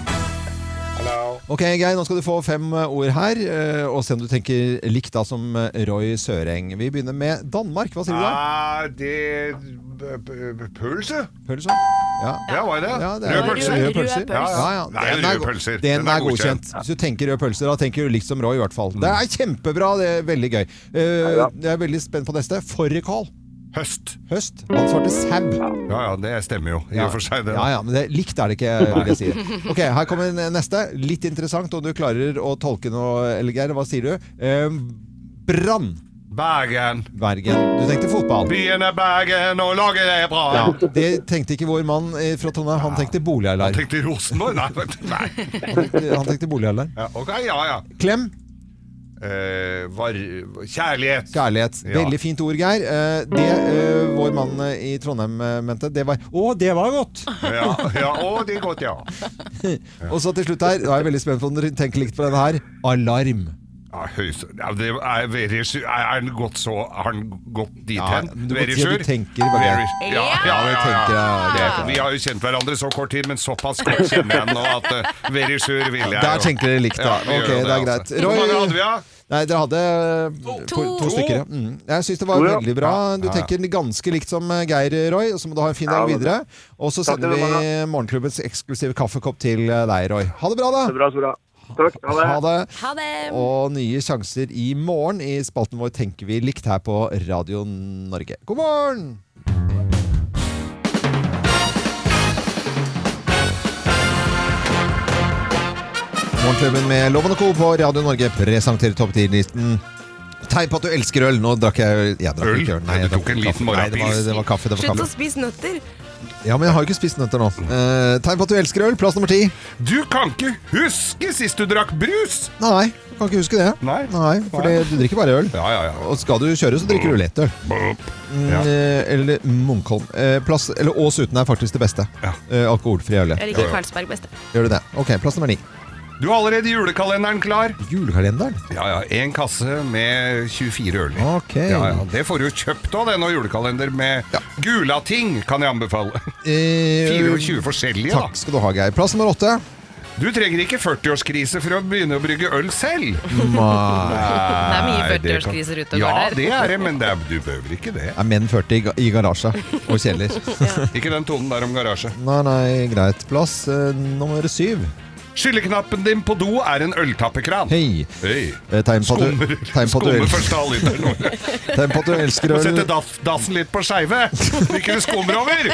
Speaker 1: Ok, Geir, nå skal du få fem eh, ord her, eh, og se om du tenker likt da som eh, Roy Søreng. Vi begynner med Danmark. Hva sier du da?
Speaker 3: Ah, det b- b- b- Pølse?
Speaker 1: Pølse? sånn? Ja.
Speaker 3: Ja, var det det?
Speaker 1: Ja, det
Speaker 3: Rød
Speaker 1: er-
Speaker 3: pølse?
Speaker 1: Rød pølse.
Speaker 3: Ja, ja.
Speaker 1: Ja, ja.
Speaker 3: Nei,
Speaker 1: Den
Speaker 3: røde
Speaker 1: er go-
Speaker 3: pølser.
Speaker 1: Den er godkjent. Hvis du tenker rød pølse, da tenker du likt som Roy i hvert fall. Det er kjempebra, det er veldig gøy. Eh, Jeg er veldig spent på neste. Fårikål.
Speaker 3: Høst.
Speaker 1: Høst. Han svarte sau.
Speaker 3: Ja, ja, det stemmer jo, i
Speaker 1: Ja.
Speaker 3: og for seg. Det,
Speaker 1: Ja, ja, men det, likt er det ikke, vil jeg si.
Speaker 3: Nei.
Speaker 1: Ok, her kommer en- neste. Litt interessant, og du klarer å tolke noe, eller Geir, hva sier du? Eh, brann.
Speaker 3: Bergen.
Speaker 1: Bergen. Du tenkte fotball.
Speaker 3: Byen er Bergen, og laget er bra.
Speaker 1: Ja, det tenkte ikke vår mann eh, fra Trondheim. Han tenkte boligalarm.
Speaker 3: Jeg tenkte Rosenborg. Nei, men- nei.
Speaker 1: Han tenkte boligalarm.
Speaker 3: Ja, ok, ja, ja.
Speaker 1: Klem.
Speaker 3: Eh, var, kjærlighet.
Speaker 1: Kjærlighet.
Speaker 3: Ja.
Speaker 1: Veldig fint ord, Geir. Eh, det eh, vår mann eh, i Trondheim eh, mente, det var Å, det var godt!
Speaker 3: Ja, ja, å, det er godt, ja.
Speaker 1: Og så til slutt her, da er jeg veldig spent på om dere tenker likt på denne her. Alarm.
Speaker 3: ja, høys, ja det er very sure. Er er han gått så Har han gått dit hen?
Speaker 1: men du må
Speaker 3: Very
Speaker 1: si at du
Speaker 3: sure?
Speaker 1: tenker hva det er.
Speaker 3: Very- Ja, ja, ja,
Speaker 1: det
Speaker 3: ja,
Speaker 1: tenker jeg, det er
Speaker 3: Det- Vi har jo kjent hverandre så kort tid, men såpass godt kjenner jeg nå at uh, very sure vil jeg.
Speaker 1: Der
Speaker 3: jo.
Speaker 1: tenker dere likt, da.
Speaker 3: vi gjør
Speaker 1: ok, det
Speaker 3: jo
Speaker 1: er greit.
Speaker 3: altså. Hvor mange hadde vi, da?
Speaker 1: Nei, dere hadde eh, to, to stykker. ja. Mm. Jeg syns det var
Speaker 3: To, ja.
Speaker 1: veldig bra. Du
Speaker 3: Ja, ja.
Speaker 1: tenker ganske likt som eh, Geir Roy, og så må du ha en fin dag
Speaker 3: Ja, det er
Speaker 1: videre.
Speaker 3: bra.
Speaker 1: Og så
Speaker 3: Takk
Speaker 1: sender
Speaker 3: til
Speaker 1: vi
Speaker 3: dere,
Speaker 1: morgenklubbens eksklusive kaffekopp til eh, deg, Roy. Ha det bra, da!
Speaker 13: Det er bra, så bra. Takk. Ha det.
Speaker 1: Ha det.
Speaker 2: Ha det.
Speaker 1: Og nye sjanser i morgen. I spalten vår tenker vi likt her på Radio Norge. God morgen! Morgenklubben med Loven og Co. på Radio Norge presenterer topp 10-listen. Tegn på at du elsker øl. Nå drakk jeg jeg drakk
Speaker 3: Øl?
Speaker 1: ikke Nei,
Speaker 3: Du
Speaker 1: jeg drakk
Speaker 3: tok en
Speaker 1: kaffe.
Speaker 3: liten
Speaker 1: Nei, det var,
Speaker 3: morgenpils.
Speaker 1: det var kaffe. Det var
Speaker 4: Slutt å
Speaker 1: kaffe.
Speaker 4: spise nøtter.
Speaker 1: Ja, men jeg har jo ikke spist nøtter nå. Eh, tegn på at du elsker øl. Plass nummer ti.
Speaker 3: Du kan ikke huske sist du drakk brus!
Speaker 1: Nei, jeg kan ikke huske det. Nei, For det, du drikker bare øl. Og skal du kjøre, så drikker du lettøl. Mm,
Speaker 3: Ja.
Speaker 1: eh, Eller Munkholm. Eh, Plass, eller Ås uten er faktisk det beste. Eh, Alkoholfri øl.
Speaker 2: Jeg liker Karlsberg best.
Speaker 1: Gjør du det? Ok, plass nummer ni.
Speaker 3: Du har allerede julekalenderen klar.
Speaker 1: Julekalenderen?
Speaker 3: Ja, ja. En kasse med 24 øl i.
Speaker 1: Ok.
Speaker 3: Ja, ja. Det får du jo kjøpt av denne julekalender med gulating, kan jeg anbefale.
Speaker 1: Eh,
Speaker 3: 24 forskjellige,
Speaker 1: Takk skal du ha, Geir. Plass nummer åtte.
Speaker 3: da. Du trenger ikke 40-årskrise for å begynne å brygge øl selv. [LAUGHS]
Speaker 1: Nei.
Speaker 3: Nei,
Speaker 2: Det er mye
Speaker 3: det kan-
Speaker 2: 40-årskriser ute og
Speaker 3: ja,
Speaker 2: går der.
Speaker 3: det er det, men det er, du behøver ikke det.
Speaker 1: Er menn 40 i ga- i garasje og
Speaker 3: [LAUGHS]
Speaker 1: kjeller.
Speaker 3: Ikke den tonen der om garasje.
Speaker 1: Nei, nei, greit. Plass eh, nummer syv.
Speaker 3: Skylleknappen din på do er en øltappekran.
Speaker 1: Hei.
Speaker 3: Hei.
Speaker 1: Eh, tegn på at du-
Speaker 3: Skummer,
Speaker 1: tegn på at du
Speaker 3: skummer
Speaker 1: elsker-
Speaker 3: første
Speaker 1: [LAUGHS]
Speaker 3: halvliteren.
Speaker 1: Tegn på at du elsker
Speaker 3: [LAUGHS] Må Sette
Speaker 1: øl.
Speaker 3: dass, dassen litt på skeive, så ikke det skummer over.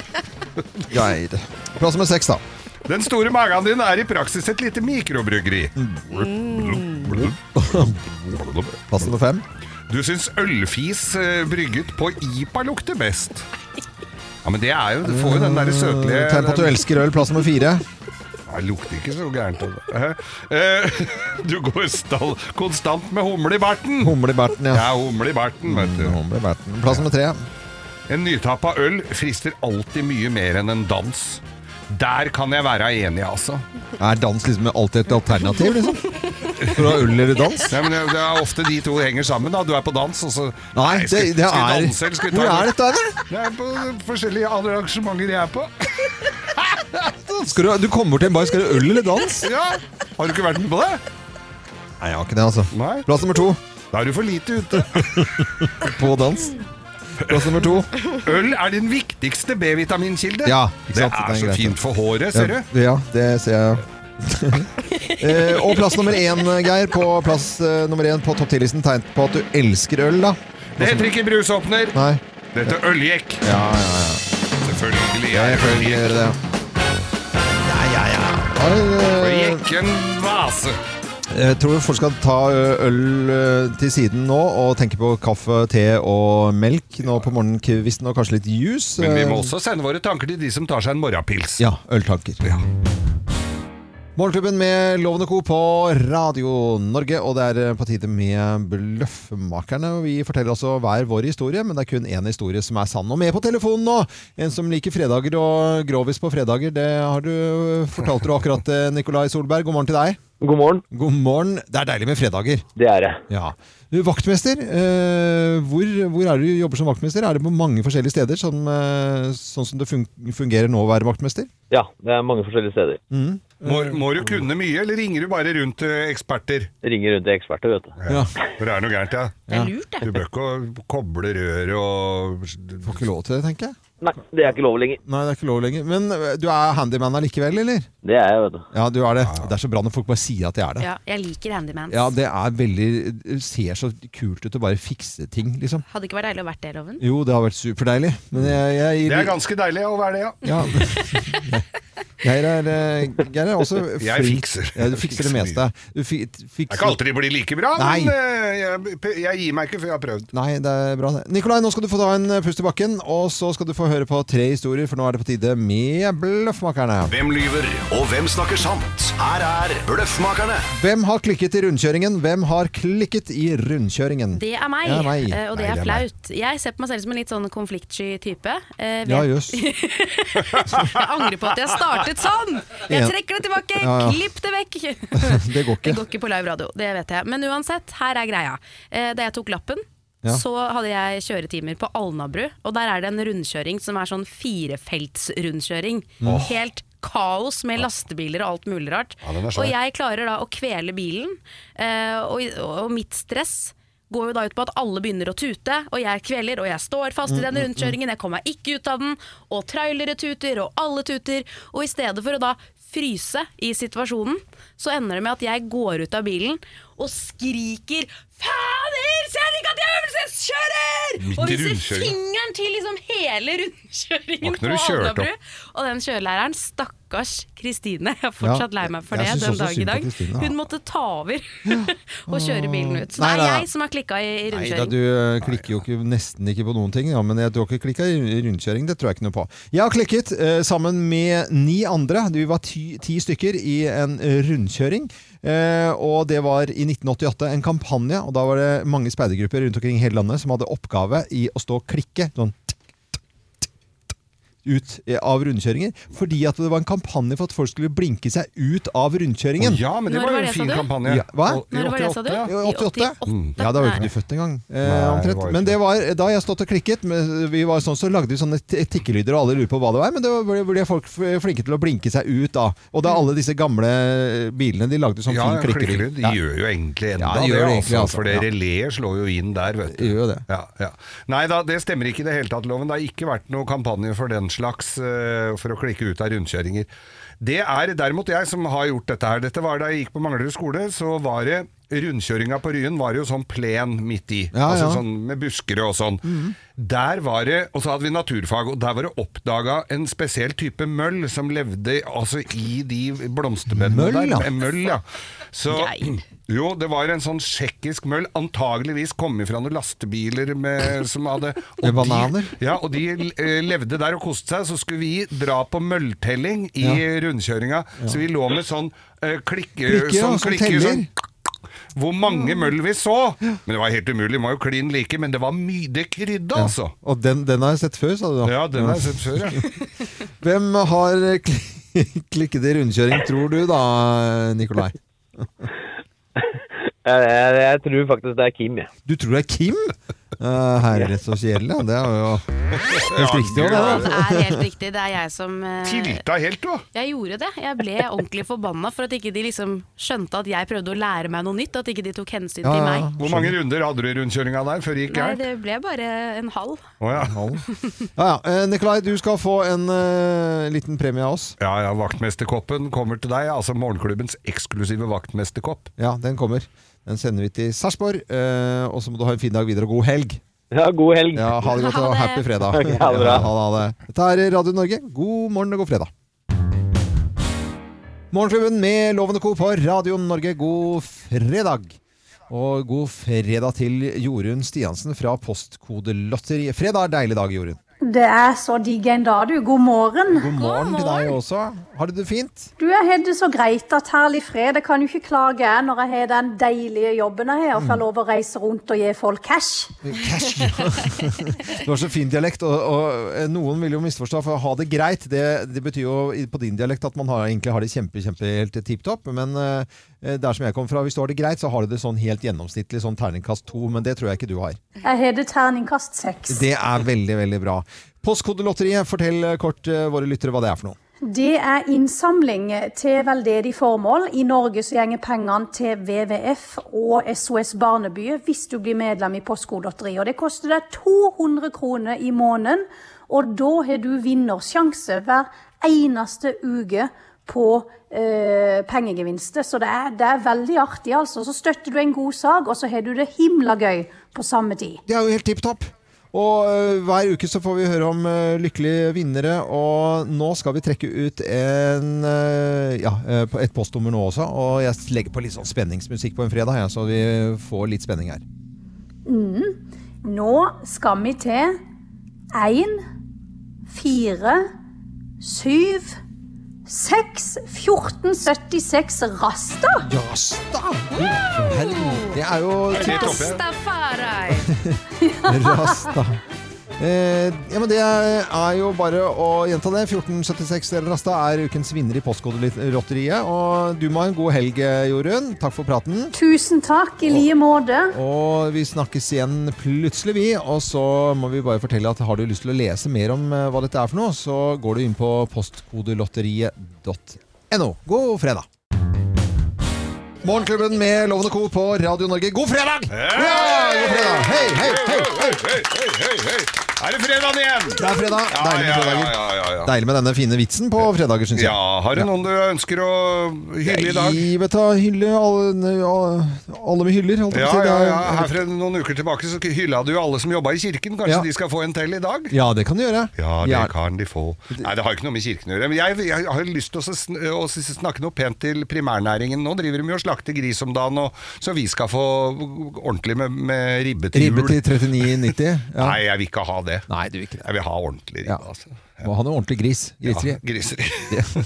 Speaker 1: Geir. Plass nummer seks, da.
Speaker 3: Den store magen din er i praksis et
Speaker 1: [LAUGHS]
Speaker 3: lite mikrobryggeri.
Speaker 1: Plass nummer fem.
Speaker 3: Du syns ølfis eh, brygget på IPA lukter best. Ja, men det er jo Du får jo den derre søtlige
Speaker 1: Eh, Tegn på at du elsker øl. Plass nummer fire.
Speaker 3: Nei, det lukter ikke så gærent. av det. Eh, eh, [LAUGHS] Du går stall, konstant med humle i barten.
Speaker 1: Humle i barten, ja.
Speaker 3: Ja, humle i barten, vet du.
Speaker 1: Humle i barten. Plass nummer tre.
Speaker 3: En nytappa øl frister alltid mye mer enn en dans. Der kan jeg være enig, altså.
Speaker 1: Er dans liksom alltid et alternativ, liksom? For å ha øl eller dans?
Speaker 3: Nei, men det, det er ofte de to henger sammen. da Du er på dans, og så
Speaker 1: Nei,
Speaker 3: skal,
Speaker 1: det- det
Speaker 3: skal vi
Speaker 1: er-
Speaker 3: danse, eller skal vi ta
Speaker 1: Hvor er dette,
Speaker 3: Det er på forskjellige andre arrangementer jeg er på.
Speaker 1: Skal du, du kommer bort til en bar, skal du ha øl eller dans?
Speaker 3: Ja, Har du ikke vært med på det?
Speaker 1: Nei, jeg har ikke det, altså. Plass nummer to.
Speaker 3: Da er du for lite ute.
Speaker 1: På dans. Plass nummer to.
Speaker 3: Øl er din viktigste B-vitaminkilde.
Speaker 1: Ja, ikke
Speaker 3: det
Speaker 1: sant?
Speaker 3: er
Speaker 1: Den
Speaker 3: så
Speaker 1: greit.
Speaker 3: fint for håret, ser du.
Speaker 1: Ja, ja, [LAUGHS] det ser jeg. Eh, og plass nummer én, Geir, på plass eh, nummer én på topp 10-listen. Tegn på at du elsker øl, da.
Speaker 3: Det heter ikke brusåpner.
Speaker 1: Nei.
Speaker 3: Det heter ølgjekk.
Speaker 1: Ja, ja, ja.
Speaker 3: Selvfølgelig
Speaker 1: Ja, jeg føler vi gjør det.
Speaker 3: Ja, ja, ja.
Speaker 1: Oi, eh,
Speaker 3: Jekken Vase.
Speaker 1: Jeg tror folk skal ta ø, øl ø, til siden nå og tenke på kaffe, te og melk nå på morgenkvisten og kanskje litt juice.
Speaker 3: Men vi
Speaker 1: Eh,
Speaker 3: må også sende våre tanker til de som tar seg en morgenpils.
Speaker 1: Ja, øltanker. Morgenklubben med Lovende Co. på Radio Norge, og det er eh, på tide med Bløffmakerne. Og Vi forteller altså hver vår historie, men det er kun én historie som er sann. Og med på telefonen nå! En som liker fredager og grovis på fredager. Det har du fortalt du akkurat, eh, Nikolai Solberg. God morgen til deg.
Speaker 10: God morgen.
Speaker 1: God morgen. Det er deilig med fredager.
Speaker 10: Det er det.
Speaker 1: Ja. Du, Vaktmester, eh, hvor, hvor er det du jobber som vaktmester? Er det på mange forskjellige steder, sånn, eh, sånn som det fun fungerer nå å være vaktmester?
Speaker 10: Ja, det er mange forskjellige steder.
Speaker 3: Må, må du kunne mye, eller ringer du bare rundt eh, eksperter?
Speaker 10: Ringer rundt til eksperter, vet du.
Speaker 3: Ja. For det er noe gærent, ja.
Speaker 10: Det er lurt, det.
Speaker 3: Du bør ikke å koble røret og Får
Speaker 1: ikke lov til det, tenker jeg.
Speaker 10: Nei, det er ikke lov lenger.
Speaker 1: Nei, det er ikke lov lenger. Men eh, du er handyman allikevel, eller?
Speaker 10: Det er jeg, vet du.
Speaker 1: Ja, du er det. Det er så bra når folk bare sier at de er det.
Speaker 2: Ja, jeg liker handyman.
Speaker 1: Ja, det er veldig Det ser så kult ut å bare fikse ting, liksom.
Speaker 2: Hadde ikke vært deilig å vært det, Loven?
Speaker 1: Jo, det har vært superdeilig, men jeg, jeg,
Speaker 3: Det er ganske deilig å være det, ja.
Speaker 1: Ja. [LAUGHS] Geir er, eh, Geir er også
Speaker 3: Jeg
Speaker 1: flink.
Speaker 3: fikser.
Speaker 1: Ja, du fikser det meste. Du fi,
Speaker 3: Det er
Speaker 1: fikser
Speaker 3: ikke alltid de blir like bra,
Speaker 1: Nei.
Speaker 3: men eh, jeg, jeg gir meg ikke før jeg har prøvd.
Speaker 1: Nei, det er bra det. Nikolai, nå skal du få ta en eh, pust i bakken, og så skal du få høre på tre historier, for nå er det på tide med Bløffmakerne.
Speaker 15: Hvem lyver, og hvem snakker sant? Her er Bløffmakerne.
Speaker 1: Hvem har klikket i rundkjøringen? Hvem har klikket i rundkjøringen?
Speaker 2: Det er meg,
Speaker 1: Mm. Det er meg.
Speaker 2: eh, og det er
Speaker 1: Nei, det er meg.
Speaker 2: flaut. Jeg ser på meg selv som en litt sånn konfliktsky type. Eh, vet-
Speaker 1: Ja, jøss.
Speaker 2: [LAUGHS] jeg angrer på at jeg startet sånn! Jeg
Speaker 1: En-
Speaker 2: trekker det tilbake!
Speaker 1: Ja, ja.
Speaker 2: Klipp det vekk!
Speaker 1: [LAUGHS] Det går
Speaker 2: Det
Speaker 1: ikke.
Speaker 2: går ikke på live radio, det vet jeg. Men uansett, her er greia. Eh, Da jeg tok lappen,
Speaker 1: Ja.
Speaker 2: så hadde jeg kjøretimer på Alnabru. Og der er det en rundkjøring som er sånn firefeltsrundkjøring.
Speaker 17: Åh.
Speaker 2: Helt kaos med lastebiler og alt mulig rart.
Speaker 17: Ja, den er svær.
Speaker 2: og jeg klarer da å kvele bilen, eh, og, og mitt stress går jo da ut på at alle begynner å tute, og jeg kveler, og jeg står fast i
Speaker 17: Mm,
Speaker 2: den
Speaker 17: mm,
Speaker 2: rundkjøringen, jeg kommer meg ikke ut av den, og trailere tuter, og alle tuter, og i stedet for å da fryse i situasjonen, så ender det med at jeg går ut av bilen og skriker Fader, ser dere ikke at jeg er øvelseskjører?!
Speaker 17: Midt i
Speaker 2: Og viser
Speaker 17: rundkjøringen.
Speaker 2: fingeren til liksom hele rundkjøringen
Speaker 17: Var ikke
Speaker 2: på
Speaker 17: når du kjørte opp.
Speaker 2: Alnabru. Og den kjørelæreren, stakkars Kristine, jeg er fortsatt
Speaker 17: Ja,
Speaker 2: lei meg for
Speaker 17: jeg
Speaker 2: det
Speaker 17: synes
Speaker 2: den
Speaker 17: også
Speaker 2: dag
Speaker 17: synd
Speaker 2: i
Speaker 17: på
Speaker 2: dag.
Speaker 17: Kristine, ja.
Speaker 2: Hun måtte ta over [LAUGHS] og kjøre bilen ut. Så det
Speaker 1: Nei,
Speaker 2: er
Speaker 1: nei, nei.
Speaker 2: jeg som har klikka i i
Speaker 1: Nei da,
Speaker 2: rundkjøring.
Speaker 1: du eh, klikker jo ikke, nesten ikke på noen ting, ja, men jeg, du har ikke klikka i rundkjøring. Det tror jeg ikke noe på. Jeg har klikket eh, sammen med ni andre. Vi var ti, ti stykker i en eh, rundkjøring. Eh, og det var i 1988 en kampanje, og da var det mange speidergrupper rundt omkring i hele landet som hadde oppgave i å stå og klikke. Sånn ut eh, av rundkjøringer, fordi at det var en kampanje for at folk skulle blinke seg ut av rundkjøringen.
Speaker 3: Å ja, men det Når var jo var en det, fin sa du? kampanje.
Speaker 1: Ja, hva?
Speaker 3: Når I var det, sa du?
Speaker 1: I
Speaker 3: 88, ja.
Speaker 1: 88.
Speaker 3: Mm.
Speaker 1: Ja, da var jo
Speaker 3: Nei.
Speaker 1: ikke du født engang. Eh,
Speaker 3: Nei, det
Speaker 1: omtrent.
Speaker 3: var jo
Speaker 1: Men det var, da jeg stått og klikket, men vi var sånn, så lagde vi sånne t- tikkelyder, og alle lurer på hva det var, men det var- ble, ble folk f- flinke til å blinke seg ut da. Og da alle disse gamle bilene, de lagde sånn
Speaker 3: Ja,
Speaker 1: fin klikkelyd.
Speaker 3: klikkelyd de gjør jo egentlig enda
Speaker 1: Ja, de
Speaker 3: det,
Speaker 1: gjør det
Speaker 3: altså,
Speaker 1: egentlig, altså.
Speaker 3: for det
Speaker 1: Ja.
Speaker 3: reléet slår jo inn der, vet du. Ja, ja. Nei da, det stemmer ikke i det hele tatt, Loven. Det har ikke vært noen kampanje for den slags, eh, for å klikke ut av rundkjøringer. Det er derimot jeg som har gjort dette her. Dette var da jeg gikk på Manglerud skole, så var det Rundkjøringa på Ryen var jo sånn plen midt i,
Speaker 1: Ja, ja.
Speaker 3: altså
Speaker 1: Mhm.
Speaker 3: sånn med busker og sånn. Der var det, og så hadde vi naturfag, og der var det oppdaga en spesiell type møll som levde altså i de blomsterbedene
Speaker 1: Møll,
Speaker 3: der.
Speaker 1: ja.
Speaker 3: Eh, Møll, ja. Så, jo, det var en sånn tsjekkisk møll, antageligvis kom ifra noen lastebiler med, som
Speaker 1: [LAUGHS]
Speaker 3: hadde og
Speaker 1: bananer?
Speaker 3: De, ja, og de eh, levde der og koste seg, så skulle vi dra på mølltelling i rundkjøringa. Så vi lå med sånn eh, klikke... sånn
Speaker 1: Klikke, ja, som teller.
Speaker 3: hvor mange møll vi så! Men det var helt umulig, må jo klin like, men det var mye det krydda, altså.
Speaker 1: Og den, den har jeg sett før, sa du da.
Speaker 3: Ja, den har jeg sett før,
Speaker 1: [LAUGHS]
Speaker 3: ja.
Speaker 1: Hvem har eh, kli- [LAUGHS] klikket i rundkjøring, tror du da, Nikolai?
Speaker 10: Jeg, jeg, jeg tror faktisk det er Kim, jeg.
Speaker 1: Du tror det er Kim? Uh, Herre så kjedelig, ja. det er jo helt riktig.
Speaker 2: Ja,
Speaker 1: også,
Speaker 2: det er helt riktig. Det er jeg som eh,
Speaker 3: Tilta helt, du.
Speaker 2: Jeg gjorde det. Jeg ble ordentlig forbanna for at ikke de liksom skjønte at jeg prøvde å lære meg noe nytt. At ikke de tok hensyn til meg.
Speaker 3: Hvor mange runder hadde du i rundkjøringa der før det gikk
Speaker 2: Nei,
Speaker 3: gærent?
Speaker 2: det ble bare en halv.
Speaker 3: Å ja.
Speaker 1: Ja, ja. Eh, Nikolai, du skal få en eh, liten premie av oss.
Speaker 3: Ja, ja, vaktmesterkoppen kommer til deg, altså morgenklubbens eksklusive vaktmesterkopp.
Speaker 1: Ja, den kommer. Den sender vi til Sarpsborg. eh, og så må du ha en fin dag videre, og god helg. Ja, god helg. Ja, ha det godt og happy
Speaker 23: [LAUGHS]
Speaker 1: fredag.
Speaker 23: Ok, ha det bra.
Speaker 1: Ja, ha det. Dette er Radio Norge. God morgen og god fredag. Morgenklubben med Lovende Co. på Radio Norge. God fredag. Og god fredag til Jorunn Stiansen fra Postkodelotteriet. Fredag er en deilig dag, Jorunn.
Speaker 17: Det er så digg en dag, du. God morgen.
Speaker 1: God morgen til deg også. Har du det fint?
Speaker 17: Du, jeg har det så greit at herlig fred. Jeg kan jo ikke klage jeg, når jeg har den deilige jobben jeg har, og får lov å reise rundt og gi folk cash.
Speaker 1: Cash, Du har så fin dialekt, og, og eh, noen vil jo misforstå, for å ha det greit, det, det betyr jo i- på din dialekt at man har, egentlig har det kjempe, kjempe helt tipp topp, men eh, der som jeg kommer fra, hvis du har det greit, så har du det sånn helt gjennomsnittlig, sånn terningkast 2, men det tror jeg ikke du har.
Speaker 17: Jeg har det terningkast seks.
Speaker 1: Det er veldig, veldig bra. Postkodelotteriet, fortell eh, kort eh, våre lyttere hva det er for noe.
Speaker 17: Det er innsamling til veldedig formål. I Norge så gjenger pengene til WWF og SOS Barneby hvis du blir medlem i Postkodelotteriet. Og det koster deg 200 kroner i måneden, og da har du vinnersjanse hver eneste uke på eh, pengegevinster. Så det er, det er veldig artig, altså. Så støtter du en god sak, og så har du det himla gøy på samme tid.
Speaker 1: Det er jo helt tipp topp. Og eh, hver uke så får vi høre om eh, lykkelige vinnere, og nå skal vi trekke ut en, eh, ja, eh, på- et postnummer nå også. Og jeg legger på litt sånn spenningsmusikk på en fredag, jeg, så vi får litt spenning her.
Speaker 17: Mm. Nå skal vi til 1, 4, 7, 6, 14, 76 rasta.
Speaker 1: Rasta? Det er jo
Speaker 2: Rastafari!
Speaker 1: Rasta. Eh, ja, men Det er jo bare å gjenta det. 1476 del Rasta er ukens vinner i Postkodelotteriet. Og du må ha en god helg, eh, Jorunn. Takk for praten.
Speaker 17: Tusen takk, i like måte.
Speaker 1: Og vi snakkes igjen plutselig, vi. Og så må vi bare fortelle at har du lyst til å lese mer om eh, hva dette er for noe, så går du inn på postkodelotteriet.no. God fredag! Morgenklubben med Lovende Co. på Radio Norge. God fredag! Ja, god fredag! Hei, hei, hei!
Speaker 3: Hei, hei, hei, hei, hei. Er det fredagen igjen?
Speaker 1: Det er fredag.
Speaker 3: Ja,
Speaker 1: Deilig med
Speaker 3: ja,
Speaker 1: fredager.
Speaker 3: ja, ja, ja, ja.
Speaker 1: Deilig med denne fine vitsen på fredager, syns jeg.
Speaker 3: Ja, har du noen du ønsker å hylle i dag?
Speaker 1: Nei, vet du, hylle alle, alle med hyller, holdt
Speaker 3: Ja,
Speaker 1: jeg på å si. Det
Speaker 3: ja,
Speaker 1: er-
Speaker 3: ja. Her for noen uker tilbake så hylla du jo alle som jobba i kirken. Kanskje
Speaker 1: Ja.
Speaker 3: de skal få en til i dag?
Speaker 1: ja, det kan du gjøre.
Speaker 3: Ja, det kan de få. Nei, det har jo ikke noe med kirken å gjøre. Men jeg, jeg har jo lyst til å, sn å s- snakke noe pent til primærnæringen. Nå driver de jo og slakter gris om dagen, og, så vi skal få ordentlig med, med ribbe til jul.
Speaker 1: Ribbe til 39,90. Ja.
Speaker 3: Nei, jeg vil ikke ha det.
Speaker 1: Nei, du vil ikke det.
Speaker 3: Jeg vil ha ordentlig ribbe, altså.
Speaker 1: Må ha noe ordentlig gris. Griseri.
Speaker 3: Ja, griseri.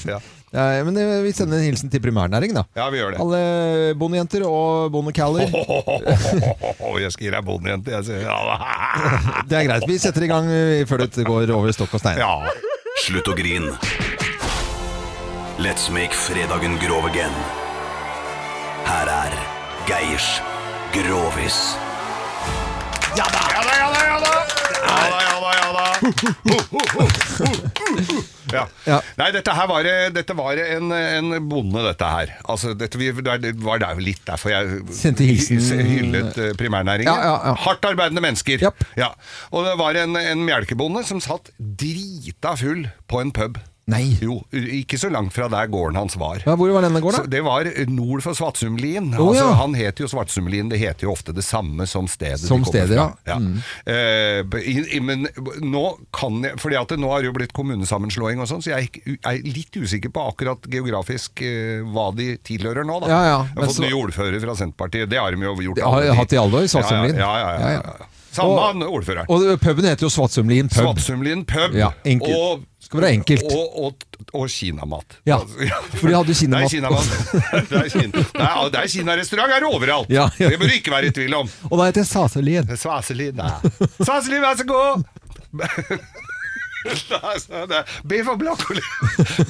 Speaker 3: ja.
Speaker 1: Ja, men eh, vi sender en hilsen til primærnæringen, da.
Speaker 3: Ja, vi gjør det.
Speaker 1: Alle bondejenter og bondecaller.
Speaker 3: Åh, jeg skal gi deg bondejente, jeg sier. Ja.
Speaker 1: Det er greit. Vi setter i gang eh, før det går over stokk og stein.
Speaker 15: Slutt å grine. Let's make fredagen grov again. Her er Geirs Grovis.
Speaker 3: Ja da, ja da, ja da! Ja da, ja da, ja da. Ja. Nei, dette her var, dette var en, en bonde, dette her. Altså, dette, vi, det var der, litt derfor jeg
Speaker 1: Sendte hilsen.
Speaker 3: hy- hyllet eh, primærnæringen.
Speaker 1: Ja, ja, ja.
Speaker 3: Hardt arbeidende mennesker. Ja. Og det var en, en melkebonde som satt drita full på en pub.
Speaker 1: Nei.
Speaker 3: Jo, ikke så langt fra der gården hans var.
Speaker 1: Ja, hvor var denne gården, da?
Speaker 3: Så det var nord for Svartsumlien.
Speaker 1: Å,
Speaker 3: altså,
Speaker 1: ja.
Speaker 3: Han het jo Svartsumlien, det heter jo ofte det samme som stedet.
Speaker 1: Som
Speaker 3: de kommer
Speaker 1: stedet,
Speaker 3: fra.
Speaker 1: ja.
Speaker 3: ja.
Speaker 1: Mm.
Speaker 3: Eh, i- i- men nå kan jeg Fordi at det, nå har det jo blitt kommunesammenslåing og sånn, så jeg er ikke- u- er litt usikker på akkurat geografisk eh, hva de tilhører nå, da.
Speaker 1: Ja, ja,
Speaker 3: Jeg
Speaker 1: men
Speaker 3: har fått
Speaker 1: så-
Speaker 3: nye ordfører fra Senterpartiet, det har de jo gjort.
Speaker 1: Det har
Speaker 3: alle
Speaker 1: jeg hatt i alle år, Svartsumlien.
Speaker 3: Ja, ja, ja. ja, ja, ja. Samme
Speaker 1: Og-
Speaker 3: han, ordføreren.
Speaker 1: Og det- puben heter jo Svatsumlien pub.
Speaker 3: Svatsumlien pub.
Speaker 1: Ja, enkelt.
Speaker 3: Og,
Speaker 1: Skal være enkelt.
Speaker 3: Og, og, og kinamat. Altså,
Speaker 1: Ja, for de hadde jo
Speaker 3: Det
Speaker 1: kinamat.
Speaker 3: er
Speaker 1: [LAUGHS]
Speaker 3: kinamat. det er kin- det er- det er kinarestaurant er det overalt.
Speaker 1: Ja.
Speaker 3: Det bør du ikke være i tvil
Speaker 1: [LAUGHS]
Speaker 3: om.
Speaker 1: Og da heter det Saselien.
Speaker 3: Svaselien, da. Saselien, vær så god! [LAUGHS] Altså, det er Biff og
Speaker 1: [LAUGHS]
Speaker 3: brokkoli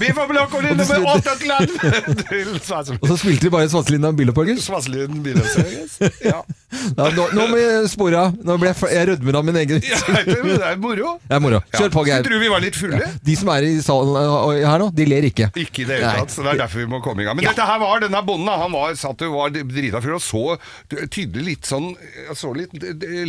Speaker 3: Biff og brokkoli
Speaker 1: Og du
Speaker 3: nummer
Speaker 1: spilte-
Speaker 3: 38 til Svaselien.
Speaker 1: Og så spilte de bare Svaselien av Billopphager.
Speaker 3: Svaselien Bilopphøggers. Ja.
Speaker 1: Ja, nå, nå må jeg spore av. Nå ble jeg, f- jeg rødmer av min egen vits.
Speaker 3: Ja, det er moro.
Speaker 1: Det er moro. Kjør på, Geir.
Speaker 3: Tror du vi var litt fulle?
Speaker 1: Ja. De som er i salen eh, her nå, de ler ikke.
Speaker 3: [LAUGHS] Ikke i det hele
Speaker 1: Nei.
Speaker 3: tatt, så det er derfor vi må komme i gang. Men dette her var denne bonden, da. han var, satt og var drita full og så tydelig litt sånn Så litt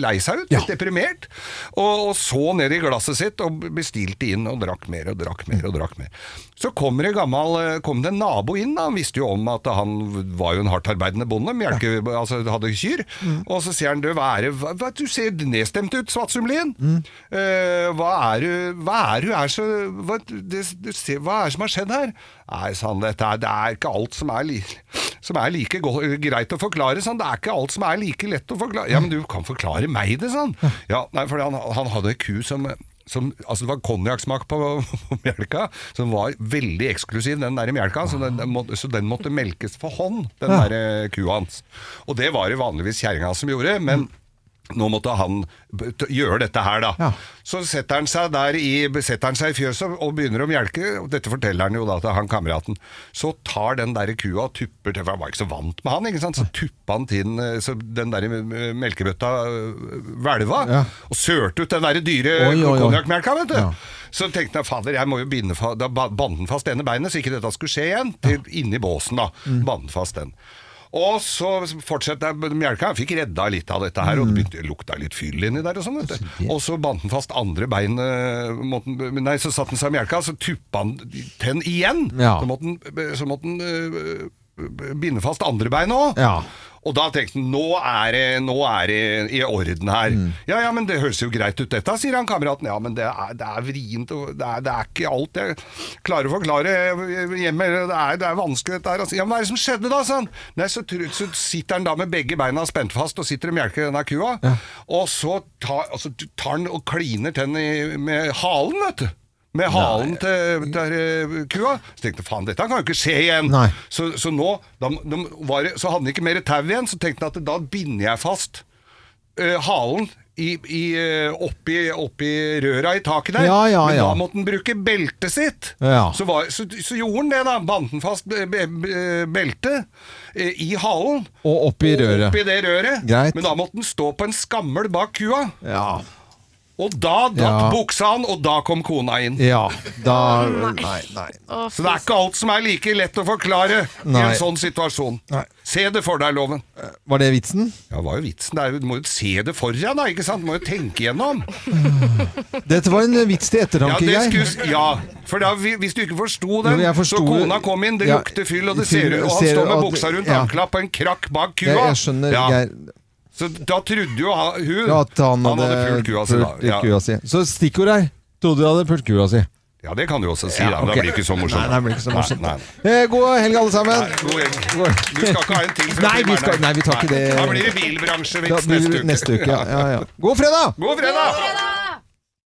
Speaker 3: lei seg ut, litt deprimert. Og, og så ned i glasset sitt og bestilte inn og drakk mer og drakk mer og drakk mer. Så kommer det gammel, eh, kom det en nabo inn, da. han visste jo om at han var jo en hardtarbeidende bonde, melke, altså hadde kyr. Og så sier han, du, hva er det, hva, hva- du ser nedstemt ut, Svatsumlien. Eh, hva er du, hva er du, er så, hva, det, du ser, hva er det som har skjedd her? Nei, sa han, dette er, det er ikke alt som er, li, som er like go- greit å forklare, sa han. Det er ikke alt som er like lett å forklare. Ja, men du kan forklare meg det, sa han. Ja, nei, for han, han hadde en ku som som, altså det var konjakksmak på [LAUGHS] melka, som var veldig eksklusiv, den der melka. Så den, den måtte, så den måtte melkes for hånd, den
Speaker 25: Ja.
Speaker 3: der eh, kua hans. Og det var det vanligvis kjerringa som gjorde, men nå måtte han b- t- gjøre dette her, da. Så setter han seg der i, setter han seg i fjøset og begynner å mjelke. og Dette forteller han jo da til han kameraten. Så tar den der kua og tupper til, for han var ikke så vant med han, ikke sant. Så tuppa han til den, eh, så den der eh, melkebøtta eh, hvelva,
Speaker 1: Ja.
Speaker 3: og sølte ut den der dyre
Speaker 1: Oi, oi, oi.
Speaker 3: konjakkmelka, vet du.
Speaker 1: Ja.
Speaker 3: Så tenkte jeg, fader, jeg må jo binde fa da ba- bande den fast ene beinet, så ikke dette skulle skje igjen, til, inni båsen da, bande den fast den. Og så fortsatte jeg med melka, jeg fikk redda litt av dette her, og det begynte lukta litt fyll inni der og sånn, vet du. Og så bandt den fast andre beinet, måtte den- nei, så satt den seg i melka, så tuppa den til den igjen,
Speaker 1: Ja.
Speaker 3: så måtte den, så måtte den øh, øh, binde fast andre beinet også.
Speaker 1: Ja.
Speaker 3: Og da tenkte han nå er det, nå er det i orden her. Ja, ja, men det høres jo greit ut dette, sier han kameraten. Ja, men det er, det er vrient, og det er, det er ikke alt jeg klarer å forklare hjemme. Det er, det er vanskelig dette her. Altså, Ja, men hva er det som skjedde da, sa han. Nei, så, tru- så sitter han da med begge beina spent fast og sitter og melker denne kua. Og så tar, altså, tar han og kliner til den i- med halen, vet du. Med halen til, til eh, kua. Så tenkte jeg, faen, dette kan jo ikke skje igjen. Så, så nå, da, da var det, så hadde han ikke mer tau igjen, så tenkte han at da binder jeg fast eh, halen i, i, eh, oppi, oppi røra i taket der.
Speaker 1: Ja, ja,
Speaker 3: Men da
Speaker 1: ja.
Speaker 3: måtte han bruke beltet sitt.
Speaker 1: Ja.
Speaker 3: Så, var, så, så gjorde han det, da. Bandt den fast be, be, be- beltet eh, i halen.
Speaker 1: Og opp i røret.
Speaker 3: Oppi det røret.
Speaker 1: Greit.
Speaker 3: Men da måtte den stå på en skammel bak kua.
Speaker 1: Ja.
Speaker 3: Og da datt
Speaker 1: Ja.
Speaker 3: buksa han, og da kom kona inn.
Speaker 1: Ja, da
Speaker 3: Nei.
Speaker 1: Nei, nei.
Speaker 3: Så det er ikke alt som er like lett å forklare i
Speaker 1: Nei.
Speaker 3: en sånn situasjon. Se det for deg, Loven.
Speaker 1: Var det vitsen?
Speaker 3: Ja, det var jo vitsen. Det er jo, du må jo se det for deg, da, ikke sant? Du må jo tenke igjennom.
Speaker 1: Dette var en vits til
Speaker 3: Ja,
Speaker 1: ettertanke,
Speaker 3: det
Speaker 1: Geir.
Speaker 3: skulle, ja. for da, vi- hvis du ikke forsto den,
Speaker 1: Jo, jeg
Speaker 3: så
Speaker 1: forsto-
Speaker 3: kona kom inn, det
Speaker 1: Ja,
Speaker 3: lukter fyll, og det
Speaker 1: fyll,
Speaker 3: ser ut Og han
Speaker 1: ser
Speaker 3: står med
Speaker 1: at-
Speaker 3: buksa rundt
Speaker 1: ja.
Speaker 3: håndklapp og en krakk bak kua.
Speaker 1: Jeg, jeg skjønner,
Speaker 3: Ja.
Speaker 1: Geir,
Speaker 3: Så da trodde jo han, hun
Speaker 1: at han hadde,
Speaker 3: pult kua si, da.
Speaker 1: pult
Speaker 3: Ja.
Speaker 1: kua si. Så stikkord her. Trodde du hadde pult kua si.
Speaker 3: ja, det kan du også si,
Speaker 1: Ja,
Speaker 3: da. men
Speaker 1: ok.
Speaker 3: Da blir det ikke så morsomt.
Speaker 1: Nei, det blir ikke så
Speaker 3: Nei,
Speaker 1: morsomt.
Speaker 3: nei.
Speaker 1: Eh, god helg, alle sammen.
Speaker 3: God helg. Du skal ikke ha en til fra
Speaker 1: Nei, vi skal-
Speaker 3: primærnæringen.
Speaker 1: nei, vi tar ikke det.
Speaker 3: Da blir det bilbransjevits
Speaker 1: Da blir det
Speaker 3: neste
Speaker 1: neste
Speaker 3: uke. [LAUGHS]
Speaker 1: uke, ja, ja, ja. God fredag!
Speaker 3: God fredag!